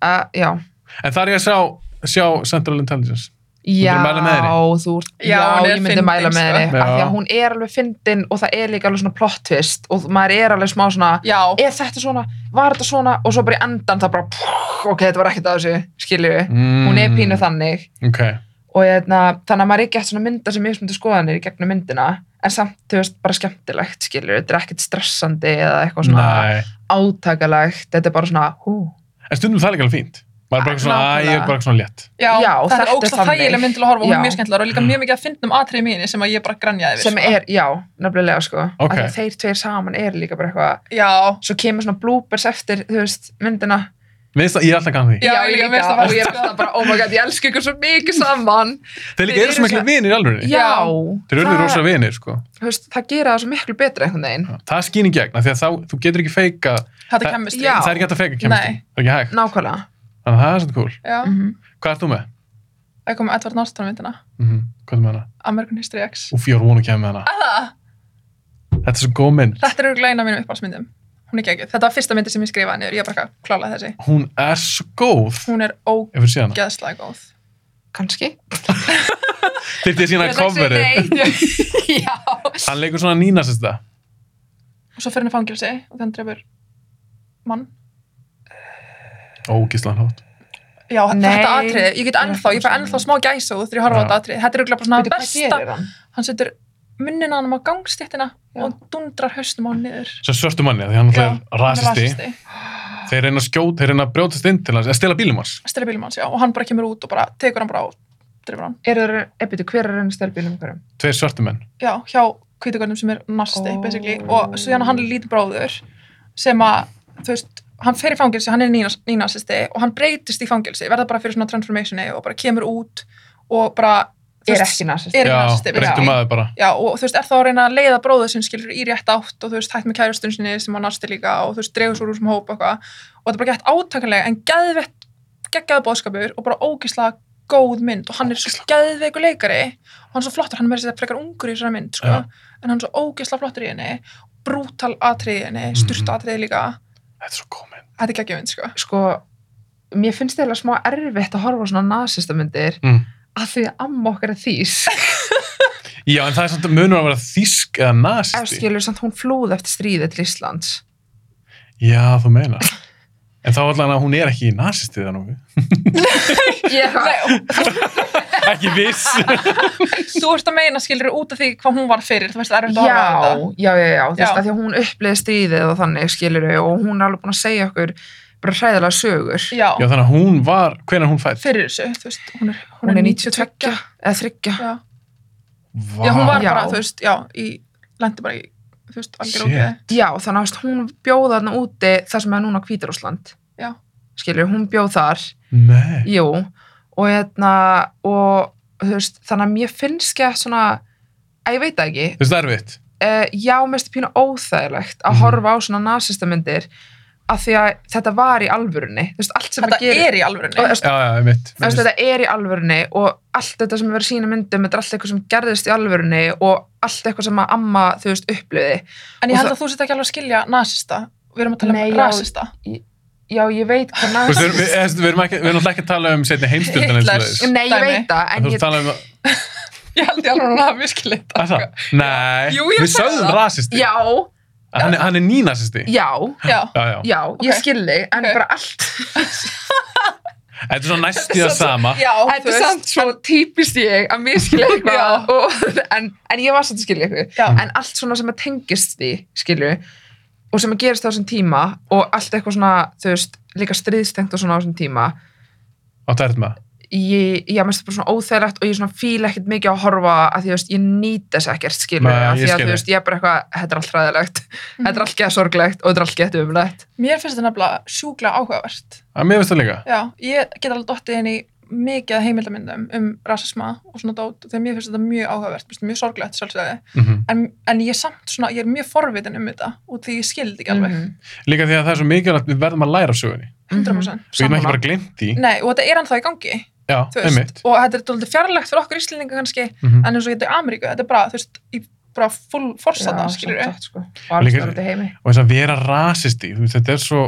uh, Já,
En þar er ég að sjá, sjá Central Intelligence.
já,
mæla með
þú ert
Já,
Já,
hún er
ég myndi
fyndin,
mæla með
sko.
henni
Já.
af því að hún er alveg fyndin og það er líka alveg svona plot twist og maður er alveg smá svona
Já.
Er þetta svona, var þetta svona og svo bara í endan það bara pff, ok, þetta var ekkert að þessu, skilju
Mm.
Hún er pínu þannig
Ok,
og hérna, þannig að maður er ekki eftir svona mynda sem mismundu skoðanir í gegnum myndina en samt, þú veist, bara skemmtilegt, skilur þetta er ekkert stressandi eða eitthvað svona
næ.
átakalegt, þetta er bara svona hú,
En stundum það er líka alveg fínt. Maður er
Ah,
bara eitthvað svona, að ég er bara eitthvað svona létt.
Já,
Já,
það
þetta
er
er
ógst að
þannig.
þægileg mynd til að horfa og hún
Já.
er mjög skemmtilegar og líka mjög mikið að um fyndnum atriði mínu sem að ég bara grænjaði yfir.
sem
sko.
er, já, nefnilega sko
Ok.
okay. að þeir tveir saman er líka bara eitthvað
Já,
svo kemur svona bloopers eftir, þú veist, myndina
Veist það, ég er alltaf gæðan því.
Já, ég líka, mér finnst það bara-
og ég er bara, bara, oh my god, ég elska ykkur svo mikið saman
Þeir líka
Þeir
eru
eru
svo miklu
svo-
vinir í alveg.
já,
Þeir eru
það-
rosa vinir, sko.
þú veist, það gera það svo miklu betra einhvern veginn
Það er skýning gegn, af því að þá, þú getur ekki feika,
þetta
Það-
er kemmistri.
Já.
það er ekki hægt að feika kemstum.
Nei.
Það er ekki hægt.
nákvæmlega
Þannig að það er svona cool.
Já.
mm
Hvað ert þú með?
Það kom Edward Norton myndina,
Mm Hvað er með hana?
American History X.
Úf, ég var vonu að kemja með hana.
Það,
Þetta er svo góð mynd.
þetta er örgulega eina af mínum uppáhalsmyndum. Hún er geggjuð. Þetta var fyrsta myndi sem ég skrifaði niður, ég er bara klála þessi.
Hún er svo góð.
Hún er
Ef við séð hana.
ógeðslega góð.
kannski
Þyrfti ég sína
Ég ætla að segja
coverið.
nei. já,
Hann leikur svona Nína sérst það.
Og svo fyrir henni fangilsi og þannig drefur mann.
Ógislan hótt.
Já,
Nei.
þetta atriði, ég get ennþá, ég fær ennþá smá gæsa út þegar ég horfa á
Já.
þetta atriði. Þetta er örgulega bara svona
Veitu, hvað
besta.
gerir hann?
Hann setur munnina hann á gangstéttina
Já.
og dundrar haustum á hann niður.
Svo svörtu manni, af því hann
Já,
náttúrulega er
hann er
rasisti. Þeir reyna að skjóta, þeir reyna að brjótast inn til hans, eða stela bílum hans.
Stela bílum hans, já, og hann bara kemur út og bara tekur hann bara og drefur hann.
Er það, ebbiti, hver er henni stelbílum hverjum?
Tveir svörtu menn.
já, hjá kvítugarnum sem er nasti,
Ó.
basically, og svo hann er lítið bróður sem að, þú veist, hann fer í fangilsi, hann er nínas- nínasisti og hann breytist í fangilsi, verða bara fyrir svona transformationi og bara kemur út og bara,
Er
þú veist,
ekki nasist.
er
Já,
nasisti,
breyttu
basically.
maður bara.
Já, og þú veist, er þá að reyna að leiða bróður sinn skilur í rétt átt og þú veist, hætt með kærustun sinni sem var nasti líka og þú veist, dregur svo úr sem hóp og eitthvað og þetta er bara gett átakanlega en geðvett, geggjaðu bóðskapur og bara ógislega góð mynd og hann er svo geðveikur leikari og hann er svo flottur, hann er verið sér frekar ungur í þessari mynd, sko,
Já.
en hann er svo ógislega flottur í henni, brútal atriði í henni,
Mhm.
styrta atriði líka,
Þetta er svo góð mynd.
þetta er geggjum mynd, sko.
Sko, mér finnst það smá erfitt að horfa á svona nasistamyndir
Mm.
að því að amma okkar er þýs.
Já, en það er samt munur að vera þýsk eða
Ef
nazisti.
skilur samt hún flúð eftir stríðið til Íslands.
Já, þú meinar. En þá allan að hún er ekki nazisti það nú.
Ég,
Ekki viss.
Þú ert að meina skilur út af því hvað hún var fyrir, þú veist, það er
já, já, já, já, þú
Já.
veist, að því að hún uppliði stríðið og þannig skilur og hún er alveg búin að segja okkur bara hræðilega sögur.
Já,
Já, þannig að hún var, hvenær hún fætt?
fyrir þessu, þú veist, hún er,
Hún er 92 eða 30.
Já.
Vá.
Já, hún var
Já.
bara, þú veist, já, í, lendi bara í, þú veist, algjör
Shit.
ógeði.
Já, þannig að þú veist, hún bjóð þarna úti þar sem er núna Hvítarúsland.
Já.
Skilur, hún bjóð þar.
Nei.
Jú, og hérna og þú veist, þannig að mér finnst ekki að svona, að ég veit það ekki
Þú veist það er vitt.
uh, já, mest pínu óþægilegt að
Mhm.
horfa á svona nasistamyndir af því að þetta var í alvörunni þú veist, allt sem
Þetta
að gera
er
og,
í
þú
alvörunni.
veist,
Já, já, ég veit.
þú veist, þetta er í alvörunni og allt þetta sem er verið sína myndum þetta er allt eitthvað sem gerðist í alvörunni og allt eitthvað sem að amma, þú veist, uppliði
En ég
og
held að þú sett ekki alveg að skilja nasista. Við erum að tala
Nei, já.
um rasista.
já, ég veit hvað
Þú veist, við, við, við,
nasist
við erum ekki, við erum náttúrulega ekki að tala um setni heimstöldin eins og
Hitlers.
þess.
nei, ég
Dæmi.
veit það, en
Þú
ég
veist tala um,
Ég held ég alveg að hún hafi miskilið
að það? Nei,
Jú, ég er að
við
segja
sögðum
það.
rasisti.
Já,
Hann, er- hann er nýnasisti.
já,
já,
Já, já.
já, ég
Ok.
skilði en
Ok.
bara allt,
Þetta er svona næstu það sama.
já, þú
þetta er
veist.
samt svo típist ég að mér skilja
Já.
eitthvað og, en, en ég var samt að skilja eitthvað
Já.
en allt svona sem að tengist því skilju, og sem að gerist á þessum tíma og allt eitthvað svona, þú veist líka stríðstengt og svona á þessum tíma
Áttu erfitt með það.
ég, ég mest bara svona óþægilegt og ég svona fíla ekkert mikið að horfa að því þú veist, ég nýt þess ekkert skilur
Nei, ég
að því að
skil
þú
þig.
veist, ég er bara eitthvað, þetta er allt ræðilegt þetta
Mhm.
er allt gett sorglegt og þetta er allt gett umlegt
Mér finnst þetta nefnilega sjúklega áhugavert.
Að Mér finnst það líka.
Já, ég get alveg dottið inn í mikið af heimildamyndum um rasisma og svona dót, þegar mér finnst þetta mjög áhugavert, mér finnst þetta mjög sorglegt sjálfsögði,
Mm
en, en ég er samt svona, ég er mjög forvitin um þetta og því ég skildi ekki alveg,
Mhm.
Líka því að það er svo mikilvægt við verðum að læra af sögunni.
100%.
Við erum ekki
Sammála.
bara glimt í.
Nei, og þetta er ennþá í gangi,
Já,
þú
einmitt.
veist, og þetta er doldið fjarlægt fyrir okkur íslendinga kannski,
Mm
en eins og þetta er Ameríku, þetta er bara, þú veist, í bara full force
Já,
þarna,
samt
skilur
sagt, sko. og alls
Líka-
þar út í heimi
Og þess að vera rasisti, þú veist, þetta er svo,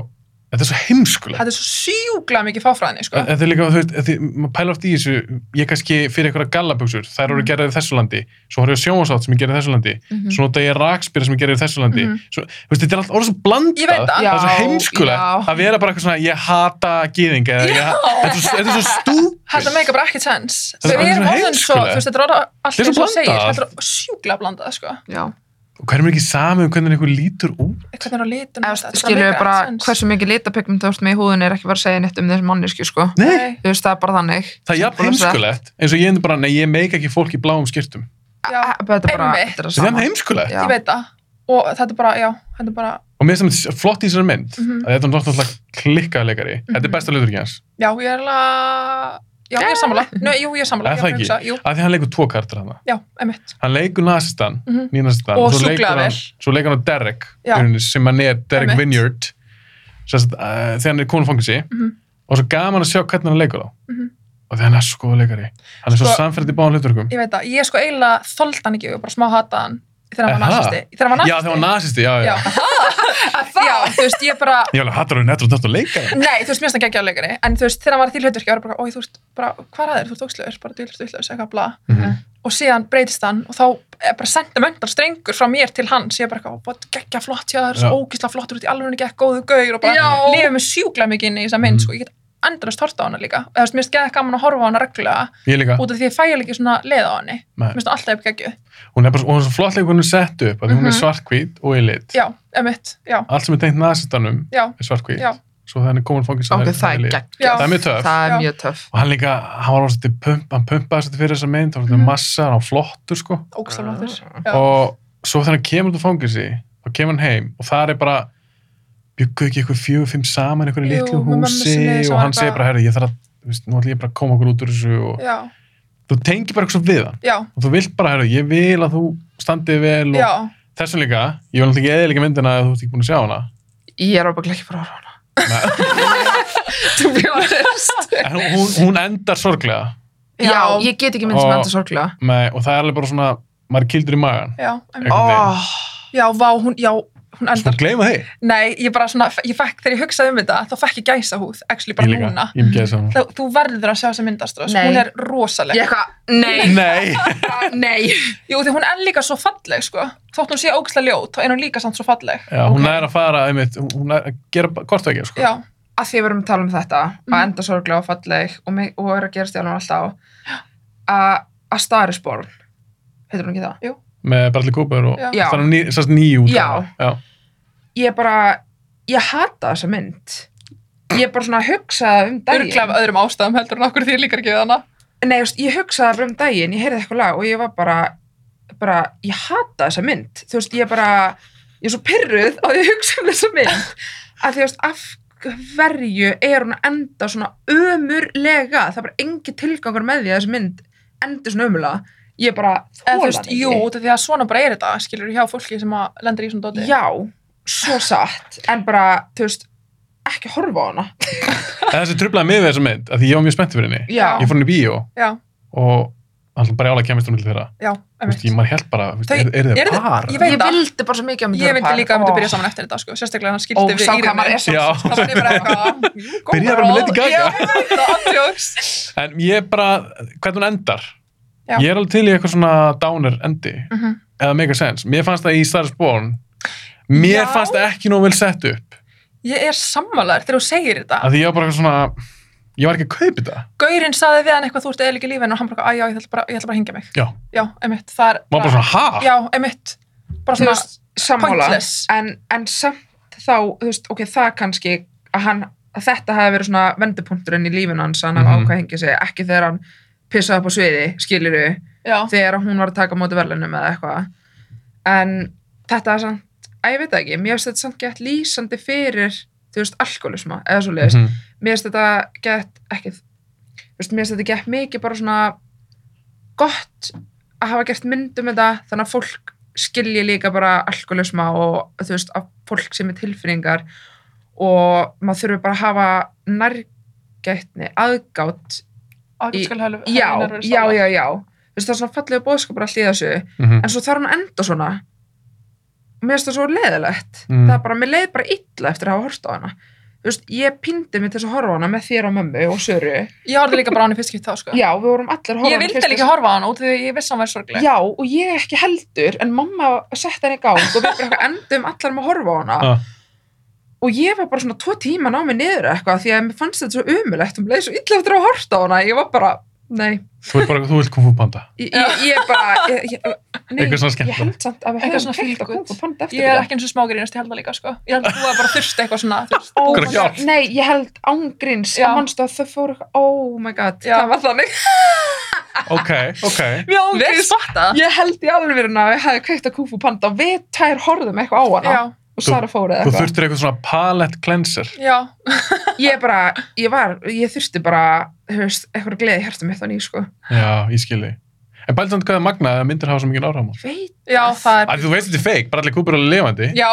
þetta er svo heimskulegt.
Þetta er svo sjúklega mikið fáfræðinni, sko.
Þetta er líka, þú veist, að því, maður pæla oft í þessu, ég kannski fyrir einhverja gallaböksur, þær voru
Mhm.
gerðar í þessu landi, svo horfði ég á sjónvarsátt sem ég gerði í þessu landi,
Mhm.
svo nota ég rakspyrir sem ég gerði í þessu landi,
Mhm.
svo, þú veist, þetta er alltaf orðið svo blandað,
Ég veit það.
er svo
Já,
heimskulegt
já.
að vera bara eitthvað svona, ég hata gýðing, eða ég, þetta er svo- þetta er svo stúpid.
Þetta meika bara ekkert sens.
Þetta er
Við erum
svo
orðin svo,
heimskulegt.
þú veist, þetta er orða allt
Þetta er
eins
svo
og þú segir,
blandað.
þetta er sjúklega blandað, sko.
Já.
Og hverjum er ekki samið um hvernig einhver lítur út?
Hvernig er á litum,
Eða, skilur við bara hversu mikið litapigment þú ert með í húðinni er ekki verið að segja neitt um þessi mannesku sko.
Nei,
þú veist það er bara þannig
það er jafn heimskulegt, eins og ég er bara, nei, ég meika ekki fólk í bláum skirtum.
Já,
Þetta er bara,
einmitt.
þetta er það
Þetta er
sama.
heimskulegt.
Ah, Já.
Ég veit það. Og þetta er bara, já, þetta er bara,
Og mér finnst það flott í þessari mynd,
Mhm.
að þetta er náttúrulega klikkað leikari. Þetta er
Mhm.
besta hluturinn hans.
já, ég er alveg, já, ég er sammála. Nö, jú, ég er sammála.
Er
Ég
það
var að
ekki?
hugsa, Jú,
Af því hann leikur tvo kartur hann.
já, emitt.
Hann leikur nasistan,
Mm -hmm.
nýnasistan.
Og
svo leikur
sjúklega
hann-
vel.
Svo leikur hann á Derek,
Já.
rauninni, sem hann er Derek
Einmitt.
Vineyard, sérst, uh, þegar hann er konufangansi.
Mhm.
Og svo gaman að sjá hvernig hann leikur þá.
Mhm.
Og þegar hann er svo góð leikari. Hann er svo
Sko-
samferðið í báðan hluturkum.
Ég veit það, ég sko eiginlega þoldi hann ekki og bara smá hata hann þegar hann var
Aha.
nazisti. Þegar hann var
Já, þegar hann var nazisti, já, já.
Já. Já, þú veist, ég bara,
Ég alveg hattar hann nettur og þetta leikari.
Nei, þú veist, mér finnst það geggjað leikari, en þú veist, þegar hann var í því hlutverki, ég var bara, ói, þú veist, bara, hvað er það, þú ert ókslegur, bara dýlur, dýlur, eitthvað, bla,
Mhm.
og síðan breytist hann og þá er bara sentimental strengur frá mér til hans, ég er bara, eitthvað, ó, bara geggja flott, já, það
Já.
er svo ógisla flottur út í alveg gegg, góðu gaur og bara,
Já.
lifið með sjúkla mikið inn í þessa mynd,
Mhm.
sko, ég get endalast horta á hana líka, og þú veist, mér finnst gegg gaman að horfa á hana reglulega,
Ég líka.
út af því ég fæ ekki svona leið á henni,
Nei.
mér finnst hún alltaf geggjuð,
Hún er bara, og hún er svo flott leik hún er sett upp, að hún er
Mhm.
svartkvít og í lit.
já, emitt, já,
Allt sem er tengt nasistanum
já,
er svartkvít.
Já.
Svo þegar hann er komin fangins
ok, það er
Já.
geggjast
Það er mjög töff.
það
Já.
er mjög töff
og hann líka, hann var orðið pump, hann pumpaði svolítið fyrir þessa mynd, hann var
Mhm.
orðið massa, hann var flottur sko
ógisla flottur,
Mm.
Já.
og svo þegar hann kemur út á fangilsi þá kemur hann heim og það er bara bygguðu ekki eitthvað fjögur, fimm saman eitthvað
Jú,
litlu
með mömmu
húsi
sinni sem
og
var
hann segir
bara-
bara, herri, ég þarf að þú veist, nú ætlum ég bara að koma okkur út úr þessu og
já,
þú tengir bara eitthvað svo við hann
já,
og þú vilt bara, herri, ég vil að þú standið vel og
já,
þessum líka, ég vil náttúrulega ekki eðilega myndina ef þú ert ekki búin að sjá hana
ég er ábygglega ekki bara að horfa á
Men,
hana to be honest
en hún, hún endar sorglega
já, ég get ekki mynd sem
Og-
enda sorglega
með, og það er alveg bara svona, maður er kildur í magan
já, einmitt.
Einhvern veginn.
oh,
já, vá, hún, já, hún
Svo
endar
gleyma þeir
Nei, ég bara svona, ég fekk, þegar ég hugsaði um þetta, þá fekk ég gæsa húð, actually bara
Ég líka,
núna.
ég myndi að það
Þá, þú verður að sjá þessa myndastras,
Nei.
hún er
ég
rosaleg.
eitthvað, nei,
Nei,
nei
Jú, því hún er líka svo falleg, sko. Þótt hún sé ógislega ljót, þá er hún líka samt svo falleg.
já, hún er að fara einmitt, hún er að gera hvort ekki sko.
Já,
að því við erum að tala um þetta
Mhm.
að enda sorglega og falleg og, mig, og er að gerast í alveg alltaf að að starisborn heitir hún ekki það?
með Bradley Cooper og
Já.
Já.
þannig ný, sérst nýjú
Já.
já,
ég bara, ég hata þessa mynd ég bara svona hugsaði um daginn
örglega af öðrum ástæðum heldur hún okkur því ég líkar ekki við hana.
Nei, just, ég hugsaði bara um daginn, ég heyrði eitthvað lag og ég var bara, bara ég hata þessa mynd, þú veist, ég bara ég er svo pyrruð á því að hugsa um þessa mynd að því, þú veist, af hverju er hún að enda svona ömurlega, það er bara engi tilgangur með því að þessi mynd endi svona ömurlega ég bara
En þú
þóla
veist, jú, út af því að svona bara er þetta, skilur hjá fólki sem að lendir í svona dóti.
Já, svo satt en bara, þú veist, ekki horfa á hana
En þessi trublaði mig við þessa mynd af því ég var mjög spennt fyrir henni
Já,
ég fór henni í bíó
Já,
og alltaf bara jála kemist hún til þeirra Þú
já,
veist,
einmitt.
ég maður held bara, þú veist,
Þau-
er, er þeir
eru þau-
par
ég
ég,
veit það.
vildi bara svo mikið að myndi
Ég vildi líka að myndi byrja saman eftir þetta, sko, sérstaklega hann
Ó,
skildi við
sá hvað
Írinu.
maður er
Já.
svo
Það var bara eitthvað, jú, go
Byrjaði bara með Lady Gaga.
Já, ég veit það, andjóks.
en ég bara, hvernig hún endar
Já.
ég er alveg til í eitthvað svona downer endi
Mhm.
eða make a sense, mér fannst það í Star is Born mér
Já.
fannst það ekki nóg vel sett upp
Ég er sammálar þegar þú segir þetta.
af því ég var bara eitthvað svona ég var ekki að kaupa þetta
Gaurinn saði við hann eitthvað þú ert eða ekki lífin og hann bara, "Æ, já, ég ætla bara, ég ætla bara að hingja mig.
já,
Já, emitt, það er...
maður bara svona ha,
Já, emitt. Bara
þú
svona,
veist, sammála
pointless.
en, en samt þá, þú veist, ok, það kannski að hann, að þetta hafi verið svona vendupunkturinn í lífinu hans að hann
Mhm.
mm. ákvað hengið sig, ekki þegar hann pissaði upp á sviði, skilur
já,
þegar hún var að taka á móti verðlunum eða eitthvað en þetta er samt, að ég veit það ekki mér finnst þetta samt gett lýsandi fyrir þú veist, alkoholisma eða svo leiðis
Mhm.
mér finnst þetta gett ekki, þú veist, mér finnst þetta gett mikið bara svona gott að hafa gert myndum þetta þannig að fólk skilji líka bara alkoholisma og þú veist að fólk sem er tilfinningar og maður þurfi bara að hafa nærgætni, aðgátt Í-
aðgjörskal helf.
já, já, já, já þú veist það er svona fallega bóðskapur allt í þessu
Mhm.
en svo þarf hann að enda svona og mér finnst það svo leðilegt
Mm.
það er bara, mér leið bara illa eftir að hafa hort á hana þú veist, ég pindi mig til þess að horfa á hana með þér og mömmu og Söru
Ég horfði líka bara á hann í fyrst skipt þá, sko.
já, við vorum allir að horfa á
Ég
hana
vildi
fyrst.
líka horfa á hann út af því að ég vissi að hann væri sorgleg.
já, og ég ekki heldur, en mamma sett hann í gang og við bara eitthvað endum allar með að horfa á hana
Ah.
og ég var bara svona tvo tíma ná mig niður eitthvað því að mér fannst þetta svo umulegt og mér leið svo illa eftir að hafa hort á hana ég var bara, nei,
þú veit bara, þú vilt kung fu panda
ég, ég, ég bara ég, ég, nei,
Eitthvað svona
ég
skemmtilegt.
held samt að við
Eitthvað
höfum
svona
heilt að
feel good.
kung og panda eftir
Ég er
þetta.
ekki eins og smágrínast, ég held það líka, sko. Ég held að þú að bara þurfti eitthvað svona, þú veist,
Oh
Okkur
my
ekki
god,
allt.
nei, ég held ángrins
Já.
að mannstu að þau fóru eitthvað, oh my god
Já.
það var þannig,
ok, ok
Mjög
Vel
ángriðs. Vel
ég held í alvegurinn að við hefði kveikt að kúfu panda og við tær horfðum eitthvað á hana
Já,
og Sara fóru
þú
eða eitthvað,
þurftir eitthvað svona palette cleanser
já.
ég bara ég var, ég þurfti bara þú veist, eitthvað gleði hjartum mitt á ný, sko
já, ég skil þig en bælið samt hvað er magnað að myndir hafa svo mikið áhrifum á mann.
veit,
Já, það er...
af því þú veist þetta er fake, bara allir kúpur eru lifandi
Já,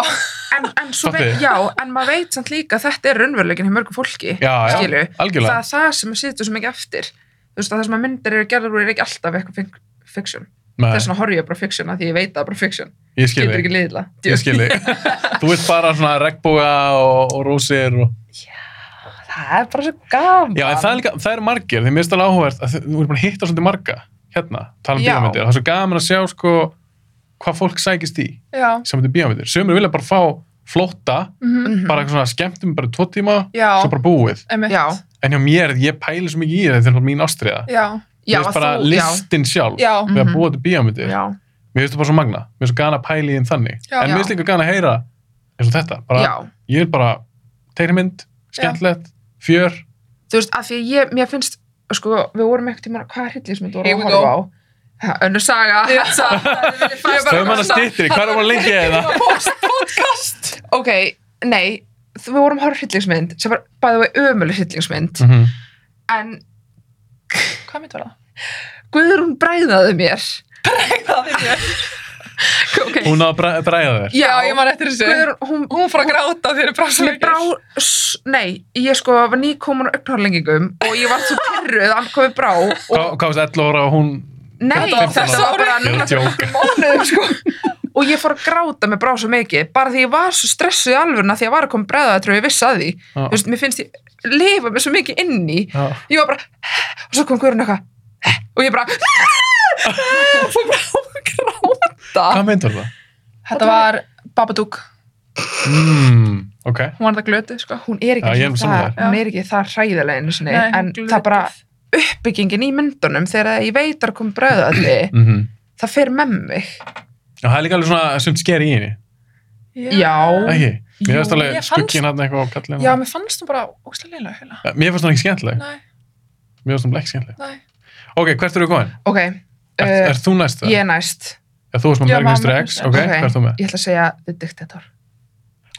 en, en svo
Fattu.
veit, já, en maður veit samt líka að þetta er raunveruleikin hjá mörgu fólki
já, já,
Skilju. það
algjörlega
er það sem maður situr svo mikið eftir þú veist að það sem að myndir eru gerður úr er ekki alltaf eitthvað fink- fiction,
Nei,
þess vegna horf ég bara fiction að því ég veit að það er bara fiction,
ég skil
getur
þig
ekki liðla
ég skil þig þú vilt bara svona regnbóga og, og rósir og...
Það er bara svo gaman.
já en það er, líka, það er margir, því mér finnst alveg áhugavert að þau- þú ert bara að hitta svolítið marga hérna, tala um
Já.
bíómyndir, það er svo gaman að sjá sko, hvað fólk sækist í
já.
sem þetta bíómyndir, sömur vilja bara fá flótta,
mhm,
Mhm.
bara eitthvað svona skemmtum bara tvo tíma,
Já,
Mm.
svo bara búið
emitt.
Já,
en hjá mér, ég pæli svo mikið í það þetta er bara mín ástriða,
Já,
já,
mér finnst bara
þú-
listin sjálf
já,
við að
Mhm.
búa þetta
já,
bíómyndir
já,
mér finnst það bara svo magna, mér finnst svo gana að pæla í þeim þannig
Já.
en mér finnst líka gana að heyra eins og þetta, bara
já.
ég vil bara teiknimynd, skemmtilegt, fjör
Þú veist, að því að ég, mér finnst, sko, við vorum eitthvað tíma, hvað er hillismið þú
Here
vorum að
we
horfa á? Ha, Önnur saga.
Já.
Ég bara-
Þau manna stýttir, hvað er að lengja það?
podcast
Ok, nei, þú- við vorum að horfa á hillismynd, sem var bæðið við ömuleg
Mm.
hillismynd,
Mhm.
en
Hvað mitt var það?
Guðrún bræðaði mér.
Það er ég
Ok,
Hún á að bræ- bræða þér
Já, ég man eftir þessu
Guðrún, hún,
Hún fór að gráta þegar ég brást
Mér brá, s- nei, ég sko var nýkomin á uppnáðlengingum og ég var svo pyrruð að hann komið brá og
Hvað hvað varst 11 ára og hún
Nei,
Þetta var
þetta
bara-
var bara
Ég er
núna
að djóka.
fyrir mánuðum sko. og ég fór að gráta með brá svo mikið bara því ég var svo stressuð í alvörna því að var að koma breða þetta og ég vissi að því
Já.
Þú veist, mér finnst ég lifa með svo mikið inni
Já.
ég var bara og svo kom Guðrún eitthvað og ég bara og fór bara að gráta
Hvað myndur það?
Þetta var Babadook
Mm, ok,
Hún var þetta glötu, sko
hún
Já,
er ekki,
ég er
eins og
sammála
það,
þér.
hún er ekki það hræðilega einu sinni
Nei,
en
hún
það er bara
glötuð.
uppbyggingin í myndunum þegar ég veit að kom breða þetta
mm
það fer með mig
Já, það er líka alveg svona sem sker í henni
Já.
Ekki, mér finnst
Jú,
alveg
ég fannst-
skuggin hann eitthvað á kallinu
Já, mér fannst hún bara ógstlega leiðlega heila
Mér finnst hann ekki skemmtileg,
Nei,
mér finnst hann ekki skemmtileg
nei
Ok, hvert eru komin?
ok,
Er,
Eh,
er þú næst það?
ég er næst
Já, þú varst með
Já,
Mary Mr.
mamma,
X,
Mr.
ok,
Ok.
hvert þú með?
ég ætla að segja The Dictator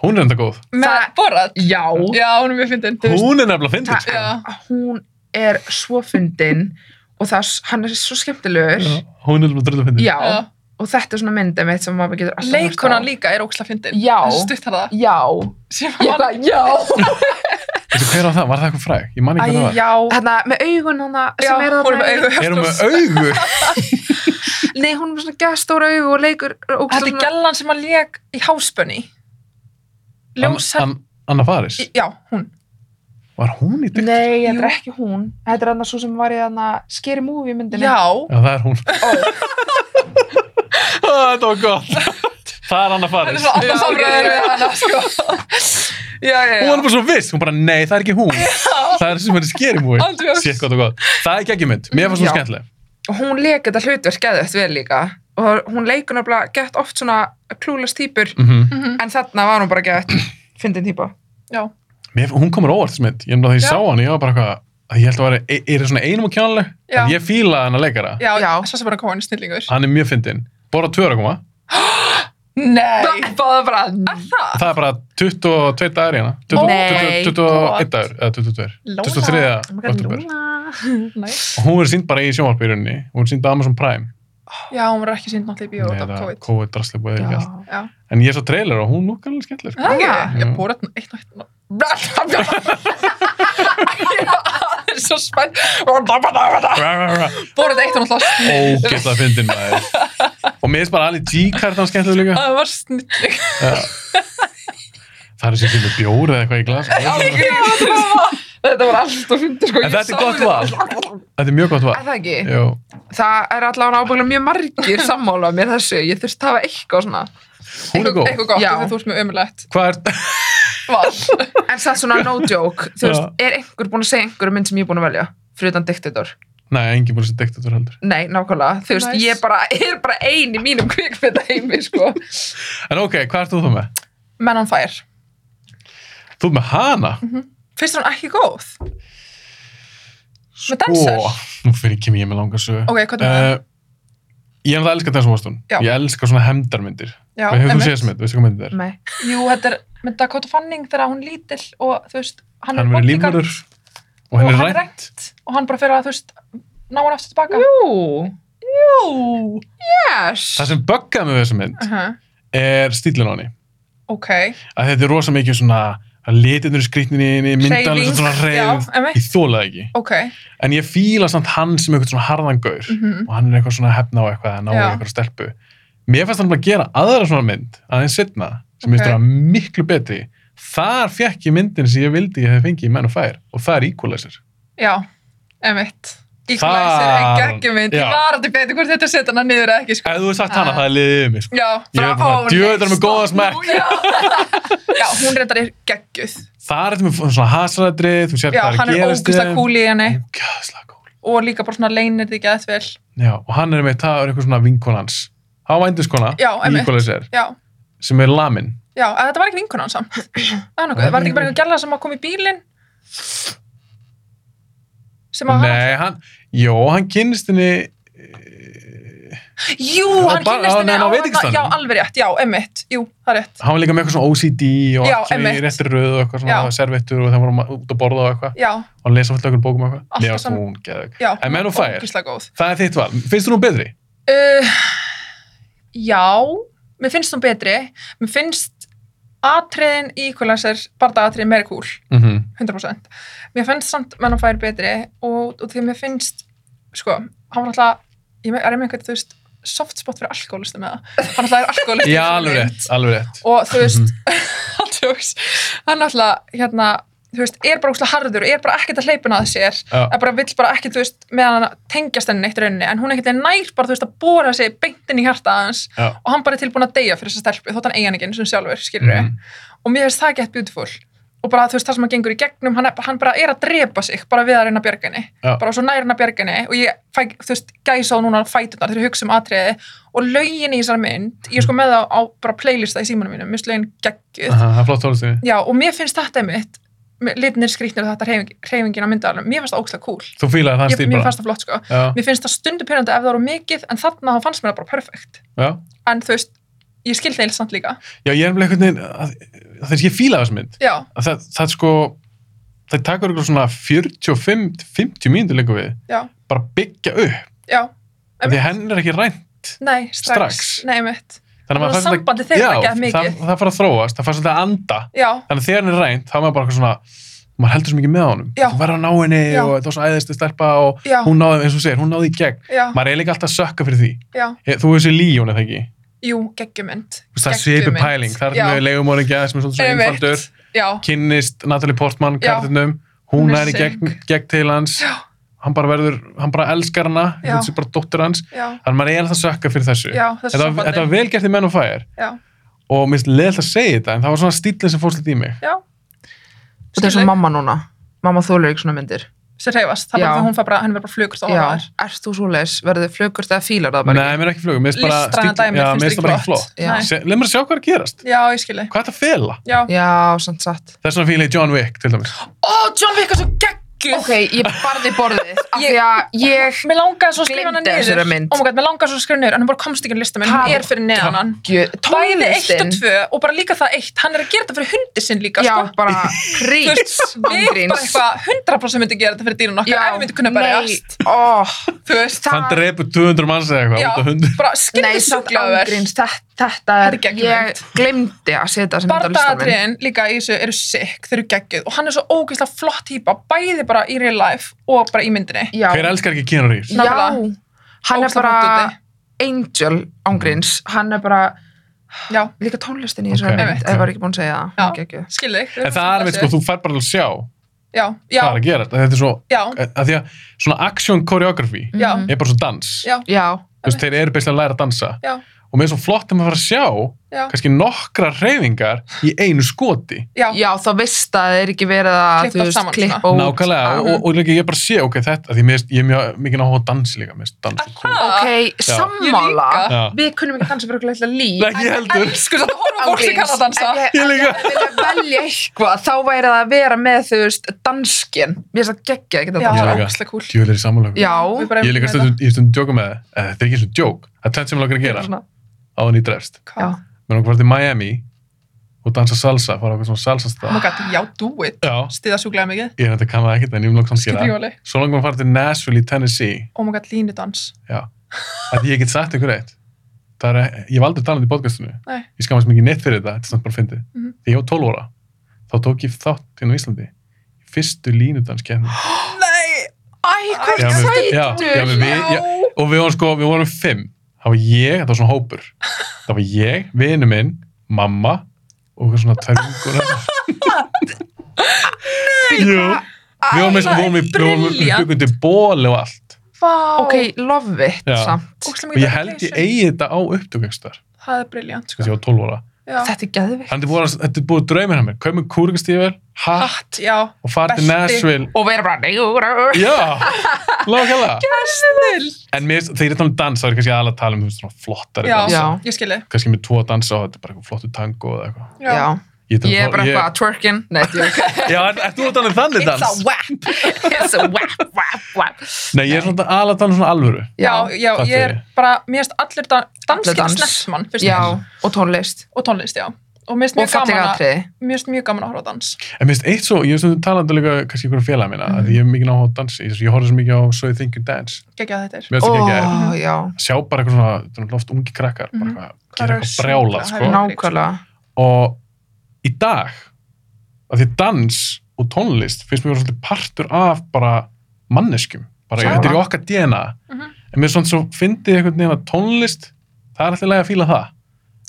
Hún er enda góð
Með
Það-
Borat
já,
Já, hún er mjög fyndin þú veist.
Hún er nefnilega fyndin
Það-
sko.
Já,
hún er svo fyndin og það, hann er svo skemmtilegur
Já,
já,
Hún er nefnilega drullu fyndin
já
og þetta er svona myndið mitt sem maður getur alltaf
Leikunan
hlusta á.
líka er ógstlega fyndin
Já.
Stutt hann það
já,
Sem
ég
var
bara, já
Veistu, Hver var það? Var það eitthvað fræg? Ég man
Æ,
ekki hvað það var
já
hérna, með augun hana
Já,
sem er
hún er með
þarna í-
augu
Erum við augu?
nei, hún er með svona gestóra augu og leikur og
Þetta er gellan sem að leg í háspönni Ljósar
Ann- Ann- Anna Faris?
Já, hún
Var hún í dykt?
nei,
Jú.
þetta er ekki hún þetta er hann svo sem var í hann scary movie myndinni
Já,
Já, það er hún. Ó, Þetta var gott. það er hann að
Það
fara
er svona
Já,
alltaf samræður
ok.
við hana, sko. Já,
hún
já, já.
var bara svo viss, hún bara nei það er ekki hún það er sem henni skeri múi
Andrjós.
Shit, gott og gott. það er ekki mynd, mér fannst
Já.
það skemmtileg
Og hún leik þetta hlutverk geðvægt vel líka. Og hún leikur nefnilega gett oft svona klúlas týpur,
mm
en þarna var hún bara gett fyndin týpa.
já,
mér, hún komur óvart þessi mynd, ég nefndi að því ég
Já.
sá hann ég var bara eitthvað, að ég held að það væri- er það svona einum og kjánuleg,
Já.
en ég fíla hann að leikara
já,
Já.
svo sem bara kóin snillingur
hann er mjög fyndinn, bara tvöra koma
nei,
Það var bara,
er það?
það er bara 22 dagar hérna. í hana 20
Nei,
20
gott.
21 dagar, eða 22
Lóla.
23 oktober
Nice.
og hún verður sínd bara í sjónvarpi í rauninni hún verður sínd á Amazon Prime
já, hún var ekki sínd náttúrulega í bíó
Nei,
út af
það-
COVID
COVID drasli búið ekki allt
Já.
já, Ah!
en ég svo trailer og hún lúkar alveg skemmtileg sko.
það er
Já.
ekki ég bóra eitt nátt það er svo spennt bóra
Rá, rá, rá.
þetta eitt náttúrulega
ógeðslega fyndin maður og mér finnst bara alveg G-kartan skemmtileg líka
það var snilling
Já. það er sér sem með bjór eða eitthvað í glas en
þetta var alltaf fyndin, sko. Ég
þetta
sá
er gott
þetta.
val þetta er mjög gott
Er
val
það ekki?
Jú.
það er allavega ábyggulega mjög margir sammála með þessu, ég þurfti að hafa eitthvað svona
hún er góð
eitthvað gott
Já.
þegar þú ert með ömulegt
hvað er
val
en það er svona no joke, þú
Já.
veist, er einhver búin að segja einhverju mynd sem ég er búin að velja fyrir utan diktator,
nei, engin búin að setja diktatur heldur
nei, nákvæmlega þú veist,
Nice.
ég bara, er bara ein í mínum kvikmynda heimi, sko
en ok, hvað ert þú þá með?
Men on Fire
þú ert með hana
finnst þér hún ekki góð? Með
Ó,
danser?
Sko, nú fyrir ekki mér með langar sögu
ok, hvað er það?
uh, ég er það elskar Dance Washington
Já.
ég elskar svona hemdarmyndir
Já,
Hvað hefur þú
einmitt. Mm,
séð sem þetta, veistu hvað myndið er?
nei,
Jú, þetta er með Dakota Fanning þegar hún lítill og þú veist, hann,
Hann verður
bodyguard
lífmörður og henn
og
er
hann er
rænt
og hann bara fyrir að þú veist, ná hann aftur tilbaka
jú
Jú
yes,
Það sem böggaði mig við þessa mynd
uh -huh.
er stílinn á henni
Ok,
að þetta er rosa mikið svona að litinur skrýtninni, myndan
Hreyfing,
svona reyf
já, einmitt.
ég þólaði ekki
ok
en ég fíla samt hann sem eitthvað svona harðan gaur
Mhm.
og hann er eitthvað svona að hefna á eitthvað að ná
Já.
eitthvað stelpu mér fannst hann bara að gera aðra svona mynd aðeins setna sem
Ok.
okay. ég stúra miklu betri þar fekk ég myndin sem ég vildi ég hef fengið í menn og fær og það er equalizer
Já, emitt Íklæsir,
Þar-
ekki ekki mynd Ég
Já.
var aldrei betið hvort þetta setja hana niður eða ekki sko.
ef þú hefði sagt hana,
Ah.
það er liðið mig sko.
Já,
Ég er bara,
ó,
djöfull,
nei,
er með
stopp
góðan
nú,
smekk.
sko. Já, já hún reyndar er geggjuð
það er þetta með svona hasræðri þú sér
Já,
hvað er
hann
að
er
gerast
ógust að kúli í henni
ógæðslega kúl
og líka bara svona leynir því geðað vel
Já, og hann er með það er eitthvað svona vinkonans hann var eindiskona
Já, einmitt.
equalizer
Já,
sem er lamin
já, að þetta var ekki vinkunan samt Það er nokkuð, var þetta ekki bara eitthvað gæla sem að koma í bílinn sem að
nei, hann, jó, hann kynnist henni
Jú,
Á
hann
bar-
kynnist
á-
henni
nei, á
hana-
veitingastaðnum?
Já, alveg rétt, já, emmitt, jú, það er rétt
hann var líka með eitthvað svona OCD og
Já,
allt svona í
einmitt.
réttir röð og eitthvað svona
Já.
servettur og það voru ma- út að borða og eitthvað
Já,
og hann lesa fullt okkur bókum og
Alltaf
eitthvað Mér
saman.
fannst hún geðveik.
já,
En Men on Fire?
ógeðslega góð
það er þitt val, finnst þú nú betri?
uh, Já, mér finnst hún betri Mér finnst atriðin í Equalizer, barða atriðin meira kúl
Mm -hmm.
100% Mér finnst samt Men on Fire betri og, og því mér finnst sko, hann var alltaf ég me- er með einhvern, þú veist, soft spot fyrir alkoholistu með það, hann alltaf er alkoholistu
já, alveg rétt, alveg rétt
og þú veist hann tjóks, hann alltaf hérna, þú veist, er bara úrslega harður og er bara ekkert að hleypina að sér
Já.
er bara vill bara ekkert, þú veist, með hann tengjast henni neitt í rauninni, en hún ekkert er nær bara, þú veist, að bóra sig beint inn í hjarta hans
Já.
og hann bara er tilbúin að deyja fyrir þessa stelpu þótt hann eigin ekki eins og sjálfur, skilur
Mhm.
og mér finnst það gett beautiful og bara þú veist það sem hann gengur í gegnum hann, er- hann bara er að drepa sig bara við að reyna að bjarga henni
Já.
bara svo nær hann að bjarga henni og ég fæ, þú veist, gæsa á núna fætunar þegar ég hugsa um atriði og lögin í þessari mynd ég er sko með það á bara playlista í símanum mínum, mist lögin geggjuð
Aha, það er flott tónlistinni
já og mér finnst þetta mitt litnir skrýtnir og þetta hreyfing, hreyfingin á myndaðalum mér finnst það ókslega cool
þú fílaði það
ég,
stíl
mér
bara
fannst það flott sko
já,
mér finnst það stundu pyrrandi ef það voru mikið en þarna þá fannst mér það bara perfekt
já.
en þú veist, ég skil þeil samt líka
já, ég er nefnilega einhvern veginn að- að þess ég fílaði þessu mynd
já,
að það, það sko það takur eitthvað svona 45-50 mínútur líka við
Já.
bara byggja upp,
já,
af því að henn er ekki rænt
nei, strax,
Strax?
nei mitt
þannig
Þannig að
svolítið-
sambandið þeirra
Já,
gekk mikið.
það, það fara að þróast, það fara svolítið að anda
já,
þannig að þegar hann er rænt, þá er maður bara eitthvað svona maður heldur svo mikið með honum,
Já.
þú verður að ná henni
Já.
og það var svo æðist að stelpa og
Já.
hún náði, eins og þú segir, hún náði í gegn
Já,
maður er líka alltaf að sökka fyrir því
já,
Ég- þú veist þessi Líón, er það ekki?
jú, geggjumynd
Þú veist, Það er svipu pæling, það er með leigumorðingja sem er svolítið svona einfaldur,
Já,
kynnist Natalie Portman,
Já.
kartinum
Hún
hún
er
er í gegn, gegn til hans
Já.
hann bara verður, hann bara elskar hana
Já.
þetta er bara dóttir hans,
já,
þannig að maður er alltaf að sökka fyrir þessu
já, þessu
þetta, var-
sambandi
þetta var vel gert í menn og fæðir
Já,
og mér finnst leðilt að segja þetta en það var svona stílinn sem fórst þetta í mig
já,
Og þetta er svo mamma núna. Mamma þólur ekki svona myndir.
sem reyfast, það er
Já.
bara því að hún fær bara, henni verður bara flugur þá
Já.
hann var
Erst þú svo les? Verður þið flugurst eða fílar það bara
Nei, mér er ekki flugum, mér finnst bara
listræna
stíllinn-
dæmi,
já, mér
finnst
finnst það bara ekki flott
Já.
Nei.
Se- Leð mér að sjá hvað er að gerast
já, ég skilji
Hvað er þetta að fela?
já.
ekki? Já, samt satt.
Það er svona fíla í John Wick, til dæmis
ó, John Wick er svo geggjur
Ok, ég barði borðið af því
Ég-
að ég
mér langaði svo að skrifa hana
Gleymdi
niður
þessari mynd.
oh my god, mér langaði svo að skrifa hana niður en hún bara komst ekki inn lista minn,
Takk.
hún er fyrir neðan hann
gjöð
bæði eitt og tvö og bara líka það eitt hann er að gera þetta fyrir hundi sinn líka
Já,
sko.
bara
Þú
prýts,
veist, við bara eitthvað 100% myndi gera þetta fyrir dýrun okkar ef við myndi kunna berjast
Ó,
þú veist,
Hann drepur 200 manns eða eitthvað
já,
út af hundi
bara
nei,
skilði
samt
sjúklaður
ángríns, þetta, þetta
Þetta
er,
er geggjumynd.
ég glemdi að setja sem þetta listanum.
bardaðatriðin líka í þessu eru sick, þau eru geggjuð og hann er svo ógeðslega flott típa, bæði bara í real life og bara í myndinni
Já,
Hver elskar ekki Keanu Reeves?
já,
Nákvæmlega.
hann er
Ógeðslega
bara
flott úti.
angel ángríns, hann er bara
já,
líka tónlistin í þessu
Ok,
okay, mynd,
ok.
ef ég var ekki búin að segja það,
Já.
hann geggjuð.
skilði þig
En það er veit sko, þú fær bara að sjá
já, já,
hvað er að gerast Þetta er svo,
já,
að því að svona action choreography
já,
Mhm.
er bara svo dans
já,
Já,
Þú veist, þeir eru beislega að læra að dansa
Já.
og mér er svo flott um að maður fara að sjá
Já.
kannski nokkra reyfingar í einu skoti
já,
já, þá vist að það er ekki verið að,
Klippa
þú veist,
saman svona.
klippa út.
nákvæmlega og,
Mhm.
og, og líka ég bara sé ok þetta, því mér, finnst- ég er mjög mikið áhuga á dansi líka mér finnst dans svo cool.
Ok, sammála.
Ég líka.
Já.
Við kunum ekki að dansa fyrir okkur leitlega líf.
Nei, ekki heldur
elsku þetta horfa á fólk sem kann að dansa
Ég
Ef
líka.
Ef ég vilja velja eitthvað, þá væri það að vera með, þú veist, danskin. Mér finnst það geggja að geta
Ég
dansa.
já, það
líka.
er ógeðslega cool
djúvel er í samanlöku
Já.
Við bara-
ég er líka stundum, ég stundum djóka með það eða þetta er ekki eins og djók það er tvennt sem ég langar að gera
Svona,
á þannig drefst
Já.
Hvað?
mér langar að fara til Miami og dansa salsa fara á eitthvað svona salsa
Oh my
stað
god, já, do it
já
stiða sjúklega mikið
ég er þetta kann það ekkert en ég vil langt samt
Skiptir
gera
ekki
það.
máli.
svo langar mér að fara til Nashville í Tennessee
oh my god, línudans
já að ég get sagt ykkur eitt það er ég hef aldrei talað um þetta í podcastinu
Nei.
ég skamast mikið neitt fyrir þetta þetta er samt bara fyndið
Mhm.
þegar ég var 12 ára þá tók ég þátt hérna á Íslandi í fyrstu línudanskeppni
nei,
Æ, hvað
Já,
er
mér finnst- já, já,
sætur?
mér- við- já, og við vorum sko, við vorum fimm það var ég, þetta var svona hópur það var ég, vinu minn, mamma og eitthvað svona tverjungur Jú, við vorum með sko,
það
vorum
er
við, við vorum við
brilliant.
byggum til ból og allt
Ok, love it,
Já.
samt.
og ég held ég eigi þetta á upptökvegstar
það er briljant
þess að
sko.
ég var 12 ára
Já.
Þetta er geðvikt.
Þannig búið, þetta er búið draumir hann mér, kaup mér kúrikastífur hatt
hatt, já,
og fara til
belti.
Nashville
Og vera bara, nei, úr, úr.
Já, lókala
snill
En mér, finnst- þegar ég tala um dans, þá er ég kannski aðalega að tala um þú veist, svona flottari
já,
dans
Já.
ég skilji
kannski með tvo að dansa og þetta er bara eitthvað flottu tango eða eitthvað.
Já,
Ég,
ég er bara eitthvað að twerkin. Nei, ég
Já, ert er, þú að tala um þannig
It's a
dans?
whack.
It's a whap, whap, whap.
Nei, ég er svona aðalega að tala um svona alvöru.
Já,
Já,
já,
Takk
ég er
fyrir.
bara, mér finnst allir dan danskina
dans.
snertmann, fyrst
já,
og fremst.
og tónlist.
og tónlist, já. Og mér finnst
Og
mjög gaman
fallega
að,
atriði.
mér finnst mjög gaman að horfa á dans.
En mér finnst eitt svo, ég er svona talandi líka kannski ykkur félaga mína, mm. að ég er mikið náttúrulega að dansa, ég, ég horfði svo mikið á So You Think You Dance.
Gekki að þetta er.
Mér finnst
Ó,
ekki ekki að
já,
sjá bara eitthvað svona, þetta er oft ungi krakkar, bara
Mhm.
eitthvað,
Hvað
gera eitthvað
er að
brjálað,
syngja,
sko.
herri.
nákvæmlega.
Og í dag, að því dans og tónlist finnst mér vera svolítið partur af bara manneskjum, bara
Já.
þetta er í okkar DNA.
Mhm.
En mér er svona svo, fyndið einhvern veginn að tónlist, það er alltaf lega að fíla það.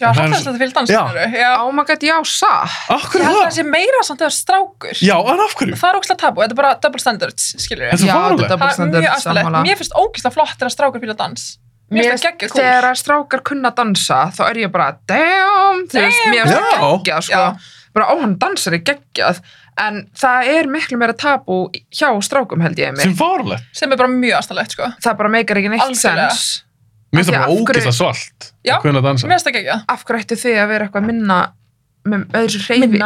Já,
En það er
hallast
svo-
þetta fyrir dans,
Já.
skilurðu, já.
Oh my god, já, satt.
Akkur
Ég
er
held að
það?
það sé meira samt þegar strákur.
Já, en af hverju?
Það er ógislega tabu, þetta er bara double standards, skilur
Þetta er
ég.
svo
Já,
fáránlegt.
þetta er bara
Það er
standard
mjög aðstæðilegt.
sammála.
Mér finnst ógislega flott þegar strákur fíla dans. Mér
Mér,
finnst það geggja
þegar
cool.
að strákar kunna að dansa þá er ég bara, damn þú veist,
Damn,
mér finnst það
já.
geggjað sko. bara, ó, hann dansar í geggjað en það er miklu meira tabú hjá strákum held ég
sem
mig
fárlegt
Sem er bara mjög aðstæðilegt, sko.
það bara meikar ekki neitt
Algjörlega.
sens
mér finnst það
Af
bara
því af hverju-
ógeðslega svolt
Já,
að kunna að dansa
Mér finnst það geggja.
af hverju ættu þið að vera eitthvað minna með öðru hreyfi
Minna.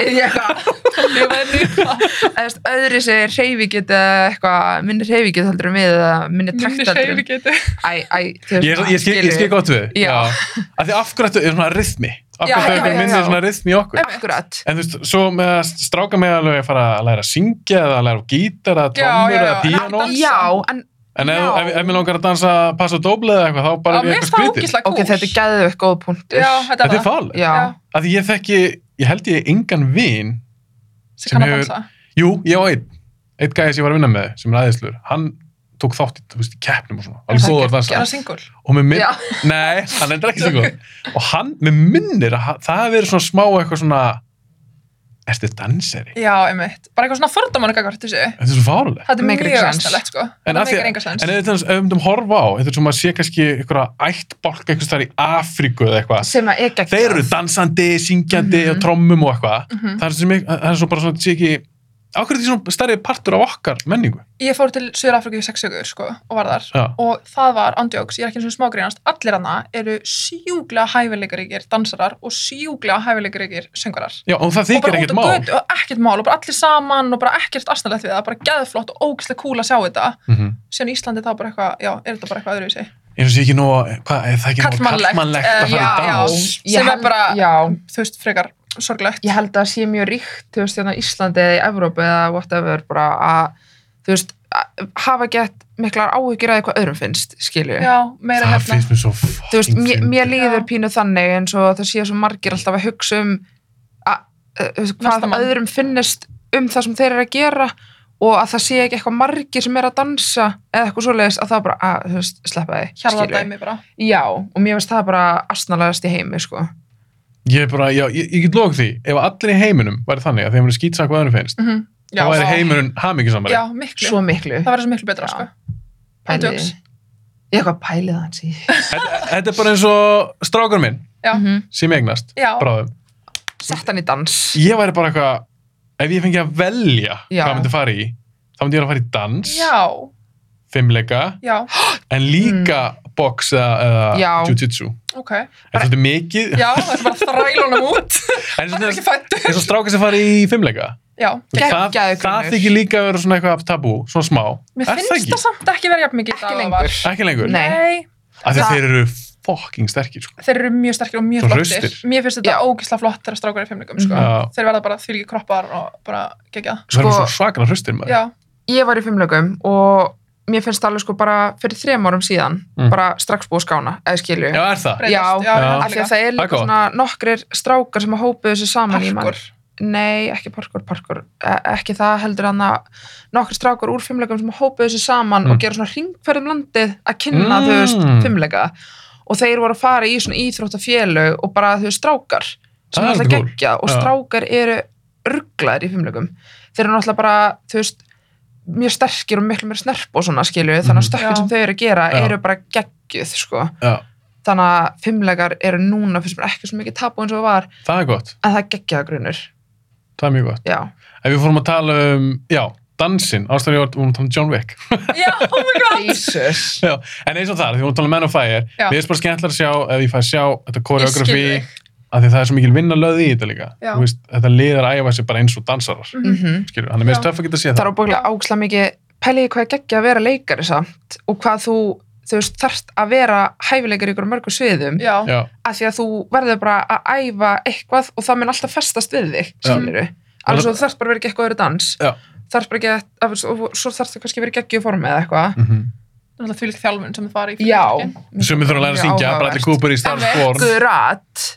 Ég veit ekki.
Eða, þú veist, öðru sér hreyfi geta eitthvað minni hreyfi geta heldur en við eða minni takt
Minni
heldur
hreyfi
en-
getur.
Æ, æ, þú
ég, ég, skil- ég skil gott við
Já.
af því af hverju þetta er svona rytmi af hverju
Já,
já,
þetta er
já, já.
minnið svona rytmi í okkur
akkurat
en þú veist, svo með að stráka með alveg að fara að læra að syngja eða að læra á gítar eða
Já,
trommur
já,
eða
já.
píanó
Dansa.
já, en
en ef,
já.
ef, ef mér langar að dansa pass og dóble eða eitthvað þá bara
Já,
er
Mér
ég
finnst það
eitthvað skrítið
ógislega
ok, þetta er gæðvegt góð punktur
Já, þetta er
þetta er
það.
fárlegt
já.
Já.
af því ég þekki, ég held ég engan vin
Sem
sem
kann að
hefur-
dansa.
jú, ég á einn einn gæði sem ég var að vinna með sem er aðeinslur hann tók þátt í, þú veist, í keppnum og svona
Er
alveg góður að
Er
dansa
það singul?
og með minn,
Já.
nei, hann er ekki single og hann, með minnir að ha- það hafi verið svona smá eitthvað svona ertu danseri?
já, einmitt, bara eitthvað svona fordómanu gagvart þessu,
Þetta er svo fárulegt.
þetta er
Make it
mjög
sense.
aðstæðlegt sko,
En
það
af því-
meikir enga sens
En ef þetta ef við myndum horfa á, þetta er sem að sé kannski einhverja ættbálka einhvers þar í Afríku eða eitthvað.
sem að ekki
Þeir eru dansandi, syngjandi
Mhm.
og trommum og eitthvað.
Mhm.
Það er sem ég- það er svo bara svona, sé ekki, ákveður því svona stærri partur af okkar menningu.
ég fór til Suður-Afriku í sex sögur sko, og var þar
Já.
og það var andjóks, ég er ekki eins og smágrínast allir hana eru sjúglega hæfileikaríkir dansarar og sjúglega hæfileikaríkir söngarar
Já, og það
og
þykir
bara út
ekkert
á
mál.
götu og ekkert mál og bara allir saman og bara ekkert astanlegt við það, bara geðflott og ógislega cool að sjá þetta
Mhm.
síðan Íslandi þá bara eitthvað, já, er þetta bara eitthvað öðruvísi
Eins og sé ekki nóg, hvað, er það ekki nóg
Karlmannlegt,
kallmannlegt
eh,
að fara í
já, já.
dans?
Sem er bara-
já,
þú veist, frekar sorglegt
ég held að það sé mjög ríkt þú veist, hérna á Íslandi eða í Evrópu eða whatever, bara að þú veist, að hafa gett miklar áhyggjur að eitthvað öðrum finnst, skilju
já, meira
Það
hérna
finnst mér svo
þú veist,
fucking
mér, mér
fyndið.
líður
Já.
pínu þannig eins og það sé svo margir alltaf að hugsa um að, að, þú veist,
Næsta
hvað
mann.
öðrum finnist um það sem þeir eru að gera og að það sé ekki eitthvað margir sem er að dansa eða eitthvað svoleiðis að það bara, að, þú veist, sleppa því skilurðu.
hjarðardæmi bara
Já, og mér finnst það bara astnalegast í heimi, sko
Ég er bara, já, ég, ég get lók því, ef allir í heiminum væri þannig að þeim eru skýtsak hvað öðrum finnst,
mm -hmm.
þá
já,
væri heimurinn hamingisamari.
já, miklu,
Svo miklu
það verður svo miklu betra
Já.
sko.
Pælið
Andjóks.
því. Ég eitthvað pælið hans í Mhm.
Þetta, þetta er bara eins og strákur minn
Já.
sem ég eignast,
já,
bráðum.
Sett hann í dans
Ég væri bara eitthvað, ef ég fengi að velja
Já.
hvað myndi fara í, þá myndi ég vera að fara í dans,
já,
fimmleika,
já,
en líka
Mm.
box eða, eða
Já.
jiu-jitsu.
ok
Þetta er svolítið mikið,
já, það er bara þrælunum út
en
það er
svona
ekki fættu
eins og strákur sem fara í fimmleika.
já,
Þú veist, Það,
Geggjaður
það
grunnur.
þykir líka að vera svona eitthvað tabú, svona smá.
mér
Er
finnst það
ekki?
samt ekki verið jafn mikið í dag
Ekki
og var.
lengur.
Ekki lengur.
Nei.
nei,
Af því að
Það-
þeir eru fucking sterkir, sko.
þeir eru mjög sterkir og mjög
Svo
flottir
hraustir.
mér finnst
Já.
þetta ógislega flott þegar strákar í fimmleikum sko.
Já.
þeir verða bara því ekki kroppar og bara gegja
Sko, það
Sko-
er svo svakana hraustir maður.
já,
Ég var í fimmlögum og mér finnst það alveg sko bara fyrir þrem árum síðan
Mm.
bara strax búið að skána, eða skilju
Já, er það?
breytast
Já.
já,
Já.
af því að það
já,
er
Það er
líka
gott.
svona nokkrir strákar sem að hópuðu þessu saman í mann
parkur
Nei, ekki parkur, parkur E- ekki það heldur hann að nokkrir strákar úr fimmlegum sem hópuðu þessu saman
Mm.
og gera svona hringferðum landið að kynna
Mm.
þau veist fimmlega og þeir voru að fara í svona íþróttafélög og bara þau strákar
Það
sem er
er
alltaf
alveg cool.
geggja og
Já.
strákar eru rugglaðir í fimmlegum þeir eru náttúrulega bara, þú veist mjög sterkir og miklu mér snerp og svona skilju þannig að
Mhm.
stökkin
Já.
sem þau eru að gera
Já.
eru bara geggjuð sko
Já,
þannig að fimmlegar eru núna fyrst mér ekki svo mikið tabu eins og það var
það er gott.
en það er geggjaða grunur
Það er mjög gott.
já,
Ef við fórum að tala um, já, dansinn, ástæður í orð, við vorum að tala um John Wick.
já, oh my god
Jesus
En eins og það, því við vorum að tala um Men of Fire,
Já.
mér er bara skemmtilega að sjá, ef ég fæ að sjá þetta koreografi,
Ég skil þig.
af því það er svo mikil vinna löð í þetta líka.
Já.
Þú veist, þetta liðar æfa sig bara eins og dansarar.
Mhm.
mm
Skilur, hann er mest
Já.
töff að geta að sé
það
það.
er óbúinlega áksla mikið pæliði hvað er geggja að vera leikari samt og hvað þú, þú veist, þarft að vera hæfileikari ykkur á mörgum sviðum
já,
Já,
af því að þú verður bara að æfa eitthvað og það mun alltaf festast við þig
Já.
skilur við, alveg svo þú þarft bara að vera ekki eitthvað öðru dans
Já.
þarft bara ekki að, að svo, svo þarft það kannski að vera geggju formi eða eitthvað
mhm.
náttúrulega því líka þjálfun sem þið
Mm.
fara í
já
Sumir þurfa að læra að syngja, Bradley Cooper í Star Wars.
Gurat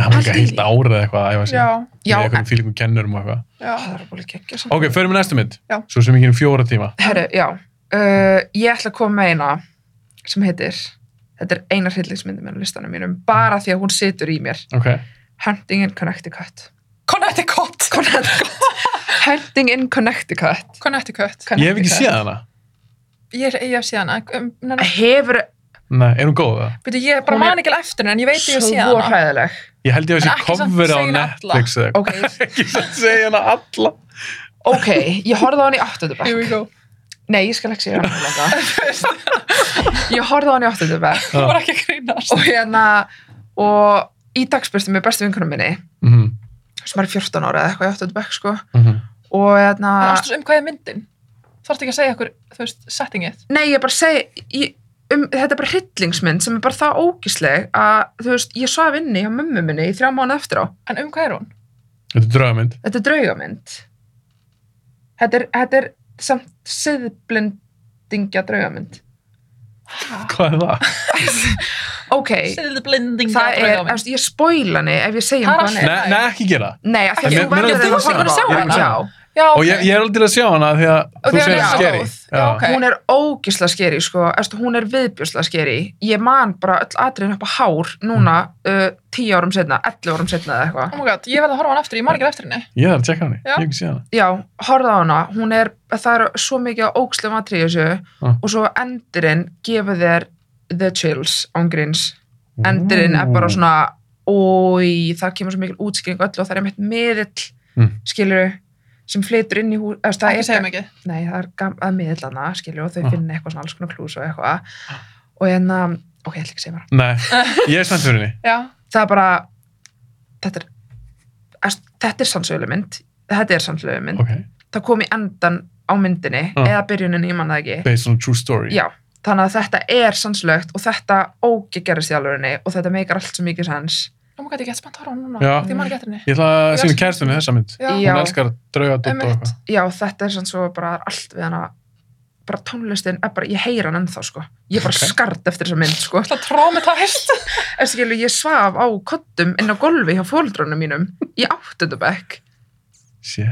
Hann var ekki
Pældi í
heilt
því.
árið eða eitthvað að æfa sig.
já,
Já,
Með einhverjum fílingum kennurum og eitthvað.
já,
það er búinlega geggja samt
Ok, förum í næstu mynd.
Já.
Svo sem ekki um fjóra tíma.
Herru, já, uh, ég ætla að koma með eina sem heitir þetta er einar hryllingsmyndum á listanum mínum bara því að hún situr í mér
Ok.
Hunting in Connecticut
Connecticut
Hunting in Connecticut
Connecticut
Ég hef ekki séð hana.
ég, er- ég hef síðan um,
Hefur
Nei, er hún góð það?
byrju, ég bara
Hún er
man ekki alveg eftir henni en ég veit ég hef
svo
síðan
hræðileg
Ég held ég að
En
þessi
ekki samt
cover á
segja hana alla.
Netflix eða eitthvað.
ok,
Ekki samt segja hana alla.
ok, ég horfði á hann í 8.
here we
bekk
go
Nei, ég skal ekki segja hann langa Ég horfði á hann í 8. bekk
þú
Ah.
var ekki að grínast
og hérna og í dagsbyrstu með bestu vinkunum minni
Mhm,
sem er 14 ára eða eitthvað í 8. bekk sko
mhm.
og hérna
Það ástu um hvað er myndin? Þarftu ekki að segja okkur, þú veist, settingið?
Nei, ég bara segi ég, um, þetta er bara hryllingsmynd sem er bara það ógísleg að þú veist, ég svaf inni hjá mömmu minni í þrjá mánu eftir á.
En um hvað er hún?
Þetta er draugamynd.
Þetta er draugamynd. Þetta er, þetta er samt siðblendingja draugamynd.
Hvað er það?
Ok,
Segðu blending
það er, eftir, ég spoila henni ef ég segi
Það
um hvað
er
hann
allt-
er.
Nei, nei, ekki gera.
Nei, af því
En
að
mér-
þú
mér
verður
langar-
að
mér langar að sjá
sjá
hana.
hana. Já,
já, ok.
og ég, ég er alveg til að sjá hana því að
Og
þú
því að
segir
hún er
skeri
góð. Já, ok.
hún er ógisla skeri sko. Eftir, hún er viðbjörsla skeri ég man bara öll atriðin upp á hár núna uh, 10 árum setna, 11 árum setna eða
Oh
eitthvað
my god, ég verði að horfa á hann aftur, ég man ekki eftir henni.
ég þarf að tjekka hann, ég
Já.
hef ekki séð hana
já, horfða á hana, hún er það er svo mikið á ógislega matri þessu
Ah.
og svo endurinn gefur þér the chills ángrins endurinn er bara svona oi, það kemur svo mikil útskýring á öllu og það er einmitt miðill
Mm.
skilur sem flytur inn í hús eða,
Það
það
ekki
er
segja mikið.
nei, það er gam- að miðlana, skilju, og þau
Ah.
finna eitthvað svona alls konar klús og eitthvað og hérna, ok, ég ætla ekki að segja mér
nei, ég er spennt fyrir henni
Já,
það er bara þetta er, erst- þetta er sannsögulemind þetta er sannsögulemind,
ok,
það kom í endan á myndinni,
Ah.
eða byrjuninni, ég man það ekki
based on a true story
já, þannig að þetta er sannslögt og þetta ógeð gerist í alvörinni og þetta meikar allt svo mikið sanns
oh my god, ég get spennt að horfa á hann núna.
Já.
Því ég man ekki eftir henni.
ég ætla að
Ég
sinna
elska-
kærstunni þessa mynd
Já.
hún elskar drauga dutta og
Einmitt.
eitthvað
já, þetta er sanns og bara allt við hana bara tónlistin, er bara, ég heyra hann ennþá sko. ég er bara
Ok.
skart eftir þessa mynd sko.
Það traumatæst.
En skilu, ég svaf á kottum inn á golfi hjá fóldrónum mínum í áttundabæk.
shit,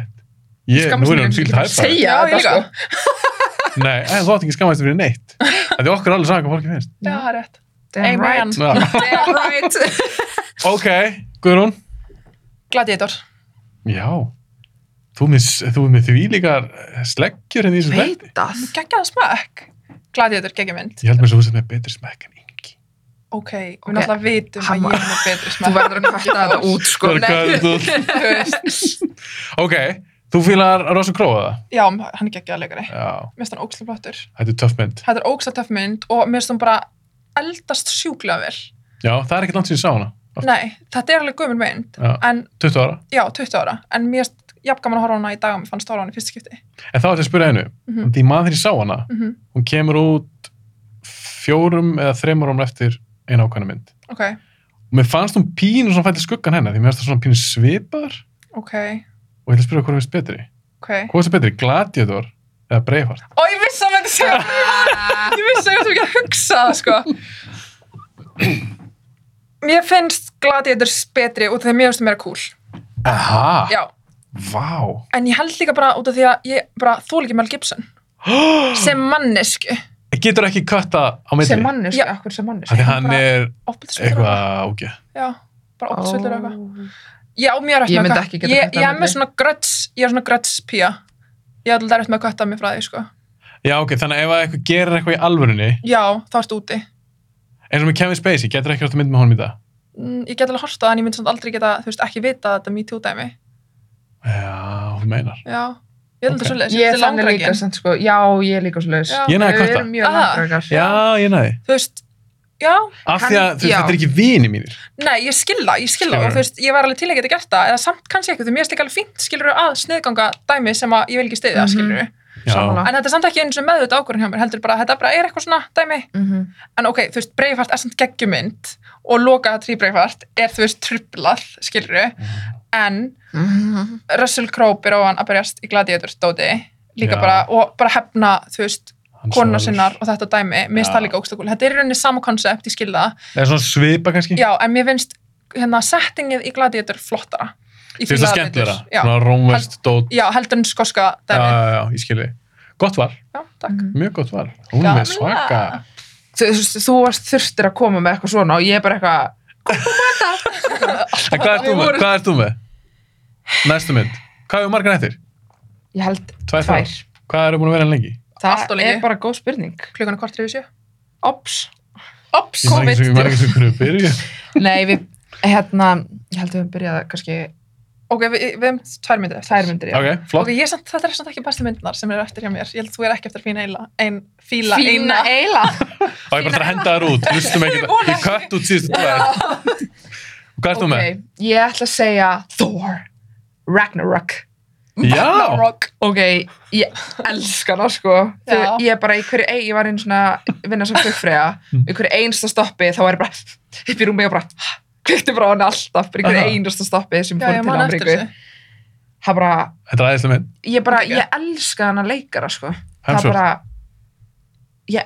ég,
Skammast
nú
mín
er
fyrir
hann
að
fílt hæfa
geta Já,
Já,
ég
þetta,
líka.
sko.
nei, en þú átt ekki skammast fyrir neitt það er okkur alveg saman hvað fólki finnst
Já, það er rétt.
Damn
Amen.
right.
Já.
Damn right.
ok, Guðrún
Gladiator.
já, þú er með, þú er með því líkar sleggjur en því sem þetta
Veitað.
Gekkjaðan smekk. Gladiator, geggjum mynd.
ég held mér svo sem er betri smekk en yngi
Ok,
Ok,
við náttúrulega vitum
hann
að
var-
ég er með betri
Þú
smekk.
verður að kvarta þetta út, sko.
Bara hvað
Nei.
þú-
Þú veist.
ok, þú fílar Rosa Króa það
Já, hann er geggjaðan leikari.
já,
Mér finnst hann ógstlega flottur.
þetta er töff mynd
Þetta er ógstlega töff mynd og mér finnst hann bara eldast sjúklega vel.
já, það er ekkert langt síðan ég sá hana
Nei, þetta er alveg gömur mynd.
Já.
En
20 ára
já, 20 ára. En mér finnst jafn gaman að horfa á hana í dag og mér fannst að horfa á hana í fyrsta skipti.
en þá ætlum ég að spyrja einu
Mhm.
því maður þegar ég sá hana
Mm
hún kemur út fjórum eða þreymur árum eftir eina ákvæmna mynd
Ok,
og mér fannst hún pínu svona fætti skuggan hennar því mér fannst það svona pínu svipar
ok,
og ég ætla að spyrja hvað er betri
ok.
hvað er betri, Gladiator eða Braveheart
Ó, ég vissi að þetta segja. Ég vissi að þetta ekki að hugsa það, sko. Mér finnst Gladiator betri út af því að mér finnst það meira cool.
aha,
Já,
vá
en ég held líka bara út af því að ég bara þól ekki Mel Gibson. Sem mannesku.
getur ekki kötta á
Sem
milli
manneski,
Já.
akkur sem manneski.
því hann er
um Ofbeldisfullur og
eitthvað ágæð
Já, bara ofbeldisfullur og eitthvað.
Ó.
Já, mér
Ég
er eftir með
myndi
kött.
ekki geta
Ég,
köttað
ég
á
er með
milli.
svona gröts, ég er svona gröts pía. Ég er alltaf eftir með að kötta mig frá því, sko.
já ok, þannig að ef að eitthvað gerir eitthvað í alvörunni
Já, þá ertu úti.
eins og með Kevin Spacey, getur ekki hægt að mynd með honum í dag
Mm, Ég get alveg hortað, en ég myndi samt aldrei geta, þú veist, ekki vita að þetta er mítið dæmi.
já, hún meinar
Já, ég held
Ok.
að svoleiðis.
Ég er þannig líka,
langrækinn.
sem sko, já, ég er líka svo laus.
Já.
Ég næði að
Við
kvarta.
erum mjög
Ah.
langrakar.
já, ég næði
Þú veist, já,
af
Hann-
því að þú veist,
já.
þetta er ekki vini mínir
nei, ég skilða, ég skilða.
Skilurðu.
Þú veist, ég var alveg til að geta gert það, eða samt kannski ekki, þú mér slik alveg fínt, skilur að sniðganga dæmi sem að ég vil ekki stiðja,
Mhm.
skilur
já,
Sammála.
En þetta er samt ekki eins og meðvita ákvörðin hjá mér, heldur bara, þetta bara er eitthvað svona dæmi
Mhm.
en ok, þú veist, Breifart er samt geggjumynd og lokaða trí Breifart er, þú veist, trublað, skilru en
Mhm.
Russell Crowe byrja á hann að berjast í gladiator stóti líka
Já.
bara, og bara hefna, þú veist,
Hann
konuna
svarar.
sinnar og þetta dæmi, mér finnst
Já.
það líka ógstakul þetta er í rauninni sama konsept, ég skil það
það er svona svipa kannski
já, en mér finnst hérna, settingið í gladiator flottara Ég
Finnst
fíla
það
það betur.
skemmtilega,
já,
svona rómverst dót,
já, heldur en skoska
já,
dæmi já,
já, já, ég skilji Gott var,
takk
Mhm.
mjög gott var Hún er
Gamla.
með svaka
Þú veist, þú varst þurftir að koma með eitthvað svona og ég er bara eitthvað,
En hvað ert þú
Við
með?
vorum-
Hvað ert þú með? Næstu mynd, hvað hefur margar eftir?
ég held
Tvær,
tvær.
þrjár. Hvað eru búin að vera hann lengi?
Allt of
Það
lengi.
er bara góð spurning.
klukkan er kvart yfir sjö
Ops.
ops,
Ég man
COVID
ekki sem- ég man ekki sem hvernig við byrju
Nei, við, hérna, ég held að við höfum byrjað kannski
ok, við, við hefum tvær myndir eftir.
tvær myndir, já.
Ok,
Ok,
flott
ég er samt, þetta er samt ekki bestu myndnar sem eru eftir hjá mér. Ég held þú er ekki eftir að fína eila. Ein, fíla eina.
eila.
Það er bara að henda þær út, hlustum ekki
Ég vona
Ég kött út síðust Hvað ert þú
ok,
með?
ég ætla að segja Thor, Ragnarok.
Já,
Ragnarok.
Ok, ég elska það, sko. Þau,
Já.
ég er bara í hverju ein, ég var einn svona, vinna sem flugfreyja,
Mm.
í hverju einsta stoppi, þá var ég bara, upp í rúmi og bara, kveikti bara á henni alltaf, bara í hverju
Aha.
einasta stoppi sem
Já,
fór
ég
til
man eftir
Ameríku.
þessu.
Það bara,
þetta er aðeinslega mynd
ég bara,
Þetta er
ég elska hann að leikara, sko. það
Hemsworth.
bara ég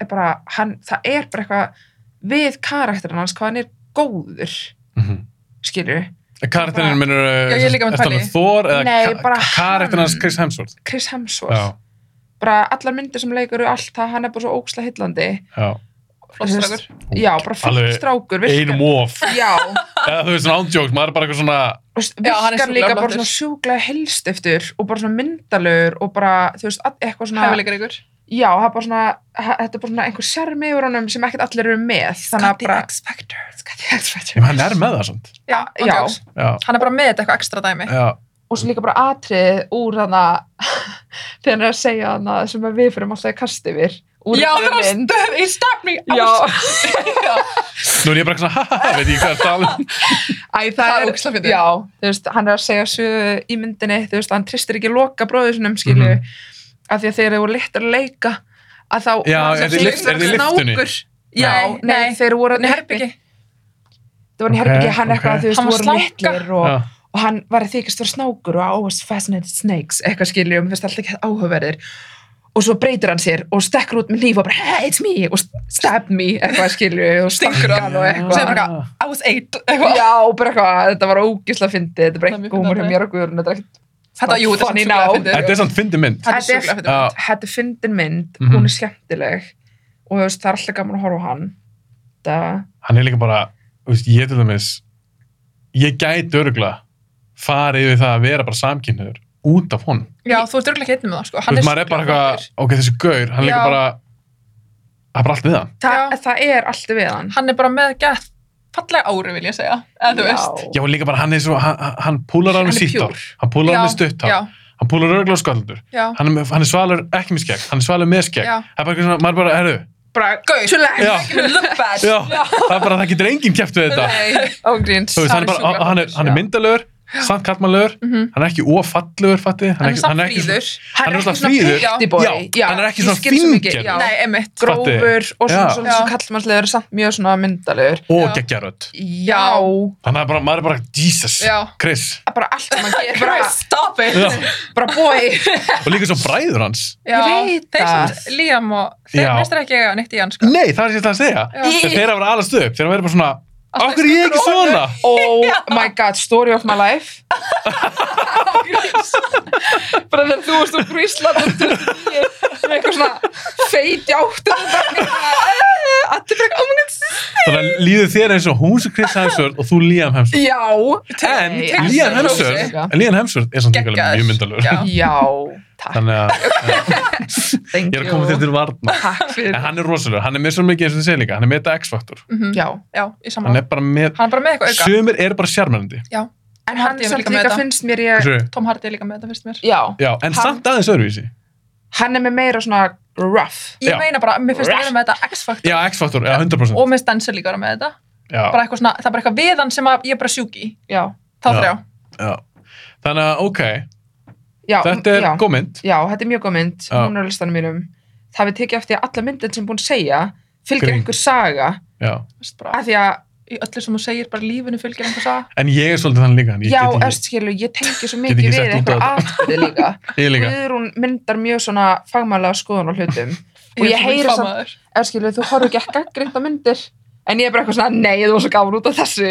er bara, hann, það er bara eitthvað við karakterinn hans, hvað hann er góður
Mhm.
skilur,
Karakterinn minnur,
Já, ég er líka með pæli.
Thor eða
Nei,
ka-
bara
karakterinn hans
hann.
Chris Hemsworth?
Chris Hemsworth
Já,
bara allar myndir sem leikur og allt það, hann er bara svo óksla hillandi
já.
flott strákur.
já, bara flott
Alveg
strákur
Einum
virkar,
of.
já,
Eða þú veist svona ándjóks, maður er bara eitthvað svona,
þú veist,
Já, hann er
virkar
sjúklega
líka bara
flottur.
svona sjúklega helstiftur og bara svona myndalur og bara, þú veist, all- eitthvað svona
Hæfileikar ykkur.
já, það er bara svona, hæ- þetta er bara svona einhver sjarmi yfir honum sem ekkert allir eru með þannig að bara,
X-Factor.
Scotty X-Factor
ef hann er með það svona.
Já,
Já.
já.
Já,
Hann er bara með þetta eitthvað ekstra dæmi.
já,
og svo líka bara atrið úr hana þegar hann er að segja hana sem að við fyrirum alltaf í kast yfir úr
Já,
þessari
það er
mynd.
stöð í stafni.
já,
Nú er ég bara eitthvað svona, ha ha ha, veit ég hvað er talað.
Æ, það,
Það er
er,
ógeðslega fyndið.
já, þú veist, hann er að segja sögu í myndinni, þú veist, hann tristir ekki loka bróður sinum, skilju,
Mhm.
af því að þeir eru littar að leika, að þá
Já, er
var hann
þið
sem
lyft-
fyrst
er þið í
var
lyftunni?
knákur. Já,
Nei,
nei,
nei.
þeir voru
Þannig herbyggi.
Það var í
Ok,
herbyggi, hann
ok.
eitthvað, þú veist,
Hann var
voru
slanka.
litlir og, og hann var að þykast fyrir snákur og I was fascinated snakes, eitthvað skilju, og mér finnst alltaf ekki áhugaverðir. Og svo breytir hann sér og stekkur út með líf og bara, hey, it's me, og stab me, eitthvað skilju, og
Stingur
stingur hann og
Já.
eitthvað.
Segir bara eitthvað, I was eight. Eitthvað.
Já, bara eitthvað, þetta var ógisla fyndið, þetta er bara
Það er
eitthvað
mjög
húmur hjá
fyndið.
mér og Guðrún, þetta er ekkert
Þetta, jú, þetta er
Funny
svona
now.
sjúklega
Þetta
fyndið.
er samt fyndi mynd.
Þetta er
Þetta er-
sjúklega fyndið.
Já,
Þetta er fyndin mynd,
Mhm.
hún er skemmtileg og þú veist, það er alltaf gaman að horfa á hann Þetta,
hann er líka bara, þú veist, ég til dæmis, ég gæti örugla farið yfir það að vera bara samkynniður út af honum.
Já, þú ert örgulega ekki einnig með það, sko.
Þú
Hann
veist, maður er bara
sjúklega
eitthvað, ok, þessi gaur, hann er líka
Já.
bara, það er bara allt við hann.
það, það er alltaf við hann
flottur. Hann er bara með gett fallega ári, vil ég segja. Eða þú veist.
Já, og líka bara, hann er svo, hann, hann púlar hann
Hann
með
er
sítt
pure.
hár, hann púlar hann með stutt
Já,
hár, hann púlar örugla sköldur,
já,
hann, er með- hann er svalur ekki með skegg, hann er svalur með skegg.
já.
Það er bara eitthvað svona, maður bara, herru,
bara,
Gaur.
too late,
Já.
You Look bad.
já, það er bara, það getur enginn kæft við þetta.
nei, ágríns
Þú veist, hann er bara,
sjúklega
hann er, hann er
fyndinn,
myndalögur, samt kallmalögur,
Mhm.
hann er ekki ofallugur, fatti, hann
En
er
hann
ekki,
er samt
hann er ekki,
fríður.
já. hann er
alltaf
ekki svona
fríður.
pretty boy
Já, hann er ekki
ég
svona
skil svo mikið,
fíngerður.
já.
Nei, emitt.
grófur og svona,
Já.
svona, svona
Já.
kallmannslegur samt mjög svona myndalegur
og
Já.
geggjarödd.
já,
Þannig að bara, maður er bara, Jesus,
Já.
Chris.
bara allt sem hann gerir bara,
Christ, stop it.
Já.
bara boy
Og líka svo bræður hans.
Já,
Ég veit
þeir
það.
sem Líam og þeir
Já.
meistar ekki eiga neitt í hann sko.
Nei, það er sér það að segja.
Já.
Þegar þeir hafa alast upp, þeir hafa verið bara svona,
Alltaf
okkur er ég ekki
einhver
svona?
oh my god, story of my life bara þegar þú varst úr Grísland og 29 með eitthvað svona feit játt allir bara oh my god
Þannig að líður þér eins og hún sem Chris Hemsworth og þú Liam Hemsworth.
já,
En
Nei,
Liam
Hemsworth.
Hemsworth, en Liam Hemsworth er samt líka alveg
Geggjaður.
mjög myndalögur.
Já.
já, takk
Þannig að
thank
ég er að koma
you.
þér til varna.
takk
En
fyrir
hann er rosalögur, hann er með svo mikið eins og þið segir líka, hann er með þetta X-faktor.
mm -hmm.
já,
Já, í
Hann
saman
er bara með,
Hann er bara með eitthvað auka
sumir eru bara sjarmærandi.
en hann
Hardy er
samt
líka með
líka
þetta.
finnst mér ég
Hversu?
Tom Hardy er líka með þetta fyrst mér
já,
Já, en
Hann-
samt aðeins öðruvísi.
hann er með meira svona rough
Ég
Já.
meina bara, mér finnst það með þetta X-Factor
Já, X-faktor, já, 100%.
og mér stendur líka að vera með þetta
já,
bara eitthvað svona, Það er bara eitthvað við hann sem að ég er bara sjúk í
já,
Þá
Já.
þrjá
já. Þannig að, ok,
já,
þetta er
já.
góð mynd.
já, þetta er mjög góð mynd,
Já.
hún er á listanum mínum það við tekið eftir að alla myndin sem er búin að segja fylgir
Grín.
einhver saga
Já.
Vist bara,
af því að,
Í öllu sem þú segir, bara lífinu fylgir einhvers að
En ég er svolítið þannig líka, en ég
já,
get ekki,
öst skilur, ég tengi svo
ekki
mikið við
sett út á
einhver
þetta.
aðbyrði líka
ég líka.
Guðrún myndar mjög svona fagmælega skoðun á hlutum og ég heyri samt,
samt
eða skilur, þú horfur ekki ekki gaggrind á myndir en ég er bara eitthvað svona, nei, þú var svo gafur út af þessu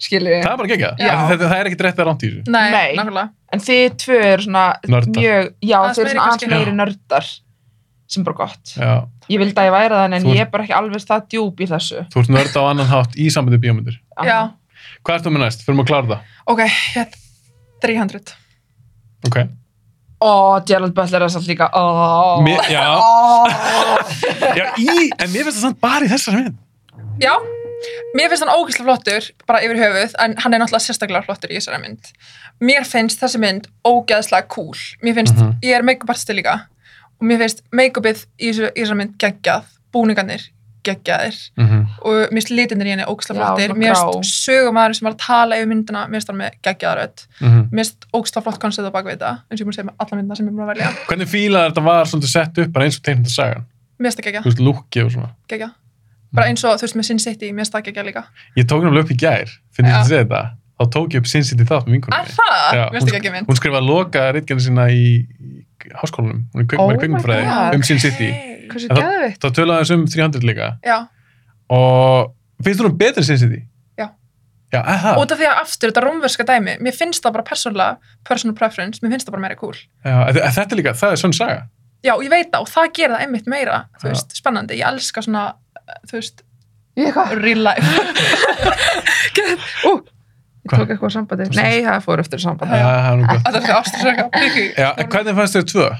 skilur,
Það er bara gegja.
Já.
Það, það er ekkit rétt að ránt í þessu.
Nei,
Nei.
nákvæmlega
en þið tvö eru svona
Nördar.
mjög, já,
Aðeins
þið eru
meiri
svona
kannski.
aðeins meiri nördar sem er bara gott
Já.
ég vildi að ég væri það, en
Þú-
ég er bara ekki alveg það djúb í þessu
Þú ert nörd á annan hátt í sambandi við bíómyndir.
Já,
Hvað ert þú með næst? Fyrir maður að klára það.
ok, ég 300
Ok.
og Gerald Butler er samt líka oh.
Mér, já.
oh.
já, í, en mér finnst það samt bara í þessari mynd.
Já, mér finnst hann ógeðslega flottur bara yfir höfuð, en hann er náttúrulega sérstaklega flottur í þessari mynd. Mér finnst þessi mynd ógeðslega cool. Mér finnst,
Mhm.
ég er make-up artisti líka og mér finnst make-upið í þessu- í þessari mynd geggjað, búningarnir geggjaðir
Mm -hmm.
og mér finnst litinir í henni ógeðslega
Já,
flottir.
svona
Mér
grá.
finnst sögumæður sem var að tala yfir myndina, mér finnst hann með geggjaðaröð. Mér finnst ógeðslega flott koncept á bakvið þetta, eins og ég mér segja með alla myndina sem ég er búin að velja.
Hvernig fílaði þetta var svolítið sett upp bara eins og teiknum sagan?
Mér finnst það
Þú
geggjað,
veist, lúkki og svona.
geggjað. Bara eins og þú veist með Sin City, mér finnst það geggjað líka.
Ég tók náttúrulega upp í gær, finnst
Já.
þetta að segja þetta. Þá tók ég upp Sin City þátt með vinkunum
Er það?
Já,
Mér finnst
hún-
það geggjað mynd.
hún skrifaði loka rítkjarni sína í, í háskólanum, hún er
Oh
kvikmæri
my
kvikmyndfræði
Ah,
God.
um Sin City
Hey.
hversu
En það-
geðvitt
þá töluðu aðeins um 300 líka
Já,
og finnst þú hún betri en Sin City?
Já.
Já, aha.
út af því að aftur þetta rómverska dæmi mér finnst það bara persónulega, personal preference mér finnst það bara meira cool
Já, að- að þetta er líka, það er svona saga.
já, og ég veit það og það gerir það einmitt meira þú
Já.
veist, spennandi, ég elska svona eh, þú veist,
Ég eitthvað,
real life
ú, ég
Hvað?
tók eitthvað sambandi. Nei, það fór eftir sambandi.
Já, það er nú gott.
þetta er það ástursöka
Já, en hvernig fannst þér tvö?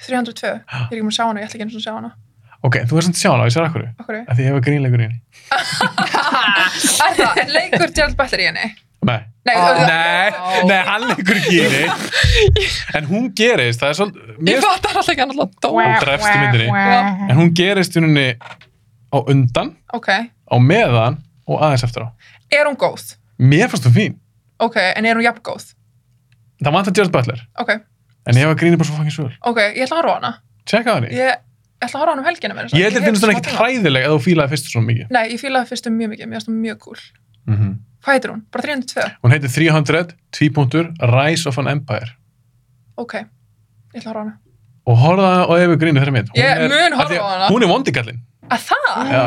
302, ég er ekki mér að sjá hana, ég ætla ekki einu svona að sjá hana
Ok, þú varst að sjá hana, ég sér akkur.
Af hverju?
Af því ég hefa grínleikur í henni.
er það, en leikur Gerald Butler í henni
Nei.
nei,
Ó.
oh.
Nei,
Já.
nei, hann leikur ekki í henni. En hún gerist, það er svolítið...
ég
Mér
fattar alltaf ekki hann alltaf dó
Hún drefst í myndinni. En hún gerist í henni á undan,
ok,
á meðan og aðeins eftir á.
er hún góð?
Mér fannst þú fín.
ok, en er hún jafn góð?
Það vantar Gerard Butler.
ok,
En ég hefa grínið bara svo fangins völ.
ok, ég ætla að horfa á hana
Tjekka á henni.
ég ég ætla að horfa á hana um helgina meira að segja.
Ég held að
hef
finnst hún
smá
ekkit
tíma.
hræðileg að þú fílaði fyrst svo mikið.
Nei, ég fílaði fyrstu mjög mikið, mér finnst hún mjög cool.
Mhm.
Hvað heitir hún? Bara 302?
Hún heitir 300, 2 punktur, Rise of an Empire.
Ok, ég ætla að horfa á hana.
Og horfa og ef við grínið þeirra mitt. Hún er-
Ég mun horfa
af því að
á hana.
Hún er vondikallin.
Að það?
Já.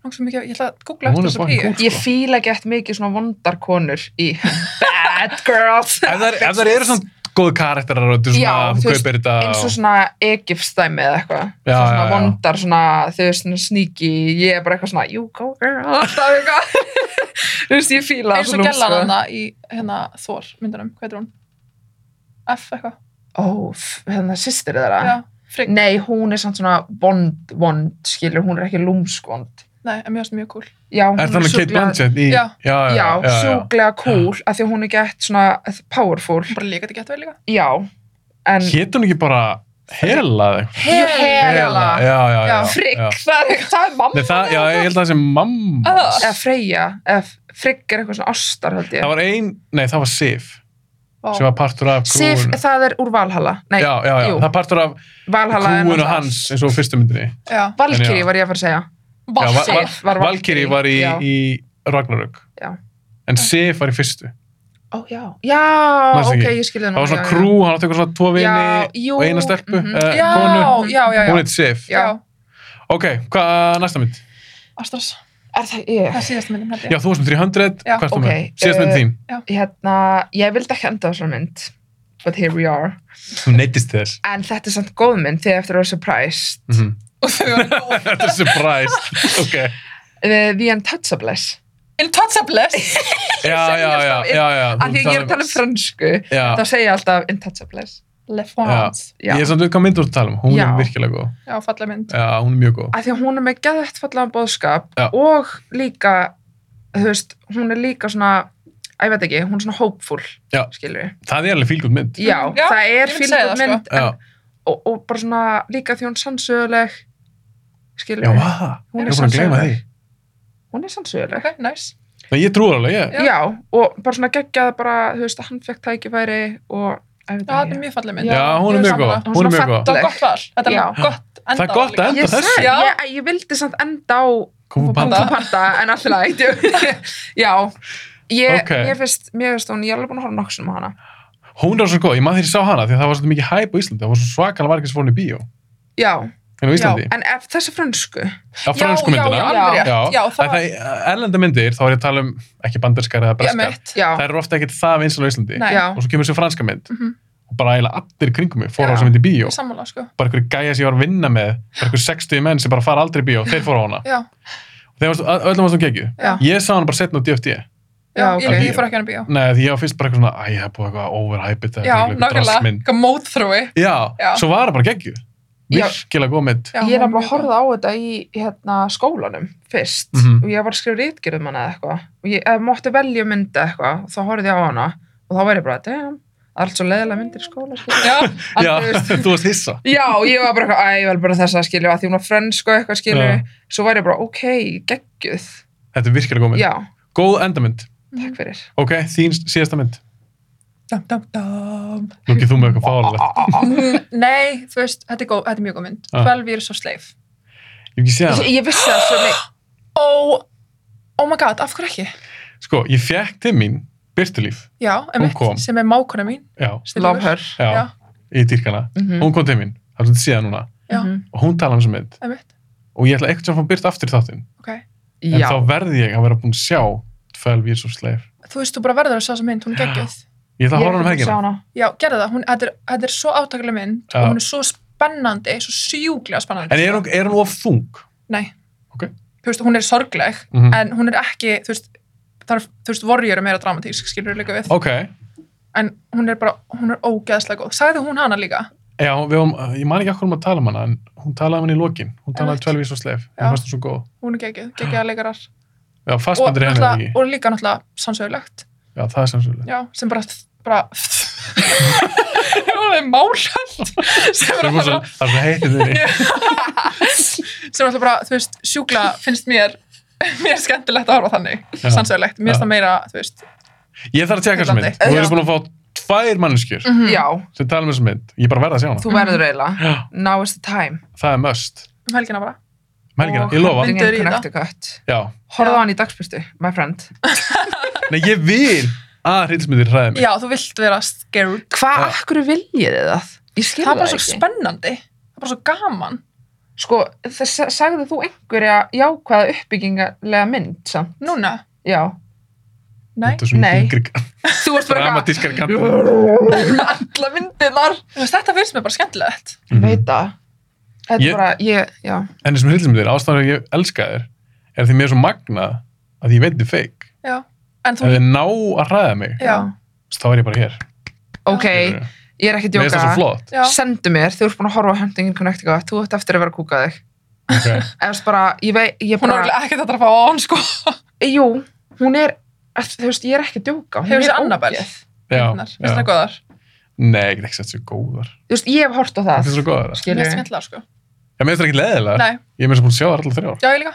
Langt svo mikið, ég ætla að googla
Hún er
eftir þessa
fucking
píu.
cool.
Ég fíla gett mikið svona vondarkonur í Bad Girls.
Ef það er- ef það eru svona góð karakterar og þetta er
Já,
svona, hún
þú veist,
kaupir þetta.
eins og
og-
svona Egyptstæmi eða eitthvað
Já,
Svo
já,
svona
já.
vondar, svona, þau veist, svona sneaky ég er bara eitthvað svona, you go girl alltaf eitthvað þú veist, ég fíla sko.
Eins og gellan hana í hérna Þór myndunum, hvað heitir hún? F eitthvað?
ó, f- hérna sýstir
Ah.
þeirra
Já, Frigg.
nei, hún er samt svona vond, vond, skilur, hún er ekki lúmskvond
Nei, en mér finnst hún mjög cool.
já, hún
Er það hann Kate
sjúklega-
Blanchett í...
Já.
já, já,
já,
já, já.
sjúklega cool, af því að hún er gett svona powerful,
Hún bara líka þetta gett vel líka.
já en
Hét hún ekki bara Hela eða eitthvað?
Hela.
Já, já, já.
Já,
já.
frigg, það er, það er mamma
Nei, það, já, ég held að það sé mamma.
Að það?
eða Freyja, eða frigg er eitthvað svona ástar held ég
Það var ein, nei, það var Sif
Vá.
sem var partur af krúun.
Sif, það er úr Valhalla Nei,
já, já, já,
jú.
það er partur af
Valhalla er
krúun og
náttúrulega-
hans eins og á fyrstu myndinni.
Já.
En
Valkyrie
já.
var ég að fara að segja
Já,
Valsif.
Val-
Sif var
Valkyrie var í,
já.
í Ragnarök.
Já.
En Sif var í fyrstu.
Ó, já, já
Manstu
ok,
ekki?
ég skilði
Það var svona krú, hann átti eitthvað svona tvo
Já,
vini
jú,
og eina stelpu, mm
mhm.
Já,
konu.
já, já,
Hún
já.
heit Sif.
Já.
Já,
Ok, hvað næsta mynd?
Astras.
Er það ég?
Það er síðast myndin, held
Já,
ég.
þú varst með 300,
Já,
hvað er þú
ok,
með? Síðast mynd
eh,
þín.
Hérna, ég vildi ekki enda á svona mynd But here we are
Þú neytist þess.
En þetta er samt góð mynd þegar eftir að vera surprised
Mm
Og þau var góð.
Þetta er surprise. Ok.
The, Eh, the Untouchables
Intouchables.
Já, já, já, já, já.
Af því að ég er að tala um fransku
Já,
Þá segja ég alltaf Untouchables
Le France.
Já,
ég er samt við hvað mynd þú ert að tala um. Hún
Já.
er virkilega góð.
Já, falleg mynd.
Já, hún er mjög góð.
af því að hún er með geðvægt fallega bóðskap
Já.
og líka þú veist, hún er líka svona að ég veit ekki, hún er svona hopeful
Já.
skilur við
Það er alveg fílgjóð mynd.
já,
Mm, Já,
það
ég
er
myndi segja það, sko.
fylgjum mynd
Já,
en, og, og bara svona líka því hún er sannsöguleg skilur
já,
við,
hvað?
Hún
Ég er
er
búin að gleyma því.
sannsöguleg. hún er sannsöguleg
Ok, nice.
Nei, ég trúi alveg, ég.
já. og bara svona geggjað bara, þú veist, að hann fekk tækifæri og að ég
Já, þetta
veit
er
ekki
mjög falleg mynd.
Já, hún er
Ég
mjög góð.
sammála.
Hún er
Svona
mjög góð.
Það var gott val. Þetta
Já.
er gott enda.
Það er gott
líka.
enda
Ég,
þessu.
sagði-
Já.
ég, ég vildi samt enda á
Kung Fu
Kung
Panda.
Fu Panda en alltaf lægt já, ég,
Ok.
mér finnst mér finnst hún, ég er alveg búin að horfa nokksunum á hana
Hún er svo góð. Ég maður þegar ég sá hana því að það var svolítið mikið hæp á Íslandi. Það var svo svakal margir sem fór hún í bíó.
já,
En á Íslandi.
en ef þessi frönsku
Á fransku
Já, já,
myndina.
já, alveg rétt.
Já,
Já, það
það
var-
er erlenda myndir, þá er ég að tala um ekki banderskar eða
Ég
breskar.
mitt.
já,
Það eru ofta ekkert það vinsal á Íslandi.
Nei.
já,
og svo kemur þessi franska mynd
Mhm.
og bara eiginlega allir í kringum mig fóru á
Já.
þessu mynd í bíó
Sammála, sko.
bara einhverju gæja sem ég var að vinna með bara einhverju 60 menn sem bara fara aldrei í bíó þeir fóru á hana
Já,
þeir varst, ö- öllum varst um gegju
já,
ég sá hana bara setna á DFT
já,
Já,
ég,
ok.
ég fór ekki hann að bíó.
Nei, því ég var fyrst bara eitthvað svona æ, það er búið eitthvað overhyped þetta er
Já,
örugglega eitthvað
nákvæmlega.
drastmynd."
Eitthvað móðþrói.
já,
Já.
svo var það bara gegju
Já.
virkilega góð mynd
Já,
ég er nefnilega
hún mjög
að horfa á þetta í hérna, skólanum fyrst
Mhm.
og ég var að skrifa rítgerðum hana eða eitthvað og ég eða mótti velja myndi eitthvað og þá horfði ég á hana og þá var ég bara, damn, það er allt svo leiðilega myndir í skóla sko. skilur.
góð. Já,
Að
já,
þú veist-
þú varst hissa
já, ég var bara eitthvað, æ, ég vel bara þess að skilja að því hún var frönsk og eitthvað skilju
Já.
svo var ég bara, ok, geggjuð
þetta er virkilega góð mynd
já,
góð endamynd
takk fyrir
ok, þín síðasta mynd
dam, dam, dam.
nú ekki þú með eitthvað fáralegt
Ah,
Mm, Nei, þú veist, þetta er, góð, þetta er mjög góð mynd.
Ah.
12 years of slave.
ég hef ekki séð hana
ég, ég vissi það svo leik
Ó, oh my god, af hverju ekki?
sko, ég fekk til mín Byrtulíf
Já,
kom.
emitt, sem er mákona mín.
já,
love her
já,
Já.
í dýrkana
Mhm.
hún kom til mín, það er svolítið síðan núna
Já.
Mhm.
og hún tala um þessu mynd
Emitt,
og ég ætla eitthvað sem fann byrt aftur í þáttinn
ok.
en
já,
þá verði ég að vera búin að sjá 12 years of slave
þú veist, þú bara verður að sjá þessa mynd, hún er
Já.
geggjöð
ég ætla að
Ég er
horfa á hann
ekki búin að sjá
helgina
hana.
já, gerðu það, hún, þetta, er, þetta er svo átaklega mynd
Já.
og hún er svo spennandi, svo sjúklega spennandi
en er hún, er hún of þung?
Nei.
Ok.
Þú veist, hún er sorgleg,
Mhm.
en hún er ekki, þú veist, þarf, þú veist, warrior er meira dramatísk, skilur líka við.
ok,
En hún er bara, hún er ógeðslega góð. Sagði hún hana líka?
já, við, um, ég man ekki akkur um að tala um hana en hún talaði um hann í lokin hún talaði
Einmitt.
12 years of slave,
Já.
hún fannst það svo góð
Hún er geggið, geggiða leikarar.
já,
Og,
fastmyndir henni
náttúrulega-
ekki
og líka náttúrulega sannsögulegt,
já, það er samsvölu
já, sem bara, bara, hún er málhald, sem
það
bara,
er bara
bara
svo- það er svo heitir þinni
sem alltaf bara, þú veist, sjúkla finnst mér, mér skemmtilegt að horfa þannig,
Já.
sannsögulegt. Mér finnst
Já.
það meira, þú veist,
ég þarf að tjekka þessa mynd,
Heillandi.
þú erum
Já.
búin að fá tvær manneskjur
mhm,
Mm. Já,
sem tala um þessa mynd, ég bara verða að sjá hana
þú verður eiginlega.
já,
Now is the time.
það er must
um helgina bara.
um helgina, ég lofa,
Huntington
Myndir í það.
Connecticut.
já
Horða
Já.
hann í dagspyrstu, my friend.
nei, ég vil að hryllismyndir hræði mig
Já, þú vilt vera scared.
Hvað,
Já.
akkur viljið þið það? Ég skil
það er
það,
bara svo
ekki.
spennandi það er bara svo gaman
Sko, þess, sagði þú einhverja jákvæða uppbyggingarlega mynd, samt?
núna,
Já.
nei
þetta er svona
Nei.
yngri
Þú varst bara eitthvað-
dramatískar kantar
Alla myndirnar.
Þú veist, þetta finnst mér bara skemmtilegt
Mm. Veit það. Þetta
Mhm. Ég-
er bara, ég, já.
en þessum hryllismyndir, ástæðan að ég elska þér er því mér er svo magnað að ég veit þið feik
já. en
ef
þú,
þið ná að hræða mig
já,
þá er ég bara hér
Ok,
skilurðu.
ég er ekki að
mér er það svo
djóka.
flott
já,
Sendu mér, þú ert búin að horfa á Huntington Connecticut, þú ert eftir að vera að kúka þig.
okay.
Eða þú veist bara, ég vei, ég
hún er
bara, Eh,
örugglega ekkert að drafa á hann sko
jú, hún er, þú veist, ég er ekki að djóka. Hún
hefur
er
þessi Annabelle
ógeð.
já,
Myndirnar. Hérna, finnst það
já.
góðar,
nei, ekki ekki sett svo góðar
Þú veist, ég hef hort á
það
það.
er svo góðar það.
mér
Skilur
finnst það skemmtilegar sko
Já, mér finnst það ekki leðilega,
Ah. nei,
ég er mér svo búin að sjá þær allar þrjár
já, ég líka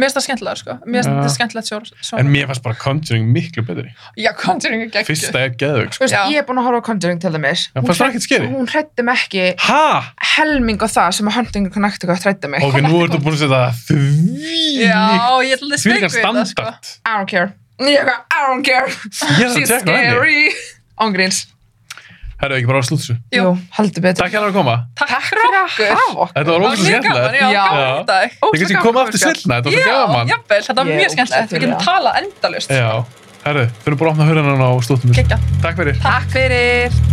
mér finnst það skemmtilegar sko mér finnst
Já.
þetta skemmtilegt sjón, sjón.
en mér fannst bara Conjuring miklu betri
já, Conjuring er geggjur
fyrsta er sko. geðvög
Þú veist,
Já.
ég hef búin að horfa á Conjuring til dæmis.
Já,
Hún
fannst það
hrædd-
ekkert skeri?
Hún hrætti mig ekki
ha?
helming á það sem að Huntington Connecticut hrætti mig.
ok, nú ertu búin að setja því
já, ég er alltaf sveik
því
við það sko
standart
I don't care. Ég er eitthvað, I don't care.
ég er að
She's
tjekka á henni
scary. Ángríns.
herru, ekki bara á slútsu
Jú.
Jú, heldur betur.
takk hérna að koma,
takk fyrir okkur
Hafa okkur.
þetta var
Það var
ógæslega
mjög gaman,
skemmtilegt
já,
Já.
gaman dag
ég kannski
Ógeðslega
koma
gaman,
aftur
sko.
sillna, þetta var
Já,
svo gaman
jafnvel, þetta var
Ég er
mjög skemmtilegt, við
ógeðslega
getum talað endalust
Já, herru, þurfum bara að opna hurðan á slúttum
Kekja,
Takk fyrir
Takk fyrir.